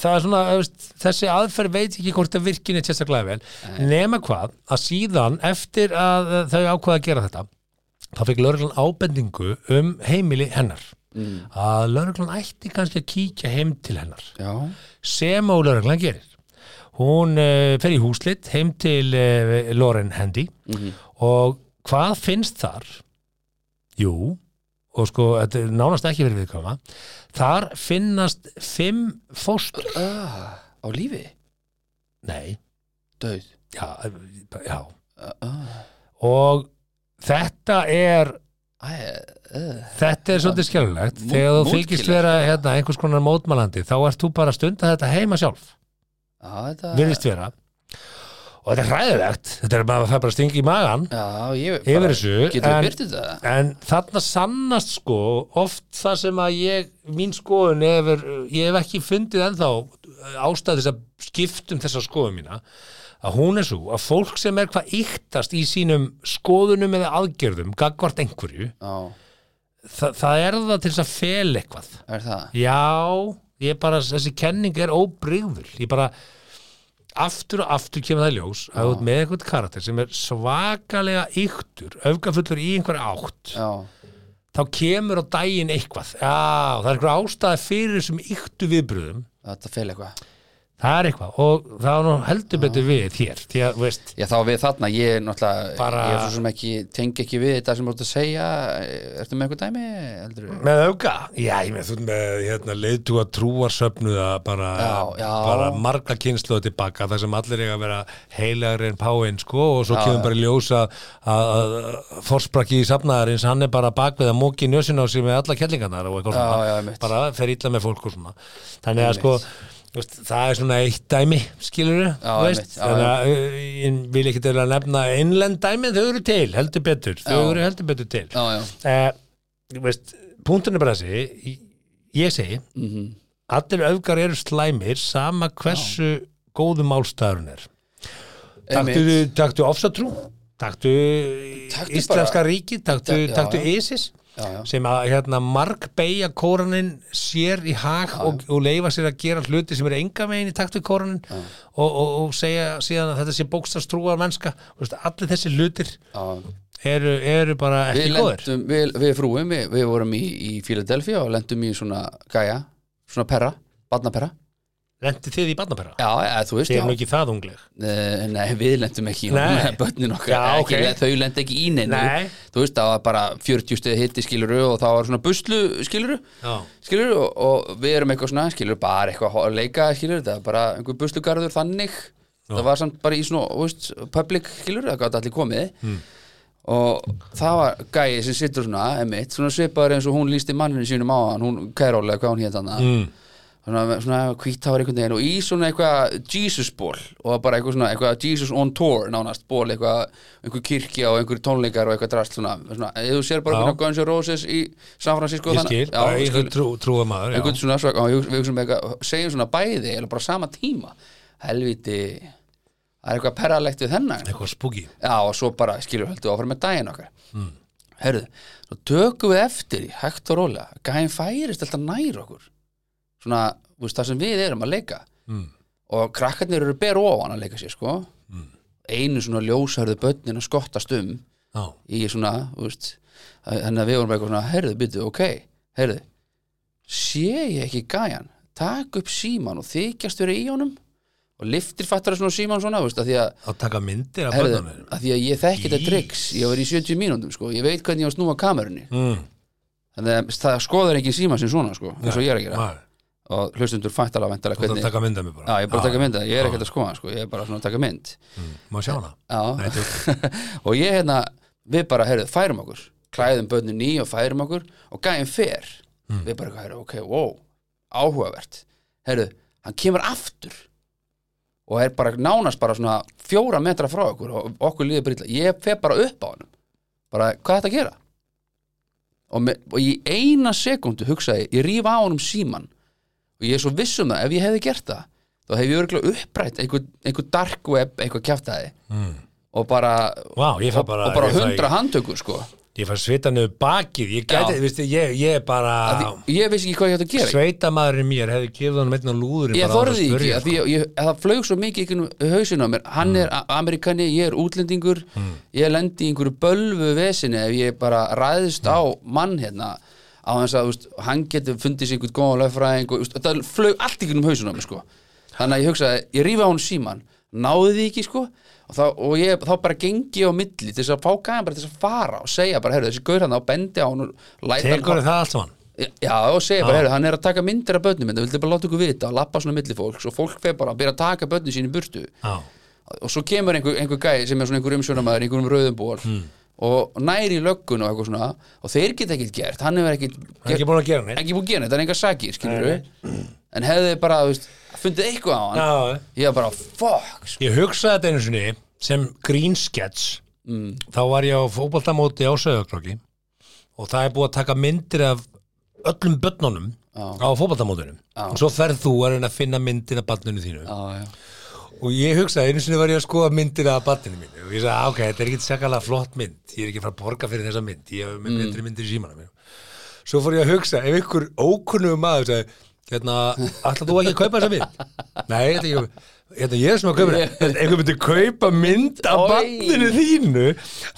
Speaker 3: það er svona, þú veist, þessi aðferð veit ekki hvort það virkinni sérstaklega vel nema hvað, að síðan eftir að eh, þau ákvaða að gera þetta þá fekk lögreglan ábendingu um heimili hennar
Speaker 2: Mm.
Speaker 3: að lögreglan ætti kannski að kíkja heim til hennar
Speaker 2: Já,
Speaker 3: sem og lögreglan gerir hún uh, fer í húslit heim til uh, Lauren Handy
Speaker 2: Mhm.
Speaker 3: og hvað finnst þar? Jú og sko, þetta er nánast ekki verið viðkama þar finnast fimm fóstur
Speaker 2: ah, á lífi,
Speaker 3: nei,
Speaker 2: döð
Speaker 3: já, já
Speaker 2: ah,
Speaker 3: og þetta er
Speaker 2: Æ, uh,
Speaker 3: þetta er svolítið skjálulegt
Speaker 2: Mó-
Speaker 3: þegar þú
Speaker 2: mótskýrlegt.
Speaker 3: þykist vera hérna, einhers konar mótmælandi þá ert þú bara að stunda þetta heima sjálf
Speaker 2: á, þetta
Speaker 3: virðist vera og þetta er hræðilegt þetta er bara, það er bara að stinga í magan
Speaker 2: Já, ég
Speaker 3: yfir þessu,
Speaker 2: Getum við
Speaker 3: en-
Speaker 2: byrtið það?
Speaker 3: En þarna sannast sko oft það sem að ég, mín skoðun hefur, ég hef ekki fundið ennþá ástæð þess að skiptum þessa skoðun mína, að hún er svo að fólk sem er hvað yktast í sínum skoðunum eða aðgerðum gagvart einhverju,
Speaker 2: Já,
Speaker 3: það, það er það til þess að fel eitthvað.
Speaker 2: er það?
Speaker 3: Já, ég bara, þessi kenning er óbrigður, ég bara aftur og aftur kemur það í ljós að þú ert með einhvern karakter sem er svakalega yktur, öfgafullur í einhver átt
Speaker 2: Já,
Speaker 3: þá kemur á daginn eitthvað já, það er einhver ástæði fyrir þessum yktu viðbröðum
Speaker 2: þetta fel eitthvað
Speaker 3: það er eitthvað og það er nú heldur betur við hér því að, þú veist,
Speaker 2: Já, þá við þarna, ég er náttúrulega,
Speaker 3: Bara-
Speaker 2: ég er svo sem ekki, tengi ekki við þetta sem þú ert að segja, ertu með eitthvað dæmi, heldur
Speaker 3: með auka já, ég með þú ert með hérna, leiðtúa trúarsöfnuða bara,
Speaker 2: Já, já.
Speaker 3: bara marga kynsluða tilbaka þar sem allir eiga að vera heilagri en páinn sko og svo kemur bara í ljós að- að að forsprakki í safnaðarins hann er bara bakvið að móki njössin á sig með alla kellingarnar og eitthvað
Speaker 2: Já,
Speaker 3: svona
Speaker 2: já, einmitt.
Speaker 3: bara fer illa með fólk og svona þannig að sko þú veist, það er svona eitt dæmi skilur
Speaker 2: Já, einmitt, já,
Speaker 3: þannig að uh, ég vil ekki til að nefna innlend dæmi þau eru til, heldur betur þau
Speaker 2: Já.
Speaker 3: eru heldur betur til
Speaker 2: Já, já,
Speaker 3: Eh, þú veist, punktin er bara þessi ég- ég segi
Speaker 2: Mhm.
Speaker 3: allir öfgar eru slæmir sama hversu góðu málstæðurinn er taktu,
Speaker 2: Einmitt.
Speaker 3: taktu ofsatrú taktu,
Speaker 2: Taktu
Speaker 3: íslenska
Speaker 2: bara-
Speaker 3: ríkið taktu,
Speaker 2: Já,
Speaker 3: taktu
Speaker 2: já.
Speaker 3: ISIS
Speaker 2: já, já.
Speaker 3: sem að hérna, mark beigja kóranin sér í hag og, og leifa sér að gera hluti sem eru enga megin í takt við kóranin og, og, og segja síðan að þetta sé bókstafstrúar mennska Þú veist, allir þessi hlutir
Speaker 2: já.
Speaker 3: eru, eru bara
Speaker 2: Við
Speaker 3: ekki góðir
Speaker 2: lendum, við, við frúum, við, við vorum í, í Philadelphia og lendum í svona gæja, svona perra, barnaperra.
Speaker 3: lendi þið í barnapera
Speaker 2: Já, eða, þú veist,
Speaker 3: þið
Speaker 2: já.
Speaker 3: erum ekki það ungleg
Speaker 2: Eh, Nei, við lendum ekki,
Speaker 3: Nei.
Speaker 2: bönnin okkar,
Speaker 3: Já,
Speaker 2: ekki,
Speaker 3: ok.
Speaker 2: þau lendi ekki í neinu.
Speaker 3: Nei.
Speaker 2: Þú veist, það var bara 40 stið hitti skiluru og það var svona buslu skiluru.
Speaker 3: Já.
Speaker 2: skilur og, og við erum eitthvað svona skilur bara eitthvað að leika skilur þetta var bara einhver buslugarður þannig það var samt bara í svona þú veist, public skilur það gátt allir komið og það var gæi sem sittur svona emitt, svona svipaður eins og hún lísti manninu sínum á hann, hún Kæróla, hvað hún hétt hann mm. svona, svona hvíttáður einhvern veginn og í svona eitthvað Jesus ból og bara eitthvað svona eitthvað Jesus on tour nánast ból, eitthvað einhver kirkja og einhver tónleikar og eitthvað drast svona, svona ef þú sér bara
Speaker 3: Já.
Speaker 2: hvernig Guns N' Roses í San Francisco
Speaker 3: ég
Speaker 2: þannig-
Speaker 3: skil,
Speaker 2: sko, já,
Speaker 3: bara
Speaker 2: þú
Speaker 3: einhver
Speaker 2: skilur
Speaker 3: trú, trúa maður já.
Speaker 2: einhvern svona svaka og við hugsaum eitthvað, segjum svona bæði eða bara sama tíma helviti, það er eitthvað perralegt við þennan
Speaker 3: eitthvað spooky
Speaker 2: já og svo bara skilur höldu áfram með daginn okkar mm. herðu, svo tökum við eftir í hægt og rólega, gæðin færist alltaf nær okkur svona, þú veist, það sem við erum að leika
Speaker 3: mm.
Speaker 2: og krakkarnir eru ber ofan að leika sér sko einu svona ljósarðu börnin að skottast um
Speaker 3: já,
Speaker 2: í svona þú veist, að- þannig að við vorum bara eitthvað svona herðu, byrju, ok, herðu sé ég ekki gæjan takk upp síman og þykjast verið í honum og liftir fattar svona síman svona, þú veist, að því að,
Speaker 3: að taka myndir af
Speaker 2: herðu,
Speaker 3: börnunum
Speaker 2: að því að ég þekki þetta
Speaker 3: Ís.
Speaker 2: triks, ég var í 70 mínúndum sko, ég veit hvernig ég á að snúa kamerunni
Speaker 3: mm.
Speaker 2: þannig að það skoðar ekki síma sem svona sko, eins og ég er að gera
Speaker 3: já,
Speaker 2: og hlustundur fættala væntalega
Speaker 3: þú þarf að
Speaker 2: hvernig
Speaker 3: taka mynd af mér bara
Speaker 2: Já, ég er bara að taka mynd að, ég er ekkert að skoða sko, ég er bara svona að taka mynd
Speaker 3: mm. má sjá hana
Speaker 2: Já,
Speaker 3: Nei, þú-
Speaker 2: og ég hérna við bara, heyrðu, færum okkur klæðum börnin í og færum okkur og gæðum fer við bara, heyrðu, ok, wow áhugavert, heyrðu, hann kemur aftur og er bara nánast bara svona fjóra metra frá okkur og okkur líður bara illa ég fer bara upp á hann bara, hvað er þetta að gera? Og, með, og í eina sekundu hugsaði ég, ég rífa á honum síman og ég er svo viss um það, ef ég hefði gert það þá hef ég örgulega upprætt einhver, einhver dark web, einhver kjaftaði
Speaker 3: mm.
Speaker 2: og bara,
Speaker 3: Vá, ég fæ
Speaker 2: og
Speaker 3: bara,
Speaker 2: og bara
Speaker 3: ég fæ-
Speaker 2: hundra handtökur sko
Speaker 3: ég fæ svita niður bakið ég gæti,
Speaker 2: Já.
Speaker 3: viðstu, ég, ég er bara
Speaker 2: að því, ég vissi ekki hvað ég ætti að gera
Speaker 3: sveitamaðurinn mér hefði gefið honum einn og lúður
Speaker 2: ég þorði því ekki, að
Speaker 3: sko.
Speaker 2: því ég, ég, það flög svo mikið ekki um hausinu á mér, hann
Speaker 3: Mm.
Speaker 2: er a- amerikani ég er útlendingur, ég lendi í einhverju bölvu vesinu ef ég bara ræðist á mann hérna á hans að, þú veist, hann getur fundið sér einhvern góðan lögfræðing og, þú veist, það flög allt ekki um hausinu á mér sko, þannig að ég hugsaði ég rífa hún síman, náði því ekki sko og, þá, og ég, þá bara gengi á milli til þess að fá gæðan bara til þess að fara og segja bara, heyrðu, þessi gaur hann á bendi á hún og læta hann
Speaker 3: tekur það allt saman
Speaker 2: Já, og
Speaker 3: Ah.
Speaker 2: segja bara, heyrðu, hann er að taka myndir af börnum en það vildi bara láta ykkur vita og lappa svona milli fólks og fólk fer bara að byrja að taka börnum sín í burtu
Speaker 3: já,
Speaker 2: og svo kemur einhver, einhver gæi sem er svona einhver umsjónamaður, einhverjum rauðum ból
Speaker 3: Hmm.
Speaker 2: og næri í löggun og eitthvað svona og þeir geta ekkert gert, hann hefur ekkert
Speaker 3: hann er ekki búin að gera neitt
Speaker 2: ekki búið að gera, þetta er engar sakir, skilur við en hefði bara, þú veist, fundið eitthvað á hann
Speaker 3: já,
Speaker 2: ég var bara, fuck sko.
Speaker 3: Ég hugsaði þetta einu sinni sem grínskets mm. þá var ég á fótboltamóti á Söðaklokki og það er búið að taka myndir af öllum börnunum á fótboltamótunum og svo ferð þú að reyna að finna myndin af barninu þínu
Speaker 2: já, já.
Speaker 3: og ég hugsaði einu sinni var ég að skoða myndir af barninu mínu og ég sagði "Ah, ok, þetta er ekki sakalega flott mynd ég er ekki að fara að borga fyrir þessa mynd ég
Speaker 2: Mm.
Speaker 3: hef með betri myndir í símanum mínum. svo fór ég að hugsa ef ykkur ókunnum maður sagði, hérna, ætla þú ekki að kaupa þessa mynd? nei, þetta er ekki Hérna, ég er sem að kaupa þetta, En einhver myndi kaupa mynd af
Speaker 2: Oj.
Speaker 3: barninu þínu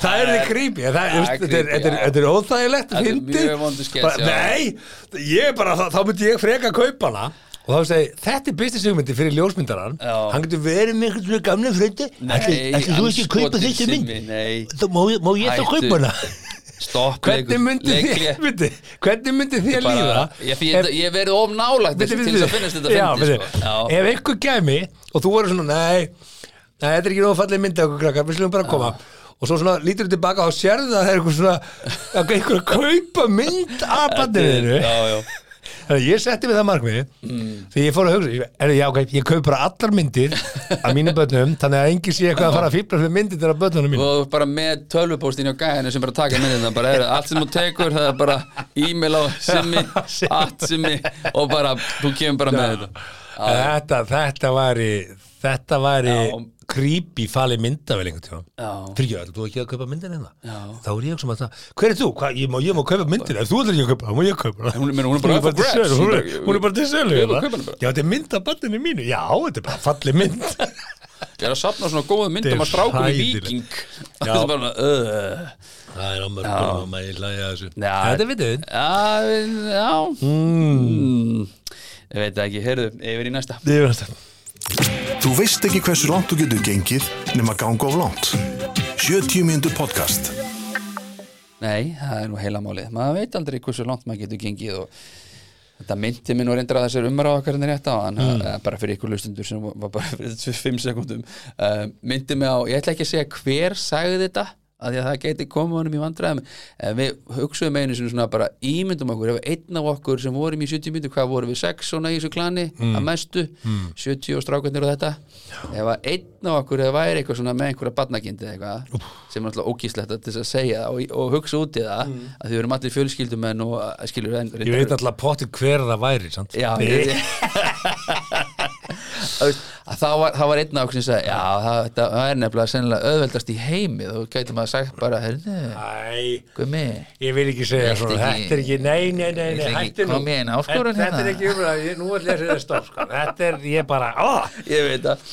Speaker 3: það er þið creepy það,
Speaker 2: það
Speaker 3: það,
Speaker 2: er
Speaker 3: þetta, er,
Speaker 2: creepy,
Speaker 3: þetta, er,
Speaker 2: já.
Speaker 3: þetta er óþægilegt
Speaker 2: Þetta er
Speaker 3: fyndið.
Speaker 2: mjög vondur skets,
Speaker 3: Bara,
Speaker 2: já.
Speaker 3: nei, ég er bara, þá, þá myndi ég freka kaupa hana og þá segi, þetta er business hugmyndi fyrir ljósmyndaran
Speaker 2: Já.
Speaker 3: hann getur verið með einhvern svona gamlega frendi ætli ætli þú ekki að kaupa
Speaker 2: andskotinn
Speaker 3: þessi mynd
Speaker 2: Simmi, Nei,
Speaker 3: þá má, ég- má ég þá
Speaker 2: Hættu.
Speaker 3: kaupa hana
Speaker 2: stopp
Speaker 3: hvernig myndi
Speaker 2: leikur-
Speaker 3: þið myndi, hvernig myndi þið
Speaker 2: bara-
Speaker 3: líða
Speaker 2: Ég, því ég, ég verið of nálægt
Speaker 3: Bíddu,
Speaker 2: þessu til
Speaker 3: bíddu,
Speaker 2: þess að
Speaker 3: bíddu.
Speaker 2: finnast þetta fyndi
Speaker 3: Já,
Speaker 2: sko.
Speaker 3: bíddu.
Speaker 2: Já.
Speaker 3: Ef einhver gæmi og þú verður svona, nei, nei, þetta er ekki nóg fallið myndið okkur krakkar, við slumum bara að koma og svo svona lítur þú tilbaka og sérðu það að það er einhver svona, að einhver að kaupa mynd af bandiðinu
Speaker 2: Já, já,
Speaker 3: þannig að ég setti við það markmiði
Speaker 2: Mm.
Speaker 3: því ég fór að hugsa, er, já, ok, ég kaup bara allar myndir af mínum börnum þannig að engin sé eitthvað að fara að fýbla fyrir myndir þeirra börnunum mín
Speaker 2: og bara með tölvupóstin á gæðinu sem bara taka myndina bara, heyrðu, allt sem þú tekur það er bara e-mail á simmi, at simmi og bara, þú kemur bara með þetta Já,
Speaker 3: þetta, þetta væri þetta væri
Speaker 2: Já.
Speaker 3: creepy fali myndavel einhvern tíma
Speaker 2: Já.
Speaker 3: fyrir ég, ætlar þú ekki að kaupa myndin hérna
Speaker 2: Já.
Speaker 3: þá er ég ekki sem að það, hver er þú? Hva, ég, má, ég má kaupa myndin, ef þú ætlar ekki að kaupa, þá má ég kaupa hana.
Speaker 2: Hún er- meina, hún er bara up for
Speaker 3: til
Speaker 2: grabs.
Speaker 3: sölu, hún,
Speaker 2: Hún
Speaker 3: er-
Speaker 2: bara-
Speaker 3: hún er bara til sölu
Speaker 2: Ég má
Speaker 3: hérna.
Speaker 2: kaupa hana bara.
Speaker 3: já, þetta er mynd af banninu mínu já, þetta er bara falli mynd
Speaker 2: ég er að safna svona góðum myndum
Speaker 3: Þetta
Speaker 2: að
Speaker 3: er
Speaker 2: strákum í
Speaker 3: hræðilegt.
Speaker 2: viking og
Speaker 3: Já.
Speaker 2: það er bara, öööö
Speaker 3: það er á mörgum og maður hlæja að þessu
Speaker 2: Já.
Speaker 3: þetta er vitið
Speaker 2: Já, við- já
Speaker 3: Hmm.
Speaker 2: mm. Ég veit það ekki, heyrðu, yfir í næsta
Speaker 3: Ég veist það.
Speaker 1: Þú veist ekki hversu langt þú getur gengið nema ganga of langt. 70 mínútur podcast.
Speaker 2: Nei, það er nú heila málið maður veit aldrei hversu langt maður getur gengið og þetta myndi minn og reyndar að þessar umræða okkar en rétt á hann, mm. bara fyrir ykkur lustundur sem var bara fyrir 5 sekundum uh, myndi mig á, ég ætla ekki að segja hver sagði þetta, af því að það geti komið honum í vandræðum, en við hugsuðum einu sinni svona bara ímyndum okkur ef einn af okkur sem vorum í 70 myndu, hvað vorum við 6 svona í þessu klani,
Speaker 3: Mm.
Speaker 2: að mestu 70 og strákarnir og þetta ef að einn af okkur eða væri eitthvað svona með einhverja badnagindi eða eitthvað sem er alltaf ógíslegt til þess að segja og, og hugsa út í það að því við erum allir fjölskyldumenn og eh, að skilur enn
Speaker 3: Mm. Ég veit alltaf potti hver það væri, sant?
Speaker 2: Já, ég,
Speaker 3: Nei,
Speaker 2: Þú veist, að það, var, það var einn af okkur sem sagði já, það, það, það er nefnilega sennilega auðveldast í heimi þú gæti maður sagt bara herðu,
Speaker 3: Æ,
Speaker 2: gumi
Speaker 3: ég vil ekki segja
Speaker 2: Þetta
Speaker 3: svona,
Speaker 2: ekki-
Speaker 3: þetta er ekki, nei, nei, nei,
Speaker 2: Þetta
Speaker 3: nei,
Speaker 2: ekki
Speaker 3: hættu nú.
Speaker 2: kom ég inn áskorun
Speaker 3: Þetta- Þetta er
Speaker 2: hérna?
Speaker 3: ekki umræð, ég- nú ætla ég að segja stopp, sko. Þetta er, ég bara, ó,
Speaker 2: ég veit að,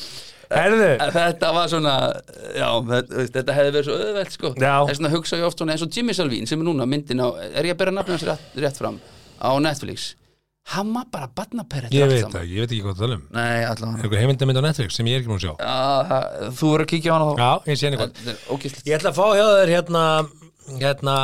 Speaker 3: herðu,
Speaker 2: að þetta var svona já, þetta, þú veist, þetta hefði verið svo auðveld sko.
Speaker 3: Já.
Speaker 2: þess vegna hugsa ég oft svona eins og Jimmy Salvín sem er núna myndin á, er ég að bera nafnum hans rétt, rétt fram á Netflix hann var bara badnaperrið
Speaker 3: ég veit það, ég veit ekki hvað það tala um.
Speaker 2: Nei, allavega
Speaker 3: Er eitthvað heimindamind á Netflix sem ég er ekki múin að sjá?
Speaker 2: Já, það- Þú verður að kíkja á hana þá
Speaker 3: Já, ég sé henni hvað.
Speaker 2: Þetta er ógeðslegt.
Speaker 3: Ég ætla að fá hjá þér hérna, hérna,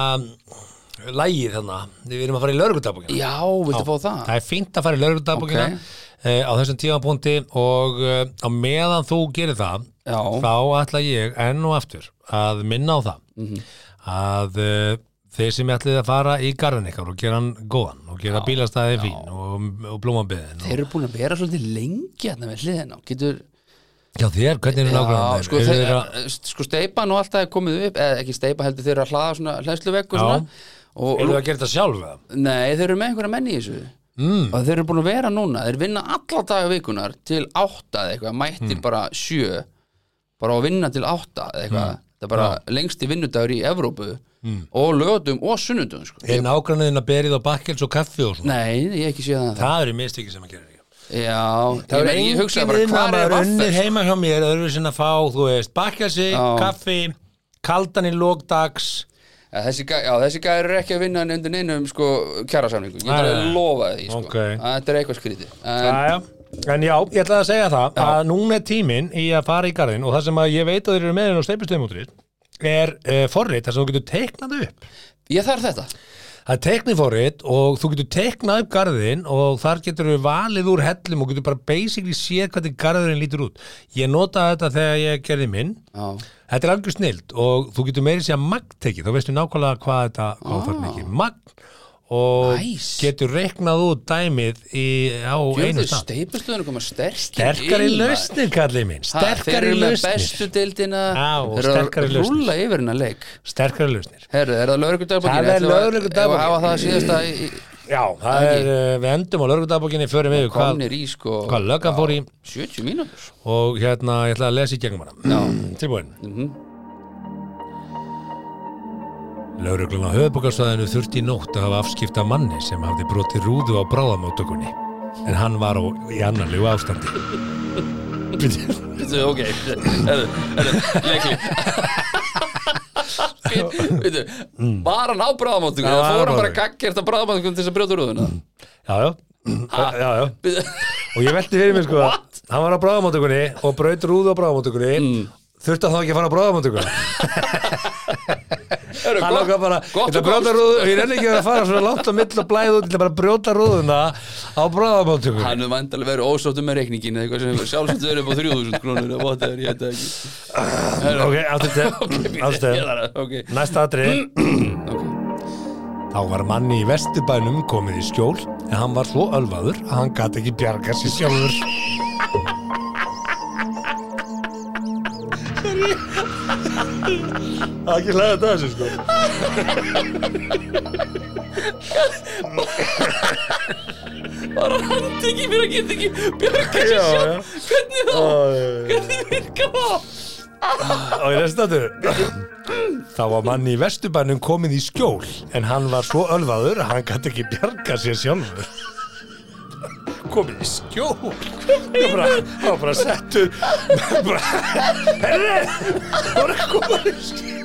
Speaker 3: lægið hérna, við erum að fara í lörgutabókina.
Speaker 2: Já, viltu fá það?
Speaker 3: Það er fínt að fara í lörgutabókina
Speaker 2: Ah. Ok.
Speaker 3: á þessum tímapunkti og eh, á meðan þú gerir það,
Speaker 2: Já,
Speaker 3: þá ætla ég enn og aftur að minna á það
Speaker 2: Mhm.
Speaker 3: að uh, þeir sem ætlið að fara í garðin ykkar og gera hann góðan og gera bílastæði fín og, og blómabiðin
Speaker 2: þeir
Speaker 3: og,
Speaker 2: eru búin að vera svolítið lengi hérna við hliðina Getur,
Speaker 3: Já þér, hvernig eru nákvæmlega
Speaker 2: já,
Speaker 3: þeir?
Speaker 2: sko,
Speaker 3: Eru
Speaker 2: þeir,
Speaker 3: þeir að-
Speaker 2: sko steipan og allt það er komið upp eða ekki steipa heldur þeir eru að hlaða svona hlæsluvegg og
Speaker 3: Já.
Speaker 2: svona og,
Speaker 3: Eru
Speaker 2: og,
Speaker 3: þeir að gera þetta sjálf? eða?
Speaker 2: Nei, þeir eru með einhverja menn í þessu mm. og þeir eru búin að vera núna þeir vinna alla daga vikunar til átta eða eitthvað, mættir
Speaker 3: Mm.
Speaker 2: bara sjö bara á að vinna til átta eða eitthvað
Speaker 3: Mm.
Speaker 2: það er bara lengsti vinnudagur í Evrópu og lögutum og sunnudum sko.
Speaker 3: Er nákvæmlega berið á bakkels og kaffi og svona?
Speaker 2: Nei, ég hef ekki séð það
Speaker 3: Það eru mistykki sem að gera ekki
Speaker 2: Já, ég, meina, ég hugsa bara
Speaker 3: hvað
Speaker 2: hvað er
Speaker 3: unnir
Speaker 2: vaffel
Speaker 3: heima hjá mér öðru sinna að fá, þú veist, bakkelsi,
Speaker 2: Já.
Speaker 3: kaffi, kaldan í lókdags
Speaker 2: Ja, þessi, gæ- já, þessi gæri eru ekki að vinna undir neinum sko, kjærasamningu, ég þarf
Speaker 3: Nei,
Speaker 2: að
Speaker 3: nei.
Speaker 2: lofa því sko.
Speaker 3: Ok.
Speaker 2: að þetta er eitthvað skrítið en,
Speaker 3: Jæja. En já, ég ætlaði að segja það að núna er tíminn í að fara í garðin og það sem að ég veit að þeir eru með hérna á steipustöðumútrið er uh, forrit þar sem þú getur teiknað upp.
Speaker 2: Ég þarf þetta
Speaker 3: Það er teiknið forrit og þú getur teiknað upp garðin og þar getur þú valið úr hellum og getur bara basically séð hvernig garðurinn lítur út. Ég notaði þetta þegar ég gerði minn.
Speaker 2: Já,
Speaker 3: Þetta er algjör snild og þú getur meiri sér magn tekið, þá veistu nákvæmlega hvað þetta hvað ah. þarf mikið magn og
Speaker 2: Nice.
Speaker 3: getur reiknað út dæmið í, á einu
Speaker 2: Gjörðu
Speaker 3: stað.
Speaker 2: steipustöðunum koma sterkir
Speaker 3: Sterkari
Speaker 2: inn, maður.
Speaker 3: lausnir, kallið minn
Speaker 2: Ha, Þeir
Speaker 3: Sterkari
Speaker 2: eru með bestu
Speaker 3: lausnir
Speaker 2: deildina
Speaker 3: Já, og
Speaker 2: Þeir eru
Speaker 3: sterkari
Speaker 2: að
Speaker 3: lausnir.
Speaker 2: rúlla yfir hennar leik
Speaker 3: Sterkari lausnir
Speaker 2: Herðu, er það lögregldagbókin?
Speaker 3: Það er lögregludagbókin.
Speaker 2: Hafa það síðasta í- í-
Speaker 3: Já, það
Speaker 2: Ekki.
Speaker 3: er, uh, við endum á lörgudagbókinni förum yfir hvað,
Speaker 2: komnir í sko
Speaker 3: hvað löggan fór í
Speaker 2: 70 mínútur
Speaker 3: og hérna, ég ætla að lesa í gegnum hana Mm, Tilbúin
Speaker 2: Mhm.
Speaker 3: Lögreglan á höfubokarsvæðinu þurfti í nótt að hafa afskipta manni sem hafði brotið rúðu á bráðamóttökunni en hann var á í annarlegu ástandi
Speaker 2: Veitu, ok, herðu, herðu, leikli Veitu, var hann á bráðamáttingu
Speaker 3: Mm. Já,
Speaker 2: eða
Speaker 3: hann
Speaker 2: fór
Speaker 3: á
Speaker 2: hann bara
Speaker 3: bráðamóttöku.
Speaker 2: gaggert á bráðamáttingu til þess að brjóta rúðuna
Speaker 3: Já, já, já, já
Speaker 2: Veitu,
Speaker 3: og ég velti fyrir mér sko hann var á bráðamóttökunni og braut rúðu á bráðamóttökunni
Speaker 2: Mm.
Speaker 3: þurfti hann þá ekki að fara á bráðamóttökunni
Speaker 2: Það eru
Speaker 3: hann
Speaker 2: gott-
Speaker 3: langar bara,
Speaker 2: gott
Speaker 3: þetta
Speaker 2: og
Speaker 3: brjóta
Speaker 2: gott.
Speaker 3: rúðu ég renni ekki að fara svona langt á mill og blæðu til að bara brjóta rúðuna á bráðamóttökunni
Speaker 2: Hann er vandalega verið ósáttum með reikningin eða eitthvað sem hefur sjálfsagt verið upp á 3000 krónur eða whatever, ég veit það ekki. Herru,
Speaker 3: ok, aftur
Speaker 2: ok, ég
Speaker 3: aftur
Speaker 2: þarf að- ok. Mm.
Speaker 3: næsta atrið
Speaker 2: ok.
Speaker 3: Þá var manni í vesturbænum komin í skjól en hann var svo ölvaður að hann gat ekki bjarga sér sjálfur. Það er ekki hlæða þetta þessu sko.
Speaker 2: Bara hann tekið fyrir að geta ekki bjarga sér
Speaker 3: Já, já.
Speaker 2: sjálf. Hvernig þá?
Speaker 3: Æ.
Speaker 2: Hvernig virka það?
Speaker 3: Og ég lest þetta. Þá var manni í vesturbænum komin í skjól en hann var svo ölvaður að hann gat ekki bjarga sér sjálfur. Komin í skjól? Það var bara, það var bara settur. Bara, herri, það var að koma í skjól.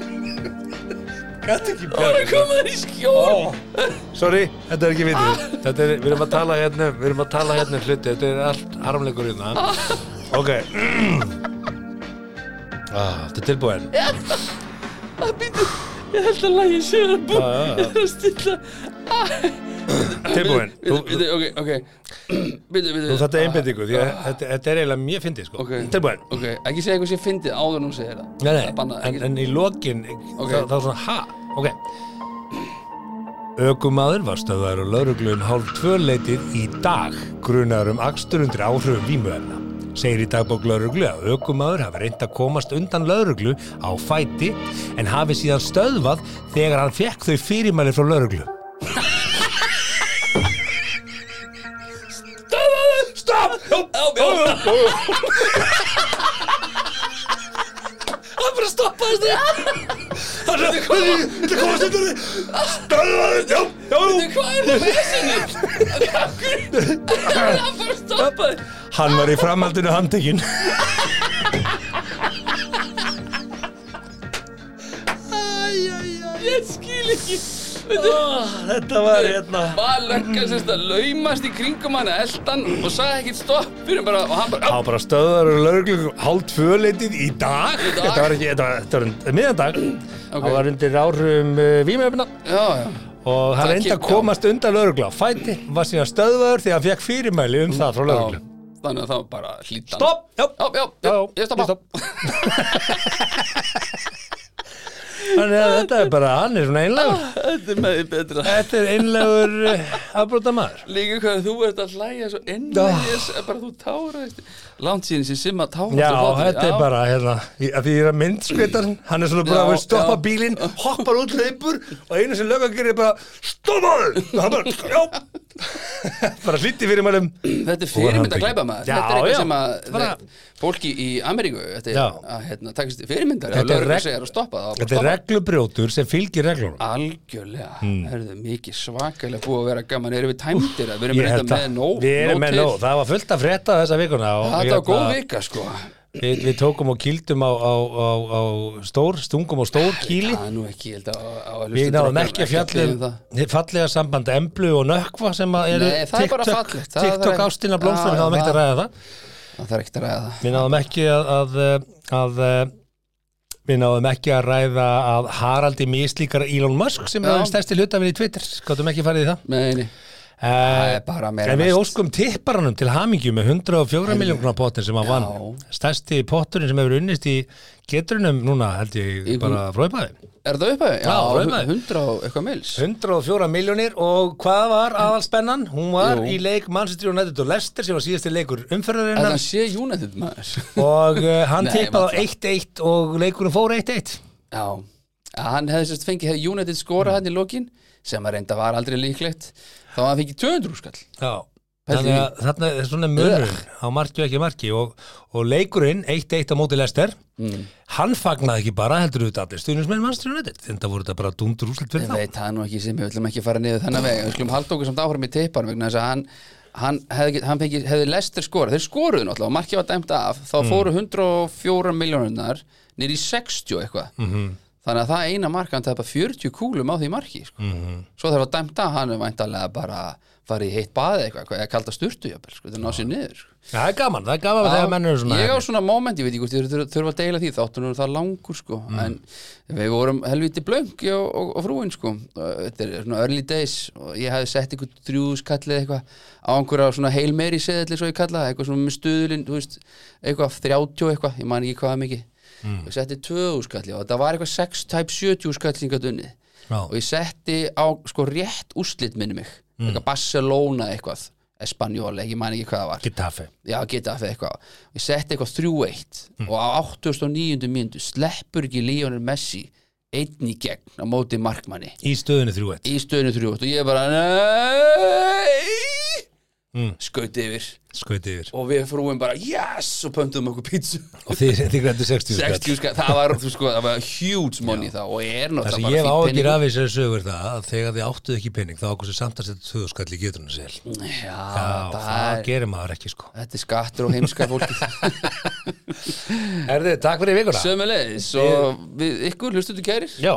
Speaker 3: Gat ekki
Speaker 2: Það er
Speaker 3: bjarga
Speaker 2: að koma þér í skjól.
Speaker 3: Sorry, þetta er ekki vitið Þetta er, við erum að tala hérna Við erum að tala hérna um hluti, þetta er allt harmleikur hérna Ok ah, Þetta er tilbúin
Speaker 2: Það býtu, ég held að lægi sér að bú.
Speaker 3: Já, já, já.
Speaker 2: Ég er að stilla.
Speaker 3: Tilbúin Þú,
Speaker 2: Býtu, býtu, ok, ok. Býtu, býtu.
Speaker 3: þú þetta er einbendingu Því að þetta, þetta er eiginlega mjög fyndið sko
Speaker 2: Ah. Ok.
Speaker 3: Tilbúin
Speaker 2: Ok, ekki segja eitthvað sem ég fyndi áður en hún segir það.
Speaker 3: Nei,
Speaker 2: Það er
Speaker 3: nei,
Speaker 2: bannað,
Speaker 3: en,
Speaker 2: ekki-
Speaker 3: en í lokin
Speaker 2: Ok.
Speaker 3: þá, þá svona, ha, ok Ökumaður var stöðaður á lauruglun hálf tvöleitið í dag grunaður um akstur undir áhrifum vímuefna. Segir í dagbók lauruglu að ökumaður hafi reynd að komast undan lauruglu á fæti en hafi síðan stöðvað þegar hann fekk þau fyrirmæli frá lauruglu. Stöðvaðu! Stopp!
Speaker 2: Já, já.
Speaker 3: Það bara stoppaðist þig Það er hvað Þetta komast undan þig Stöðvaðu! Já, já
Speaker 2: Hvað er það með þessinni? Akkur, hann bara stoppaði.
Speaker 3: Hann var í framhaldinu handtekinn
Speaker 2: Ég skil ekki. Ah. Veitu,
Speaker 3: Þetta var hérna
Speaker 2: Var löggan semst að laumast í kringum hann að eldan og sagði ekkert stopp fyrir bara og hann bara
Speaker 3: Það var bara stöðar og lögreglum hálf tvöleitið í dag
Speaker 2: Í dag.
Speaker 3: Þetta var ekki, þetta var, þetta var um- miðjandag
Speaker 2: Ok.
Speaker 3: Það var undir áhrifum uh, vímöfna
Speaker 2: Já, já.
Speaker 3: og hann
Speaker 2: Það
Speaker 3: reyndi að
Speaker 2: kemur-
Speaker 3: komast undan lögreglu á fæti var síðan stöðvaður þegar hann fekk fyrirmæli um það frá
Speaker 2: Mm. já.
Speaker 3: lögreglu
Speaker 2: Þannig að það var bara hlítan.
Speaker 3: Stopp! Já,
Speaker 2: Já, já, já, ég stoppa.
Speaker 3: Þannig að þetta er bara, hann er svona einlegur
Speaker 2: Þetta er með því betra.
Speaker 3: Þetta er eh, einlegur afbróta maður
Speaker 2: Líka hvað þú ert að hlæja svo innmælis að bara þú táraðist. Langt síðan sem Simma táraðist.
Speaker 3: Ah. Já, þetta er bara, hérna, í- af því ég er að myndskvita hann, hann er svona bara
Speaker 2: Já,
Speaker 3: að stoppa
Speaker 2: já.
Speaker 3: bílinn, hoppar út hleypur og einu sem löggan gerir er bara, stoppaðu! Og hann bara, já, bara hlýtti fyrir um, mælum.
Speaker 2: Þetta er fyrirmynd að
Speaker 3: handtekinn.
Speaker 2: glæpa maður.
Speaker 3: Já,
Speaker 2: þetta er
Speaker 3: já.
Speaker 2: eitthvað sem að
Speaker 3: Bara-
Speaker 2: þetta- fólki í Ameríku, þetta er
Speaker 3: Já.
Speaker 2: að hérna, takist fyrirmyndar.
Speaker 3: Þetta er
Speaker 2: Þetta er
Speaker 3: reg-
Speaker 2: regn. Þetta er að stoppa það. á bara
Speaker 3: Þetta er
Speaker 2: stoppa.
Speaker 3: reglubrjótur sem fylgir reglunum.
Speaker 2: Algjörlega,
Speaker 3: Hmm.
Speaker 2: mm. herðu mikið svakalega búið að vera gaman, erum við tæmtir að við erum
Speaker 3: Ég
Speaker 2: reynda
Speaker 3: held
Speaker 2: með
Speaker 3: að-
Speaker 2: nóg
Speaker 3: Við erum
Speaker 2: nóg
Speaker 3: með
Speaker 2: til.
Speaker 3: nóg, það var fullt að frétta þessa vikuna og
Speaker 2: Þetta var
Speaker 3: hérna,
Speaker 2: góð vika sko
Speaker 3: við, við tókum og kýldum á, á, á, á stór, stungum á stór kýli
Speaker 2: Það er nú ekki, ég held að, að, að
Speaker 3: Við náðum ekki að
Speaker 2: fjallið
Speaker 3: fjallum fallega samband Emblu og Nökkva sem að eru
Speaker 2: Nei, það er bara
Speaker 3: TikTok,
Speaker 2: fallegt. Það- það er
Speaker 3: TikTok
Speaker 2: ekki-
Speaker 3: ástina
Speaker 2: Já,
Speaker 3: blómstur, við náðum ekki að
Speaker 2: það-
Speaker 3: ræða það
Speaker 2: Það er ekkert að ræða það
Speaker 3: Við náðum ekki að, að, eh, að, við náðum ekki að ræða að Haraldi mislíkar Elon Musk sem
Speaker 2: Já.
Speaker 3: er stærsti hlutafinn í Twitter gáttum ekki farið í það
Speaker 2: Nei, nei, það er
Speaker 3: uh,
Speaker 2: bara meira
Speaker 3: En við
Speaker 2: mest.
Speaker 3: óskum tipparanum til hamingju með 104 miljónkuna pottin sem hann vann stærsti potturinn sem hefur unnist í getrunum núna held ég
Speaker 2: Í-
Speaker 3: bara fróðbæði
Speaker 2: Er það upphæði?
Speaker 3: Já, upphæð.
Speaker 2: 100 og eitthvað mils
Speaker 3: 104 miljónir og hvað var aðalspennan? Hún var
Speaker 2: Jú.
Speaker 3: í leik Manchester United og Leicester sem var síðasti leikur
Speaker 2: Þetta
Speaker 3: umferðarinnar
Speaker 2: hann sé United maður
Speaker 3: og uh, hann
Speaker 2: Nei,
Speaker 3: tippaði á
Speaker 2: varla.
Speaker 3: 1-1 og leikurinn fór 1-1
Speaker 2: Já, að hann hefði sérst fengið hefði United skorað hann í lokin sem að reynda var aldrei líklegt þá að hann fengið 200 skall
Speaker 3: Já,
Speaker 2: Pældi
Speaker 3: þannig
Speaker 2: í.
Speaker 3: að þarna er svona munurinn á marki og ekki marki og, og leikurinn 1-1 á móti Lester
Speaker 2: Mm.
Speaker 3: hann fagnaði ekki bara heldur auðvitað allir stuðnismenn Manchester United þetta voru þetta bara dúndur úrslit
Speaker 2: Ég
Speaker 3: fyrir þá
Speaker 2: veit það nú ekki sem við ætlum ekki að fara niður þennan veg við skulum halda okkur samt áfram í teipan vegna þess að hann hann hefði, get- hann fengi, hefði lestir skorað þeir skoruðu náttúrulega og markið var dæmt af þá fóru 104 miljónunar nýr í 60 eitthvað mm -hmm. þannig að það eina mark hann tapa 40 kúlum á því marki sko. svo þarf að dæmta hann er væntanlega bara farið í heitt baði eitthvað eða kalda sturtu jafnvel, sko, þetta ná sér niður sko.
Speaker 3: það er gaman, það er gaman
Speaker 2: Já,
Speaker 3: þegar mennur svona hérna.
Speaker 2: ég á svona moment, ég veit ekki hvort þið þur- þurfa að deila því þáttunum er það langur sko
Speaker 3: Mm.
Speaker 2: en við vorum helviti blönk ég og, og, og frúin sko þetta er svona early days og ég hafði sett einhver drjúðskallið eitthvað á einhverja svona heilmeiri seðli svo ég kallaði eitthvað svona með stuðlinn, þú veist eitthvað 30 eitthvað, ég man ekki hvað það mikið
Speaker 3: Mm.
Speaker 2: ég setti 20 skalli og það var eitthvað 6 type 70 skallingat unnið
Speaker 3: Já.
Speaker 2: og ég setti á sko rétt úrslit minni mig,
Speaker 3: Mm.
Speaker 2: eitthvað Barcelona eitthvað, Espanjol, ekki man ekki hvað það var
Speaker 3: Getafe
Speaker 2: já, geta það eitthvað ég setti eitthvað 3-1
Speaker 3: Mm.
Speaker 2: og á 89. mínútu sleppur ekki Lionel Messi einn í gegn á móti markmanni
Speaker 3: í stöðunni 3-1
Speaker 2: í stöðinu 3-1 og ég bara nei mm. skaut yfir
Speaker 3: skauti yfir
Speaker 2: og við frúum bara yes og pöntum okkur pítsu
Speaker 3: og þið, þið grættu 60 skall
Speaker 2: 60 skall, það var, þú sko, það var huge money þá og er
Speaker 3: Það sem
Speaker 2: náttúrulega
Speaker 3: ég hef
Speaker 2: fínn
Speaker 3: áhyggjur
Speaker 2: peningur.
Speaker 3: af þessari sögur er það að þegar þið áttuð ekki pening þá okkur sem samt að setja tvöðu skall í geturnu sér Já,
Speaker 2: já,
Speaker 3: það,
Speaker 2: það er
Speaker 3: gerir maður ekki sko
Speaker 2: þetta er skattur og heimska fólki
Speaker 3: Erðu, takk fyrir vikuna
Speaker 2: sömulegis og við ykkur hlustuðu kærir
Speaker 3: Já,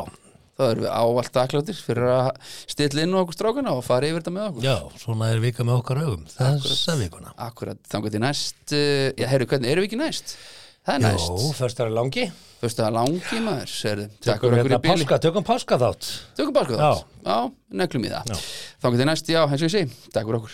Speaker 2: þá erum við ávallt þakkláttir fyrir að stilla inn á okkur strákana og fara yfir þetta með okkur
Speaker 3: já, svona er vika með okkar augum þessa vikuna
Speaker 2: Akkurat, þangar til næst uh, Já, herru, hvernig erum við ekki næst? Það er
Speaker 3: Jó,
Speaker 2: næst,
Speaker 3: förstar er langi
Speaker 2: fyrst að langi maður herru, Takk fyrir
Speaker 3: Tökum
Speaker 2: okkur í
Speaker 3: hérna
Speaker 2: bíli
Speaker 3: páska, tökum páska þátt
Speaker 2: Tökum bara sko
Speaker 3: Já.
Speaker 2: það Já, neglum í það Þangar til næst, já, eins og ég segi, takk fyrir okkur